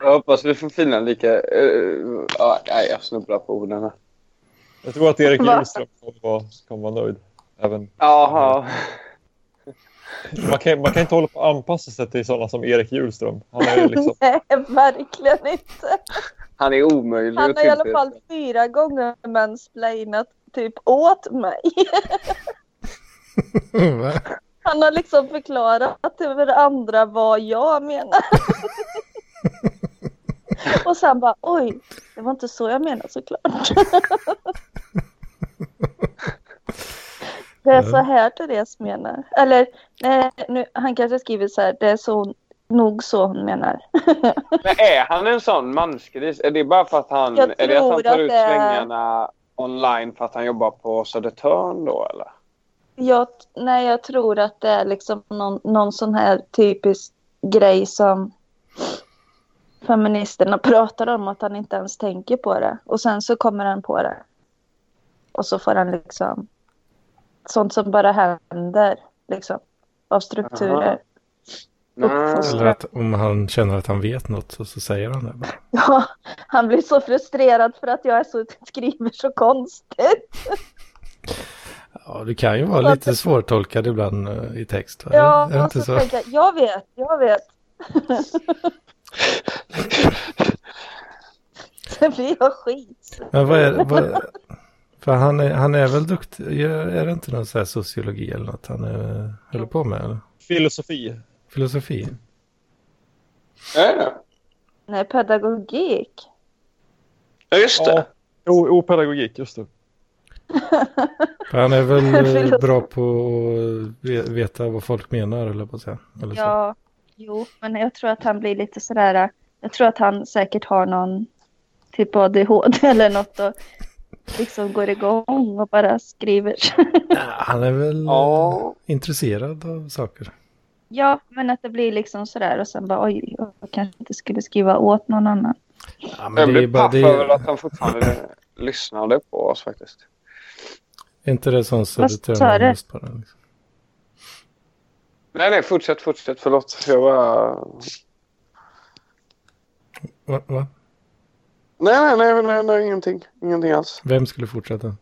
Jag hoppas vi får finna lika... eh, ja, nej, jag snubblar på orden här. Jag tror att Erik Va? Ljungström kommer vara, kommer vara nöjd. Även Jaha. Man kan, man kan inte hålla på att anpassa sig till sådana som Erik Hjulström. Han är ju liksom... Nej, verkligen inte. Han är omöjlig Han att har i alla tillfredsställa. fall fyra gånger mansplainat typ åt mig. Va? Han har liksom förklarat till andra vad jag menar. Och sen bara oj, det var inte så jag menade såklart. Det är så här Therese menar. Eller nej, nu, han kanske skriver så här, det är så, nog så hon menar. Men är han en sån mansgris? Är det bara för att han, Jag är det att han tror tar att ut det är- svängarna online för att han jobbar på Södertörn då eller? Jag, nej, jag tror att det är liksom någon, någon sån här typisk grej som feministerna pratar om att han inte ens tänker på det. Och sen så kommer han på det. Och så får han liksom sånt som bara händer liksom av strukturer. Nej. Eller att om han känner att han vet något så, så säger han det bara. Ja, han blir så frustrerad för att jag är så, skriver så konstigt. Ja, du kan ju vara lite svårtolkad ibland eh, i text. Va? Ja, är det och inte så, så? tänker jag, jag vet, jag vet. Sen blir jag skit. Men vad är vad, För han är, han är väl duktig, är är det inte någon så här sociologi eller något han eh, håller på med? Eller? Filosofi. Filosofi? Är det? Nej, pedagogik. Ja just Ja. det. O, opedagogik, just det. För han är väl eh, Filosofi. bra på att ve- veta vad folk menar eller på att säga. Eller så. Ja, jo, men jag tror att han blir lite sådär. äh, Jag tror att han säkert har någon typ ADHD eller något och liksom går igång och bara skriver. Han är väl eh, Ja. intresserad av saker. Ja, men att det blir liksom sådär och sen bara oj, jag kanske inte skulle skriva åt någon annan. Ja, Jag men det är blir bara, paff det över är, att han fortfarande lyssnade på oss faktiskt. är inte det som sa Södertörn du? har just på den. Liksom. Nej nej fortsätt, fortsätt. Förlåt. Jag bara... Va, va? Nej nej nej, nej, nej ingenting. Ingenting alls. Vem skulle fortsätta?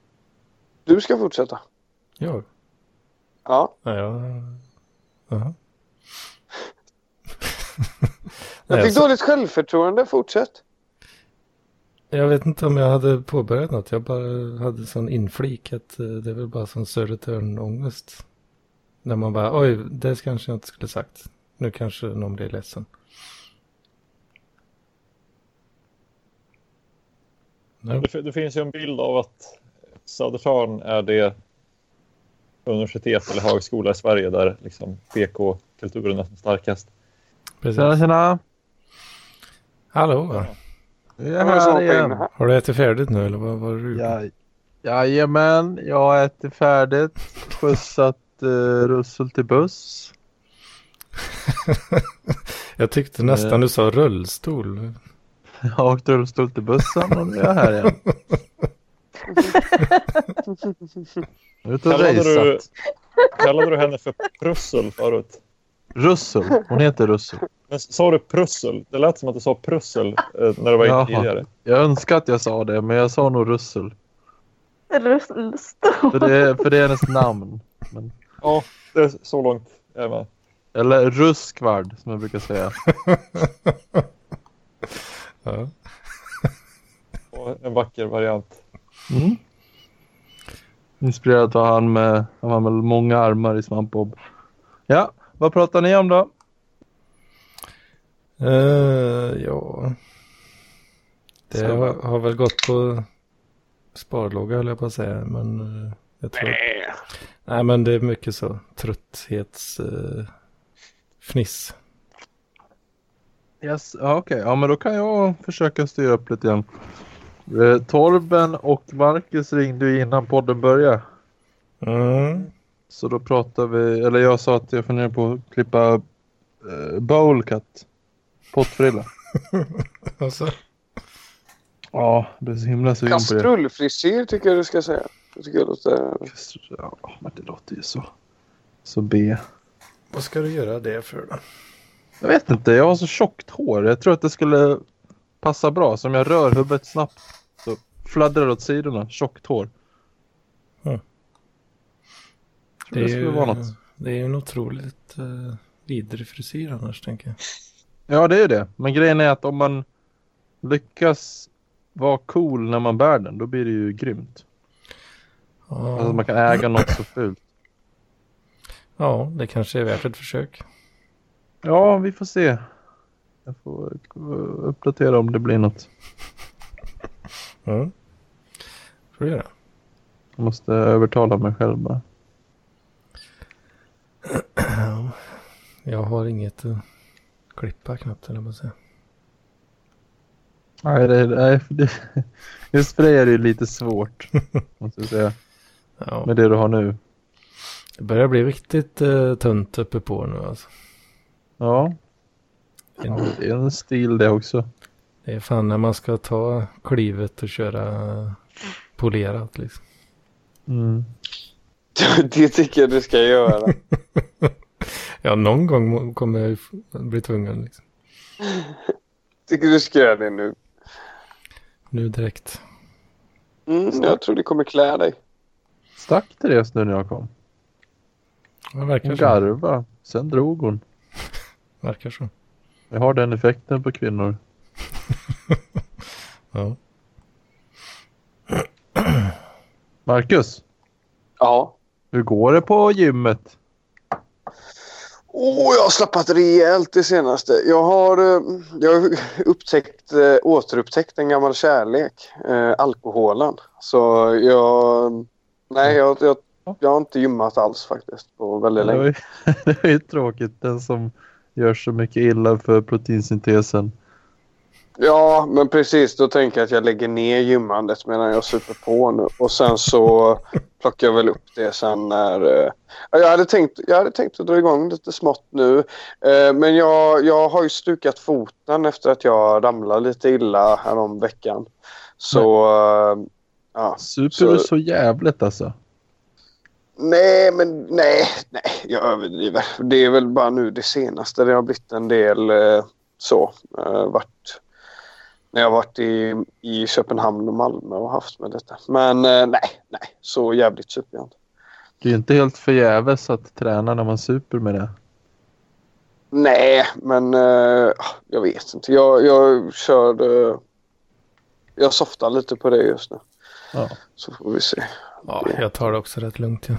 Du ska fortsätta. Jag? Ja. Nej, jag... Jaha. Jag Nej, fick alltså, dåligt självförtroende. Fortsätt. jag vet inte om jag hade påbörjat något. Jag bara hade sån inflik att eh, det är väl bara sån Södertörn-ångest. När man bara, oj, det kanske jag inte skulle sagt. Nu kanske någon blir ledsen. Nej. Det, fi- det finns ju en bild av att Södertörn är det universitet eller högskola i Sverige där liksom PK-kulturen är som starkast. Tjena, Precis. tjena! Hallå, Jag Jag är var så här hoppa in igen. här. har du ätit färdigt nu eller vad var du? Ja, jajamän, jag har ätit färdigt. Skjutsat uh, Russel till buss. Jag tyckte Eh. nästan du sa rullstol. Jag har åkt rullstol till bussen och nu är jag här igen. Ute och Kallade du, raceat. kallade du henne för Prussel förut? Russel, hon heter Russel. Men s- sa du Prussel? Det lät som att du sa Prussel eh, när du var Jaha. inne tidigare. Jag önskar att jag sa det, men jag sa nog Russel. Rullstol. För det, för det är hennes namn. Men, Ja, det är så långt jag är med. eller Ruskvard, som jag brukar säga. Ja. Och en vacker variant. Mm. Inspirerad av han med, han var med många armar i SvampBob. Ja, vad pratar ni om då? Eh, ja. Det Så. har, har väl gått på sparlåga höll jag på att säga. Men eh, jag tror... Nej. Nej men det är mycket så. Trötthets... eh, fniss. Yes, ja, okej. Ja, men då kan jag försöka styra upp lite grann. Eh, Torben och Marcus ringde ju innan podden började. Mm. Så då pratade vi, eller jag sa att jag funderar på att klippa eh, bowlcut. Pottfrilla. Alltså. Ja, jag blev så himla sugen på det. Kastrullfrisyr tycker jag du ska säga. Det tycker jag låter... Kastrull. Ja, men det låter ju så. Så B. Vad ska du göra det för då? Jag vet inte, jag har så tjockt hår. Jag tror att det skulle passa bra. Så om jag rör huvudet snabbt så fladdrar det åt sidorna. Tjockt hår. Mm. Tror Det, det skulle vara något. Det är ju en otroligt eh, vidrig frisyr annars tänker jag. Ja, det är det. Men grejen är att om man lyckas vara cool när man bär den, då blir det ju grymt. Ja, Alltså man kan äga något så fult. ja det kanske är värt ett försök. Ja, vi får se. Jag får eh, uppdatera om det blir något. Mm. Får du göra. Jag måste övertala mig själv bara. Ja. Jag har inget att klippa knappt eller vad säga. Nej, det, nej det, just för dig är det ju lite svårt. Måste jag säga. Ja. Med det du har nu. Det börjar bli riktigt eh, tunt uppe på nu alltså. Ja, En- det är en stil det också. Det är fan när man ska ta klivet och köra eh, polerat liksom. Mm. Det tycker jag du ska göra. Ja, någon gång må- kommer jag ju f- bli tvungen liksom. tycker du ska göra det nu. Nu direkt. Mm, jag tror det kommer klä dig. Stack Therese nu när jag kom. Ja, Hon verkar så. garvade. Sen drog hon. Verkar så. Jag har den effekten på kvinnor. Ja. Marcus, Ja. hur går det på gymmet? Åh, jag har slappat rejält det senaste. Jag har, eh, jag har upptäckt, eh, återupptäckt en gammal kärlek. Eh, alkoholen. Så jag... Nej, jag, jag, jag har inte gymmat alls faktiskt på väldigt Det var länge. ju, det var ju tråkigt. Den som gör så mycket illa för proteinsyntesen. Ja, men precis. Då tänker jag att jag lägger ner gymmandet medan jag super på nu. Och sen så plockar jag väl upp det sen när... eh, ja, Jag hade tänkt, jag hade tänkt att dra igång lite smått nu. Eh, men jag, jag har ju stukat foten efter att jag ramlade lite illa härom veckan. Så... eh, ja. Super Så- du så jävligt alltså? Nej, men nej, nej, jag överdriver. Det är väl bara nu det senaste det har blivit en del eh, så. Eh, varit, när jag varit i, i Köpenhamn och Malmö och haft med detta. Men eh, nej, nej, så jävligt super jag inte. Det är ju inte helt förgäves att träna när man super med det. Nej, men eh, jag vet inte. Jag, jag kör... Eh, jag softar lite på det just nu. Ja. Så får vi se. ja, jag tar det också rätt lugnt. Ja.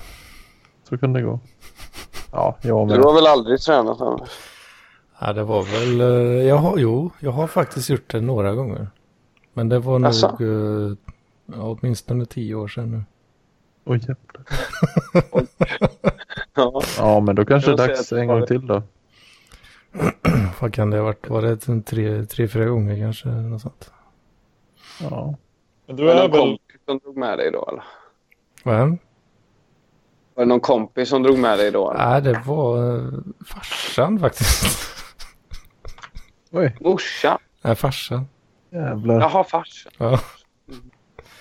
Så kan det gå. Ja, jag Du med. har väl aldrig tränat annars? Ja, det var väl, eh, jag har, jo, jag har faktiskt gjort det några gånger. Men det var Asså? nog eh, ja, åtminstone tio år sedan nu. Oj, jävlar. Ja. ja, men då kanske Jag det är ser dags att- en gång till då. Vad kan det ha varit? Var det en tre, tre fyra gånger kanske? Något sånt. Ja. Men du Var det är någon väl... kompis som drog med dig då? Eller? Men, Var det någon kompis som drog med dig då? Eller? nej, det var eh, farsan faktiskt. Oj, Morsan? nej, farsan. jävlar. Jaha, farsan. Ja.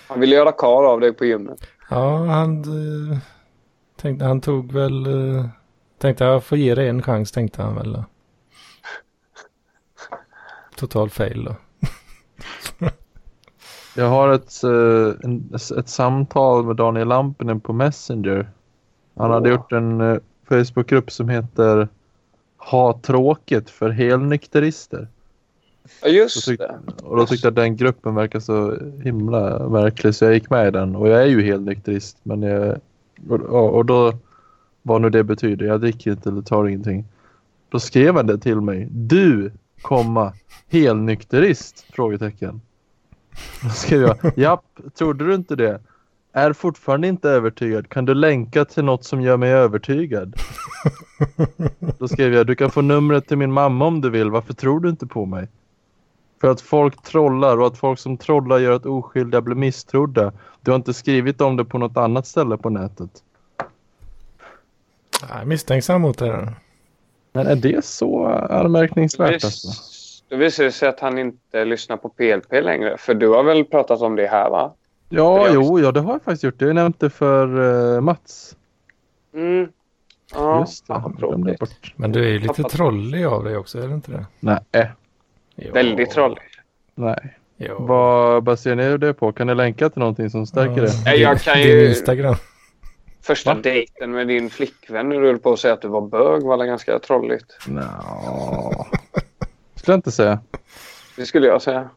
Han ville göra karl av dig på gymmet. Ja, han eh, tänkte, han tog väl, eh, tänkte jag får ge dig en chans tänkte han väl. då. Total fail då. Jag har ett, eh, en, ett samtal med Daniel Lampinen på Messenger. Han hade Åh. gjort en eh, Facebookgrupp som heter Ha tråkigt för helnykterister. Ja, Och, just tyck- det. och då tyckte jag att den gruppen verkar så himla märklig så jag gick med i den. Och jag är ju helnykterist men jag, och, och och då, vad nu det betyder, jag dricker inte eller tar ingenting. Då skrev han det till mig. Du, komma, helnykterist? Frågetecken. Då skrev jag, japp, trodde du inte det? Är fortfarande inte övertygad. Kan du länka till något som gör mig övertygad? Då skrev jag, du kan få numret till min mamma om du vill. Varför tror du inte på mig? För att folk trollar och att folk som trollar gör att oskyldiga blir misstrodda. Du har inte skrivit om det på något annat ställe på nätet. Nej, misstänksam mot det där. Men är det så anmärkningsvärt alltså? Då visar det sig att han inte lyssnar på PLP längre. För du har väl pratat om det här, va? Ja, jag jo, ja, det har jag faktiskt gjort. Jag har nämnt det för eh, Mats. Mm. Ja. Just det. Fan, jag glömde tråkigt. bort. Men du är ju lite Pappa- trollig av dig också, är du inte det? Nej, Jo. Väldigt trollig. nej. Jo. Vad baserar ni det på? Kan ni länka till någonting som stärker det? Ja, Nej, jag din- kan Din ju- Instagram. Första dejten med din flickvän när du höll på att säga att du var bög var väl ganska trolligt. Nå. Skulle jag inte säga. Det skulle jag säga.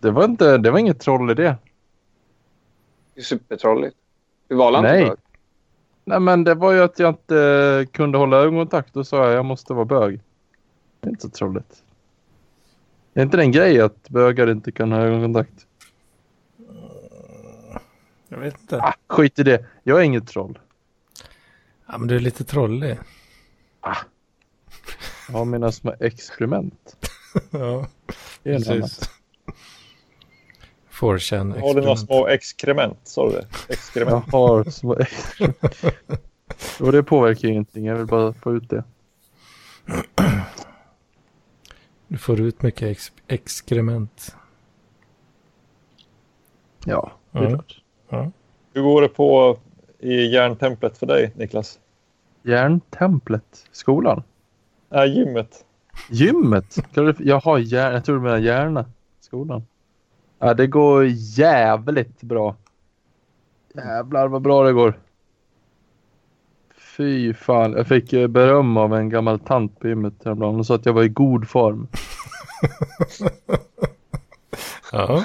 Det var, inte, det var inget troll i det. Det är Supertrolligt. Du var väl Nej. inte bög? Nej, men det var ju att jag inte eh, kunde hålla ögonkontakt. Då sa jag jag måste vara bög. Det är inte så trolligt. Det är inte den grej att bögar inte kan ha ögonkontakt. Jag vet inte. Ah, skit i det. Jag är inget troll. Ja, men du är lite trollig. Jag har mina små experiment. Ja, Det är en annan. precis. 4chan Har du några experiment. små exkrement? Sa du det? Jag Exkrement. har små experiment. Och det påverkar ju ingenting. Jag vill bara få ut det. Du får ut mycket ex exkrement. Ja, det är Ja. klart. Hur går det på i järntemplet för dig, Niklas? Järntemplet. Skolan. Nej, gymmet. Gymmet? Kallar du det för- Jaha, hjär... jag tror du menar hjärna. Skolan. Ja, det går jävligt bra. Jävlar vad bra det går. Fy fan. Jag fick eh, beröm av en gammal tant på gymmet häromdagen. Hon sa att jag var i god form. Ja,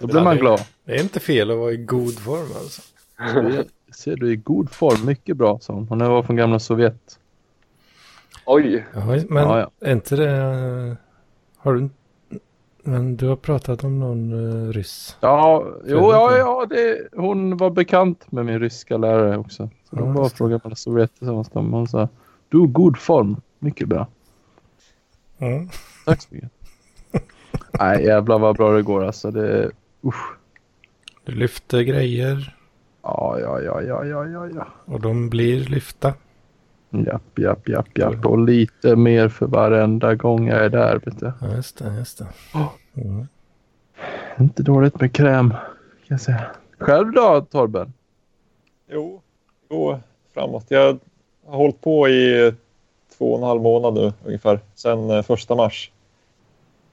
Då blir man glad. det är inte fel att vara i god form alltså. Du är- Ser du är i god form. Mycket bra, sa hon. Hon var från gamla Sovjet. Oj. Ja, men Ja, ja. är inte det... eh, Har du... Men du har pratat om någon uh, ryss. Ja, jo, Följde ja, inte. ja det, hon var bekant med min ryska lärare också. Så Ja, de var och just det. frågade om jag stod rätt tillsammans. med dem. Hon sa, du är i god form. Mycket bra. Mm. Tack så mycket. Nej, jävlar vad bra det går alltså. Det, usch. Du lyfter grejer Ja, ja, ja, ja, ja, ja, ja. och de blir lyfta. Japp, japp, japp, japp. Och lite mer för varenda gång jag är där, vet du. Ja, just det, just det. Ja. Mm. Inte dåligt med kräm, kan jag säga. Själv då, Torben? Jo, det går framåt. Jag har hållit på i två och en halv månad nu ungefär, sedan eh, första mars.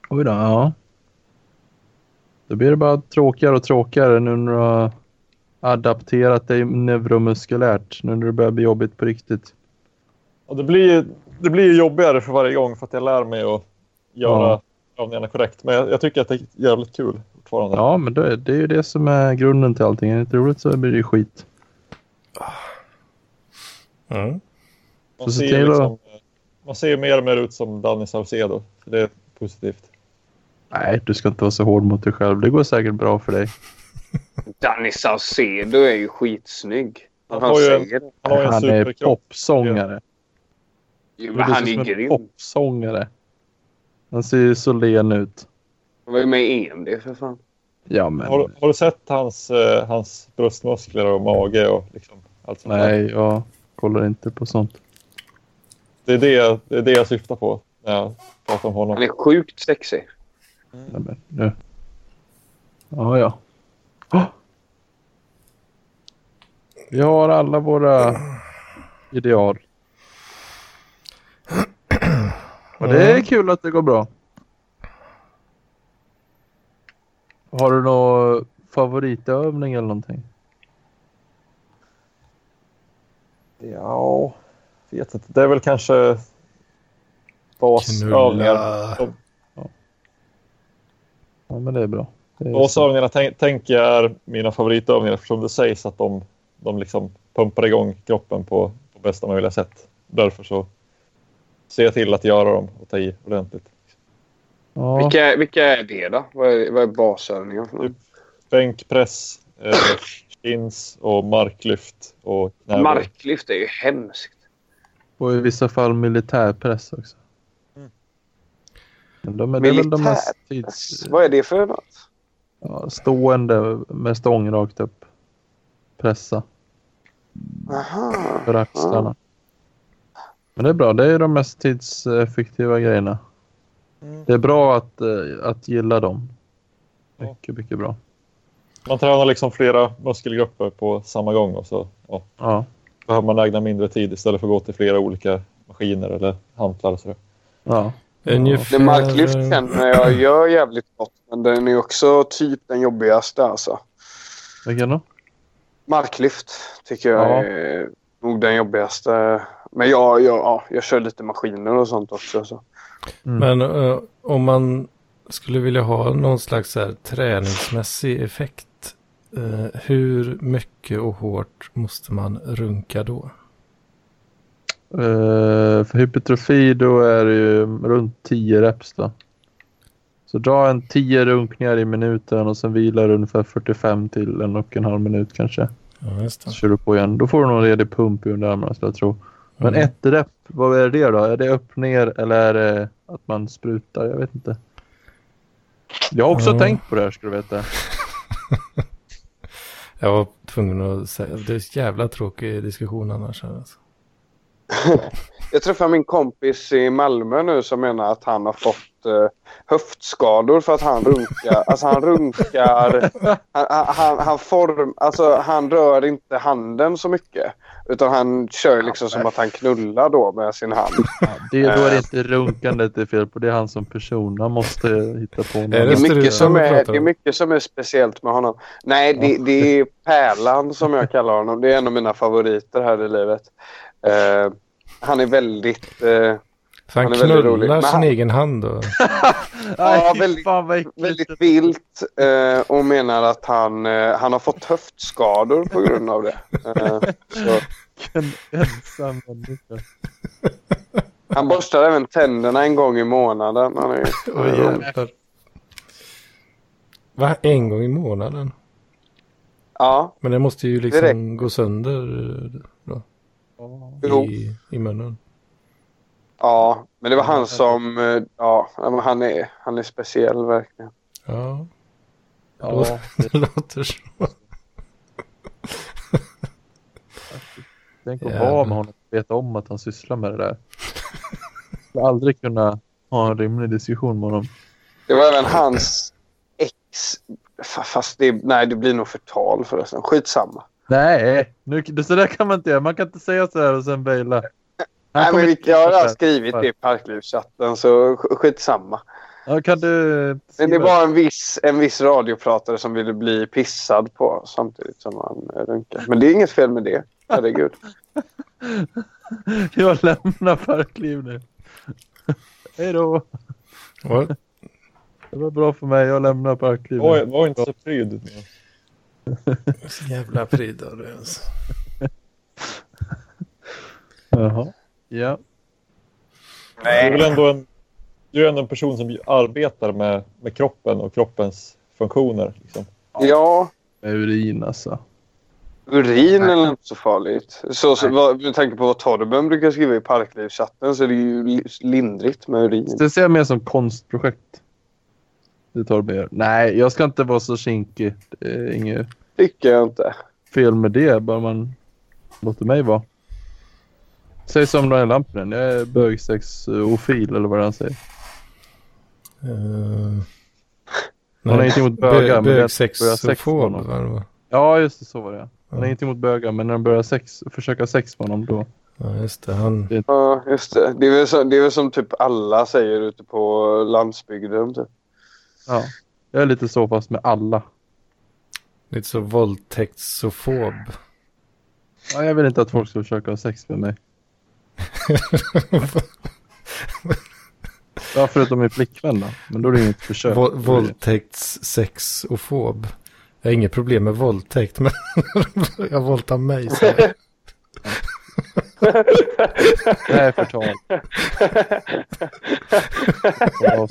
Oj då, ja. Då blir det bara tråkigare och tråkigare nu när du har adapterat dig neuromuskulärt. Nu när det börjar bli jobbigt på riktigt. Och det blir, det blir ju jobbigare för varje gång för att jag lär mig att göra Ja. övningarna korrekt. Men jag, jag tycker att det är jävligt kul fortfarande. Ja, men det, det är ju det som är grunden till allting. Är det inte roligt så blir det ju skit. Mm. man, så se ser till att- liksom, eh, man ser mer och mer ut som Danny Saucedo. Så det är positivt. Nej, du ska inte vara så hård mot dig själv. Det går säkert bra för dig. Danny Saucedo är ju skitsnygg. Han Han, har ju en- säger det. Han har ju en Han är superkropp. popsångare. Jo, Det men han är som ju en grym. Popsångare. Han ser ju så len ut. Han var ju med i EMD för fan. Ja, men... Har, du- har du sett hans, eh, hans bröstmuskler och mage och liksom allt sånt där? Nej, jag kollar inte på sånt. Det är det, jag- det är det jag syftar på när jag pratar om honom. Han är sjukt sexig. Nej, men nu. Ja, ja. Åh! Vi har alla våra ideal. Och det är kul att det går bra. Har du någon favoritövning eller någonting? Ja, vet inte. Det är väl kanske basövningar. Ja, men det är bra. Det är Basövningarna tänk, tänker jag är mina favoritövningar eftersom det sägs att de, de liksom pumpar igång kroppen på, på bästa möjliga sätt. Därför så ser jag till att göra dem och ta i ordentligt. ja, Vilka, vilka är det då? Vad är, vad är basövningar för något? Bänkpress, eh, chins och marklyft och knäböj. Marklyft är ju hemskt. och i vissa fall militärpress också. Mm. Men de är, det är väl de mest tids, Vad är det för något? ja, stående med stång rakt upp. Pressa Aha. för axlarna. Men det är bra. Det är de mest tidseffektiva grejerna. Mm. Det är bra att, eh, att gilla dem. Ja. Mycket, mycket bra. Man tränar liksom flera muskelgrupper på samma gång och så ja, Ja, behöver man ägna mindre tid istället för att gå till flera olika maskiner eller hantlar och sådär. ja. Ungefär... Det Eh, marklyft känner jag gör jävligt gott, men den är också typ den jobbigaste alltså. Vilken då? Marklyft tycker jag Ja. är nog den jobbigaste. Men jag, jag, ja, jag kör lite maskiner och sånt också. Så. Men eh, om man skulle vilja ha någon slags så här, träningsmässig effekt. eh, hur mycket och hårt måste man runka då? Eh, för hypertrofi då är det ju runt 10 reps då. Så dra en 10 runkningar i minuten och sen vilar du ungefär 45 till en och en halv minut kanske. Ja, just det. Så kör du på igen. Då får du någon redig pump i underarmarna skulle jag tro. Men Mm. ett rep, vad är det då? Är det upp ner eller är det att man sprutar? Jag vet inte. Jag har också Ja. tänkt på det här ska du veta. Jag var tvungen att säga, det är en jävla tråkig diskussion annars. här, Alltså. Jag träffade min kompis i Malmö nu som menar att han har fått eh, höftskador för att han runkar. Alltså han runkar. Han, han- han, han, form, alltså, han rör inte handen så mycket. Utan han kör liksom som att han knullar då med sin hand. Det, då Äh. är det inte runkandet det är fel på. Det är han som person. Han måste hitta på något. Är Det det- är, mycket struten som vi är, pratar det är om. mycket som är speciellt med honom. Nej, det, det är Pärlan som jag kallar honom. Det är en av mina favoriter här i livet. Eh, han är väldigt... eh, För han, Han är väldigt rolig. knullar Men sin han- egen hand då. Aj, Ja, fy väldigt- fan vad äckligt. väldigt vilt eh, och menar att han, eh, han har fått höftskador på grund av det. Eh, så. En ensam människa. Han borstar även tänderna en gång i månaden. Han är, Åh jävlar. Va? En gång i månaden? ja, Men det måste ju liksom Direkt. gå sönder eh, då, jo, i, i munnen. ja, men det var han som... Eh, ja, men han är, han är speciell verkligen. Ja, Ja, det låter så. tänk att Jävlar. vara med honom och veta om att han sysslar med det där. Jag skulle aldrig kunna ha en rimlig diskussion med honom. Det var även hans ex... fa- Fast det, nej, det blir nog förtal förresten. Skitsamma. Nej, nu, det- så där kan man inte göra. Man kan inte säga så här och sen baila. Han Nej, kommer men vi, inte- jag har skrivit det i Parklivschatten, så sk- skitsamma. Ja, kan du... Men det var en viss, en viss radiopratare som ville bli pissad på samtidigt som han eh, runkade. Men det är inget fel med det. Herregud. Jag lämnar Parkliv nu. Hej då. What? Det var bra för mig. Jag lämnar Parkliv. nu. Var, var inte så pryd. Så jävla pryd av det alltså. Jaha. Ja. Du är väl ändå en, du är ändå en person som arbetar med, med kroppen och kroppens funktioner. Liksom. Ja, Med urin alltså. urin är inte så farligt. Så, så, vad, med tanke på vad Torben brukar skriva i Parklivschatten så är det ju li- lindrigt med urin. Det ser jag mer som konstprojekt. Det tar mer. Nej, jag ska inte vara så kinkig. Det är inget tycker jag inte. fel med det, bara man låter mig vara. Säg som Daniel Lampinen, jag är bögsexofil eller vad han säger. Uh, har ingenting mot bögar, men det är att börja sex med Bögsexofob. honom. va, det var. Ja, just det, så var det. Han är Ja. inte emot bögar, men när de börjar sex, försöka sex med honom då. Ja, just det. Han, Ja, just det. Det är, väl som, det är väl som typ alla säger ute på landsbygden. Typ. Ja. Jag är lite så fast med alla. lite så våldtäktsofob. Ja, jag vill inte att folk ska försöka ha sex med mig. Ja, förutom min flickvän då. Men då är det inget försök. Vå- Våldtäktssexofob. Jag har inget problem med våldtäkt, men jag våldtar mig. Så här. Det här är förtal. Ja,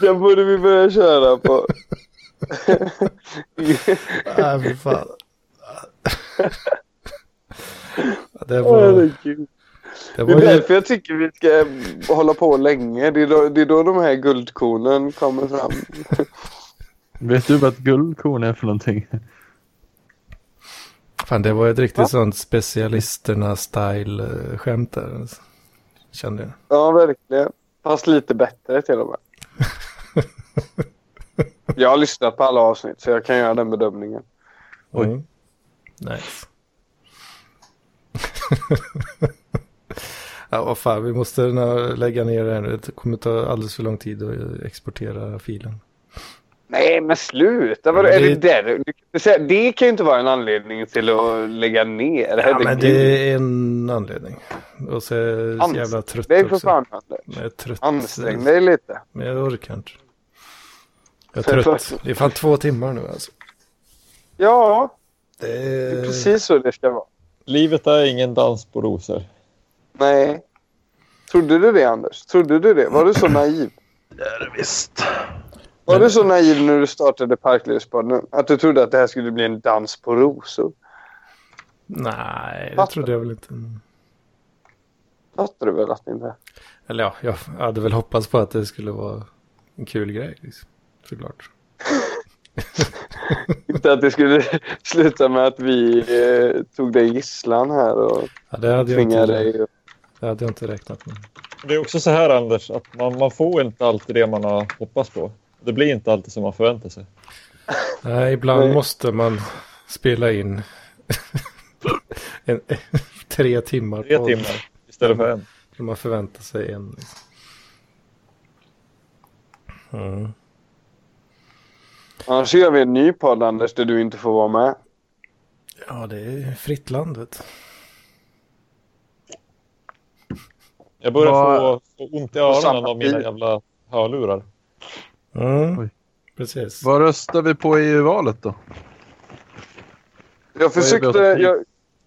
Den borde vi börja köra på. Nej, fy fan. Det var, Herregud. det Det är var ju... därför jag tycker vi ska hålla på länge. Det är då, det är då de här guldkornen kommer fram. Vet du vad ett guldkorn är för någonting? Fan, det var ett riktigt sånt specialisterna-style-skämt där. Alltså. Kände jag. Ja, verkligen. Fast lite bättre till och med. Jag har lyssnat på alla avsnitt så jag kan göra den bedömningen. Oj. Mm. Nice. ja, vad fan, vi måste nå- lägga ner det här nu. Det kommer ta alldeles för lång tid att exportera eh, filen. Nej, men sluta. Vadå, Ja, är det... det- där? Du kan säga- Det kan ju inte vara en anledning till att lägga ner. Ja, men Herregud. det är en anledning. Och så är jag så jävla trött Det är för också. fan Anders. Jag är trött. Ansträng dig lite. Men jag orkar inte. Jag är trött. Det är fan två timmar nu alltså. Ja, Det det är är... precis så det ska vara. Livet är ingen dans på rosor. Nej. Trodde du det, Anders? Trodde du det? Var du så naiv? Visst. Var du så naiv när du startade Parklivspodden? Att du trodde att det här skulle bli en dans på rosor? Nej, det Fattar. trodde jag väl inte. Fattar du väl att det inte är? Eller ja, jag hade väl hoppats på att det skulle vara en kul grej. Liksom. Såklart. Inte att det skulle sluta med att vi eh, tog dig gisslan här och Ja, det, hade jag tvingade inte, dig. det hade jag inte räknat med. Det är också så här, Anders, att man, man får inte alltid det man har hoppats på. Det blir inte alltid som man förväntar sig. Nej, ibland Nej. måste man spela in en, tre timmar. Tre på- timmar istället för en. När man förväntar sig en. Liksom. Mm. Annars gör vi en ny podd, Anders, där du inte får vara med. Ja, det är fritt landet. Jag börjar Vad- få, få ont i samma öronen av mina tid. jävla hörlurar. Mm. Oj. Precis. Vad röstar vi på i EU-valet då? Jag försökte, Björn? jag,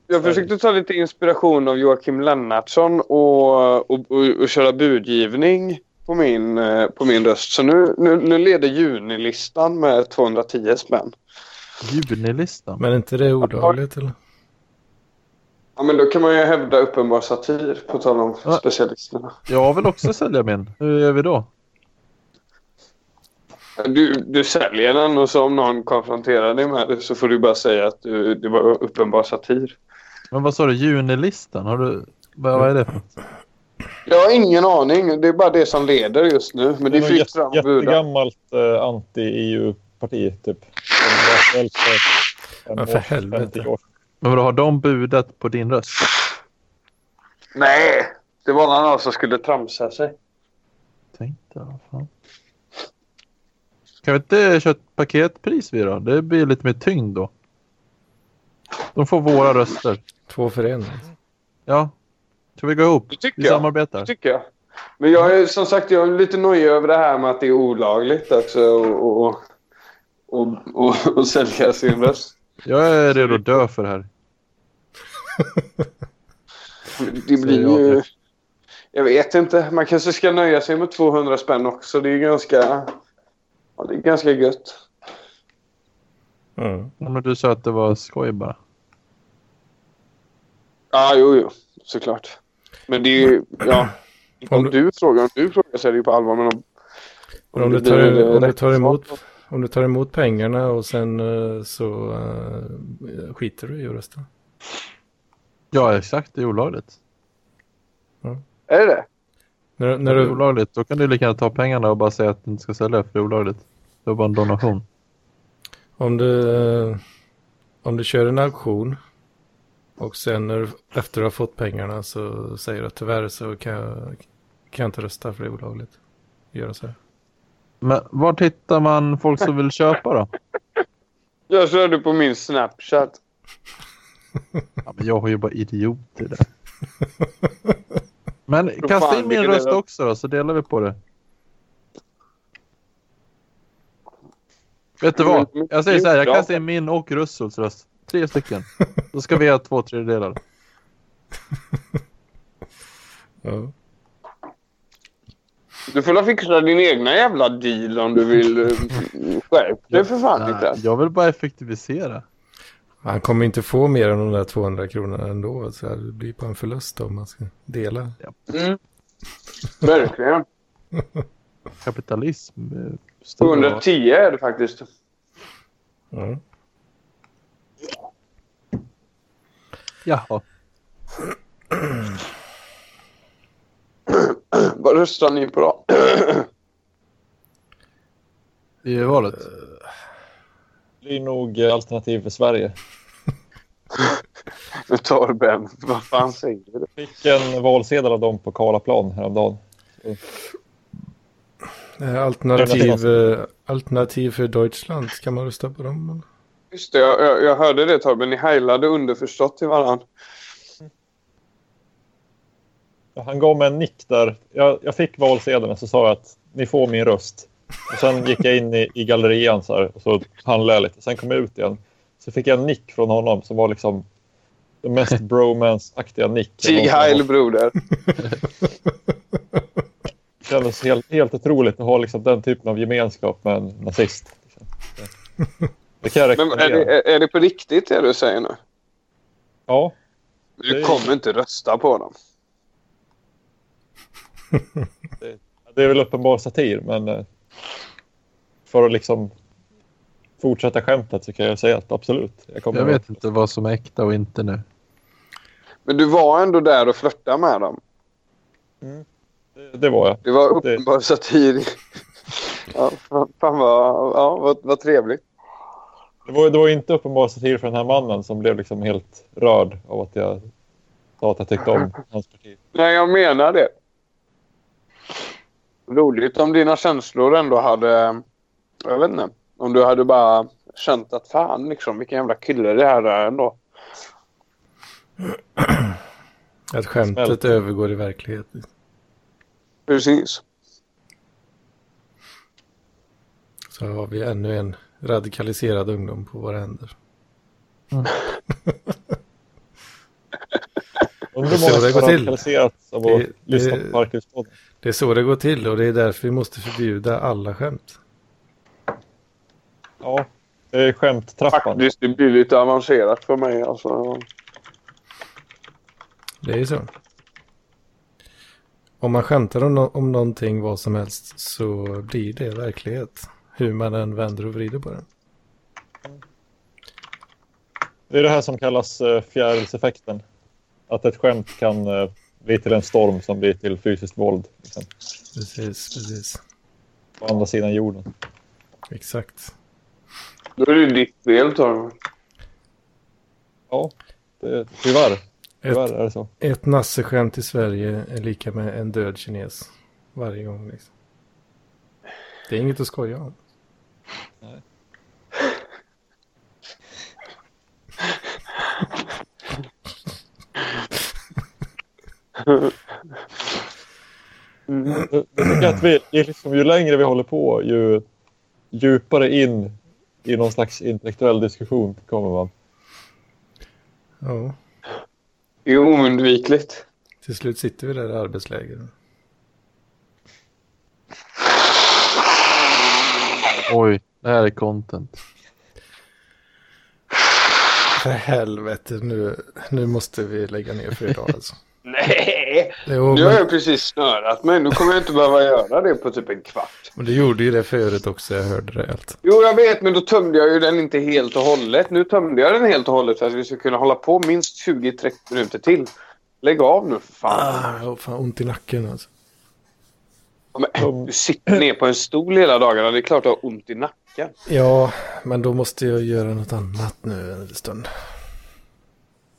jag försökte ta lite inspiration av Joakim Lennartsson och, och, och, och köra budgivning på min, eh, på min röst. Så nu, nu, nu leder junilistan med 210 spänn. Junilistan? Men är inte det olagligt eller? Ja, men då kan man ju hävda uppenbar satir, på tal om Ja. specialisterna. Jag vill också sälja min. Hur gör vi då? Du, du säljer den och så om någon konfronterar dig med det så får du bara säga att du, det var uppenbar satir. Men vad sa du? Junilistan? Har du... Vad, vad är det? för något? Jag har ingen aning. Det är bara det som leder just nu. Men det är något fritt jätte- fram att buda. jättegammalt eh, anti-EU-parti, typ. Som var aktuellt fem Men för år- helvete. 50 år. Men vadå, har de budat på din röst? Nej! Det var någon som skulle tramsa sig. Tänkte jag. vad Fan. Kan vi inte köra ett paketpris vi då? Det blir lite mer tyngd då. De får våra röster. Två för en. Ja. Ska vi gå ihop? Det tycker Vi Liksom jag. samarbetar. Det tycker jag. Men jag är som sagt jag är lite nöjd över det här med att det är olagligt också och, och, och, och, och sälja sin röst. Jag är redo att dö för det här. Det Säger jag blir ju... Jag vet inte. Man kanske ska nöja sig med 200 spänn också. Det är ju ganska... Ja, det är ganska gött. Mm. Ja, Men du sa att det var skoj bara. Ja, jo, jo. Såklart. Men det är ju... Ja. Inte Om om du- du frågar. Om du frågar så är det ju på allvar. Men om... Men om, du det tar, blir, eh, om, du tar rätt emot, svar. om du tar emot pengarna och sen eh, så eh, skiter du i att rösta. Ja, exakt. Det är olagligt. Är det det? När, när Är det är du, olagligt, då kan du lika gärna ta pengarna och bara säga att du inte ska sälja för det är olagligt. Det var bara en donation. om, du, eh, om du kör en auktion och sen när, du- efter du har fått pengarna så säger du att tyvärr så kan jag, kan jag inte rösta för det är olagligt. att Göra så här. Men var hittar man folk som vill köpa då? Jag körde på min Snapchat. Ja, men jag har ju bara idioter där. Men För kasta fan, in min vilken röst jävla- också då, så delar vi på det. Vet du vad? Jag säger så här, jag kastar in min och Russells röst. Tre stycken. Då ska vi ha två tredjedelar. Ja. Du får väl fixa din egna jävla deal om du vill eh, skärp dig för fan Nej, lite. jag vill bara effektivisera. Han kommer inte få mer än de där 200 kronorna ändå. Så här, det blir bara en förlust om man ska dela. Verkligen. Kapitalism. eh, stora- 210 är det faktiskt. Ja. Jaha. Vad röstar ni på då? I valet? Det blir nog eh, alternativ för Sverige. Nu tar Ben. Vad fan säger du? Fick en valsedel av dem på Karlaplan häromdagen. Eh, Alternativ, eh, alternativ för Deutschland, kan man rösta på dem? eller? Just det, jag, jag, jag hörde det Torben. Ni heilade underförstått till varandra. Ja, Han gav mig en nick där. Jag, jag fick valsedeln och så sa jag att ni får min röst. Och sen gick jag in i, i gallerian så här, och så handlade jag lite. Sen kom jag ut igen. Så fick jag en nick från honom som var liksom den mest bromance-aktiga nick. jag Sig någonsin har heil broder. Det kändes helt, helt otroligt att ha liksom den typen av gemenskap med en nazist. Liksom. Det- Det kan jag Men rekommendera. är det, är, är det på riktigt det du säger nu? Ja, Du Det- kommer inte rösta på dem. det är väl uppenbar satir, men eh, för att liksom fortsätta skämtet så kan jag säga att absolut. Jag, kommer Jag vet inte vad som är äkta och inte nu. Men du var ändå där och flörtade med dem. Det, det var jag. Det var uppenbar satir. Ja, fan fan vad, ja, vad, vad trevligt. Det var, det var ju inte uppenbar satir för den här mannen som blev liksom helt rörd av att jag sa att jag tyckte om hans parti. Nej, jag menar det. Roligt om dina känslor ändå hade... Jag vet inte. Om du hade bara känt att fan liksom, vilken jävla kille det här är ändå. Att skämtet Smält. övergår i verkligheten. Precis. Så har vi ännu en radikaliserad ungdom på våra händer. Undrar Det är så hur många det som går har till. radikaliserats av Det- att det- lyssna på Parkhus-podden. Det är så det går till och det är därför vi måste förbjuda alla skämt. Ja, det är skämttrappan. Faktiskt, det blir lite avancerat för mig. Alltså. Det är ju så. Om man skämtar om, no- om någonting, vad som helst, så blir det verklighet. Hur man än vänder och vrider på det. Det är det här som kallas eh, fjärilseffekten. Att ett skämt kan eh, bli till en storm som blir till fysiskt våld. Liksom, Precis, precis. på andra sidan jorden. Exakt. Då är det ditt fel, Torgny. Ja, det, tyvärr. Ett, Tyvärr är det så. ett nasseskämt i Sverige är lika med en död kines. Varje gång liksom. Det är inget att skoja om. Jag tycker att vi, det är liksom, ju längre vi håller på, ju djupare in i någon slags intellektuell diskussion kommer man. Ja, Det är oundvikligt. till slut sitter vi där i arbetsläger. Oj, det här är content. För helvete, nu, nu måste vi lägga ner för idag alltså. Nej! Jo, Nu har men, jag precis snörat mig. Nu kommer jag inte behöva göra det på typ en kvart. men du gjorde ju det förut också, jag hörde det allt. Jo, jag vet, men då tömde jag ju den inte helt och hållet. Nu tömde jag den helt och hållet för att vi ska kunna hålla på minst 20-30 minuter till. Lägg av nu, för fan. Ah, jag har fan ont i nacken alltså. Men, äh, du sitter ner på en stol hela dagarna. Det är klart du har ont i nacken. Ja, men då måste jag göra något annat nu en stund.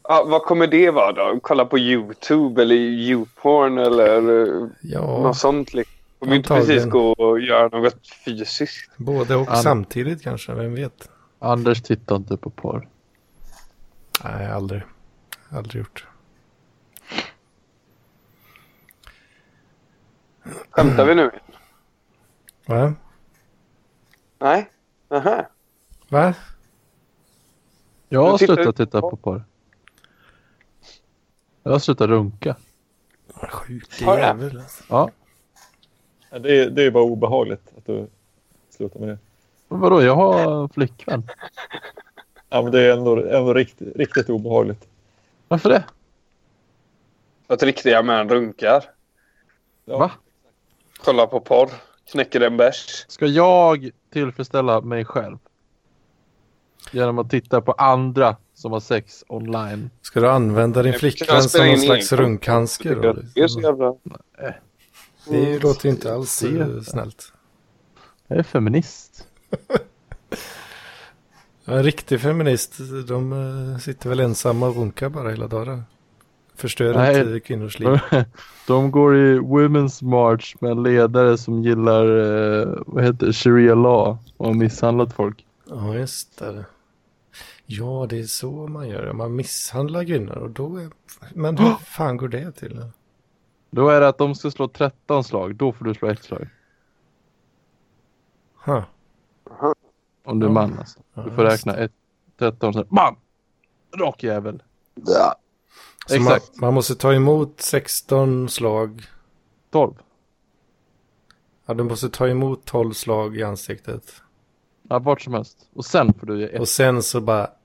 Ja, vad kommer det vara då? Kolla på YouTube eller YouPorn eller eh, Ja, något sånt? Liksom. Du kommer inte precis Antagligen. gå och göra något fysiskt. både och An- samtidigt kanske, vem vet? Anders tittar inte på porr. Nej, aldrig. Aldrig gjort. Skämtar vi nu? Va? Nej? Aha. Va? Jag har Jag tittar slutat inte titta på på porr. Jag har slutat runka. Sjuke Har jag? jävel alltså. Ja. Det är, det är bara obehagligt att du slutar med det. Men vadå, jag har flickvän. Ja, men det är ändå, ändå riktigt, riktigt obehagligt. Varför det? Att riktiga män runkar. Ja. Va? Kollar på porr. Knäcker en bärs. Ska jag tillfredsställa mig själv? Genom att titta på andra som har sex online. Ska du använda din Jag flickvän kan spela som någon in slags egen. runkhandske då? Det är så liksom? jävla... Mm. Det låter ju inte alls Det- eh, snällt. Jag är feminist. En riktig feminist, de eh, sitter väl ensamma och runkar bara hela dagen. Förstör Nej. Mm. inte kvinnors liv. De går i Women's March med en ledare som gillar eh, vad heter det, Sharia Law och har misshandlat folk. Ja, just det. Ja, det är så man gör. Man misshandlar kvinnor och då är... Men hur fan går det till? Då är det att de ska slå 13 slag, då får du slå ett slag. Huh. Om du är man alltså. Ja, Du får just räkna ett, 13 sen BAM! Rak jävel. Ja. Så Exakt. Man, man måste ta emot 16 slag. 12. Ja, du måste ta emot 12 slag i ansiktet. Ja, vart som helst. Och sen får du ge ett. Och sen så bara Sen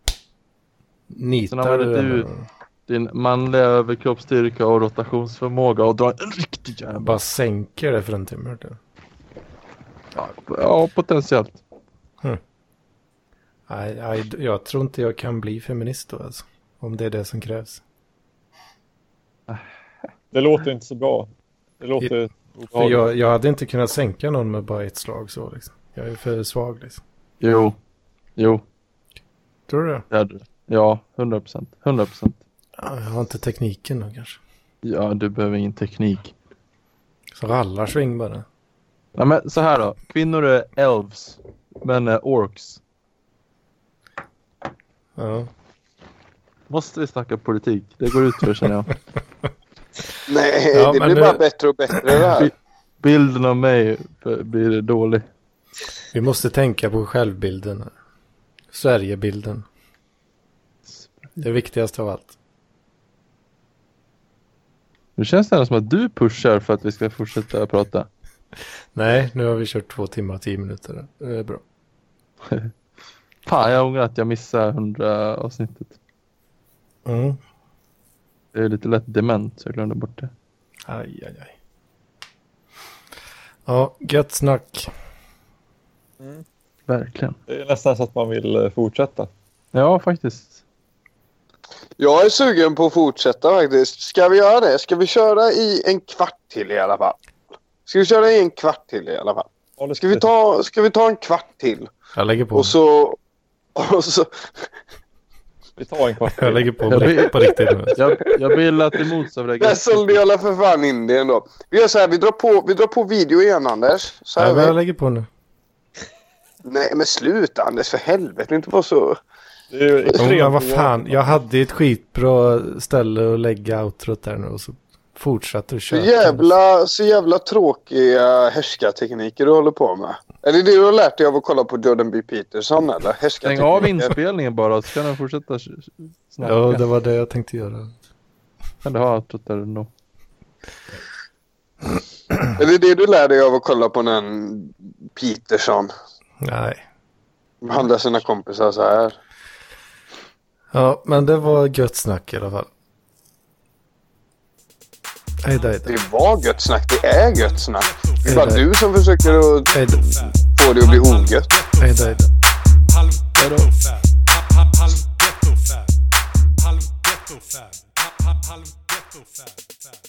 nitar använder du du den. din manliga överkroppsstyrka och rotationsförmåga och drar en riktig jävla... Bara sänker det för en timme. du. Ja, potentiellt. Nej, nej, jag tror inte jag kan bli feminist då alltså. Om det är det som krävs. Det låter inte så bra. Det låter För obehagligt. jag, jag hade inte kunnat sänka någon med bara ett slag så liksom. Jag är för svag liksom. Jo. Jo, Tror du det? det är du. Ja, 100 procent. 100 procent. Ja, Jag har inte tekniken då kanske. Ja, du behöver ingen teknik. Så rallarsving bara. Nej, men så här då. Kvinnor är elves. Män är orks. Ja. Måste vi snacka politik? Det går ut för känner jag. Nej, Ja, det men blir nu- bara bättre och bättre det här. Bilden av mig b- blir dålig. Vi måste tänka på självbilden. här. Sverigebilden. Det viktigaste av allt. Nu känns det ändå som att du pushar för att vi ska fortsätta prata. Nej, nu har vi kört två timmar och tio minuter. Det är bra. Fan, jag ångrar att jag missade 100 avsnittet. Mm. Det är lite lätt dement, så jag glömde bort det. Aj, aj, aj. Ja, gött snack. Verkligen. Det är nästan så att man vill eh, fortsätta. Ja, faktiskt. Jag är sugen på att fortsätta faktiskt. Ska vi göra det? Ska vi köra i en kvart till i alla fall? Ska vi köra i en kvart till i alla fall? Ja, det Ska vi ta, ska vi ta en kvart till? Jag lägger på. Och så... Och så vi tar en kvart Jag till. lägger på på rikt- på riktigt nu. Jag, jag vill att emot av där det. sålde jag för fan in det ändå. Vi gör så här, vi drar på, vi drar på video igen Anders. Så här Ja, men är jag vi. lägger på nu. Nej men sluta Anders för helvete, inte vara så... Det är ju Jo, extremt men vad fan, jag hade ju ett skitbra ställe att lägga outrot där nu och så fortsatte du Så köra. jävla, så jävla tråkiga härskartekniker du håller på med. Är det det du har lärt dig av att kolla på Jordan B. Peterson eller? Stäng av Härskartekniker. inspelningen bara, så kan den fortsätta s- snacka. Ja, det var det jag tänkte göra. Kan du ha allt där ändå? Är det det du lär dig av att kolla på den Peterson? Nej. Behandla sina kompisar så här. Ja, men det var gött snack i alla fall. Hej då, hej då. Det var gött snack, det är gött snack. Det är bara Det är det. du som försöker att Hej då, få det att bli ogött. hej då, hej då. Halv gettofab. Ha- ha- Halv gettofab. Halv gettofab. Ha- ha- Halv gettofab.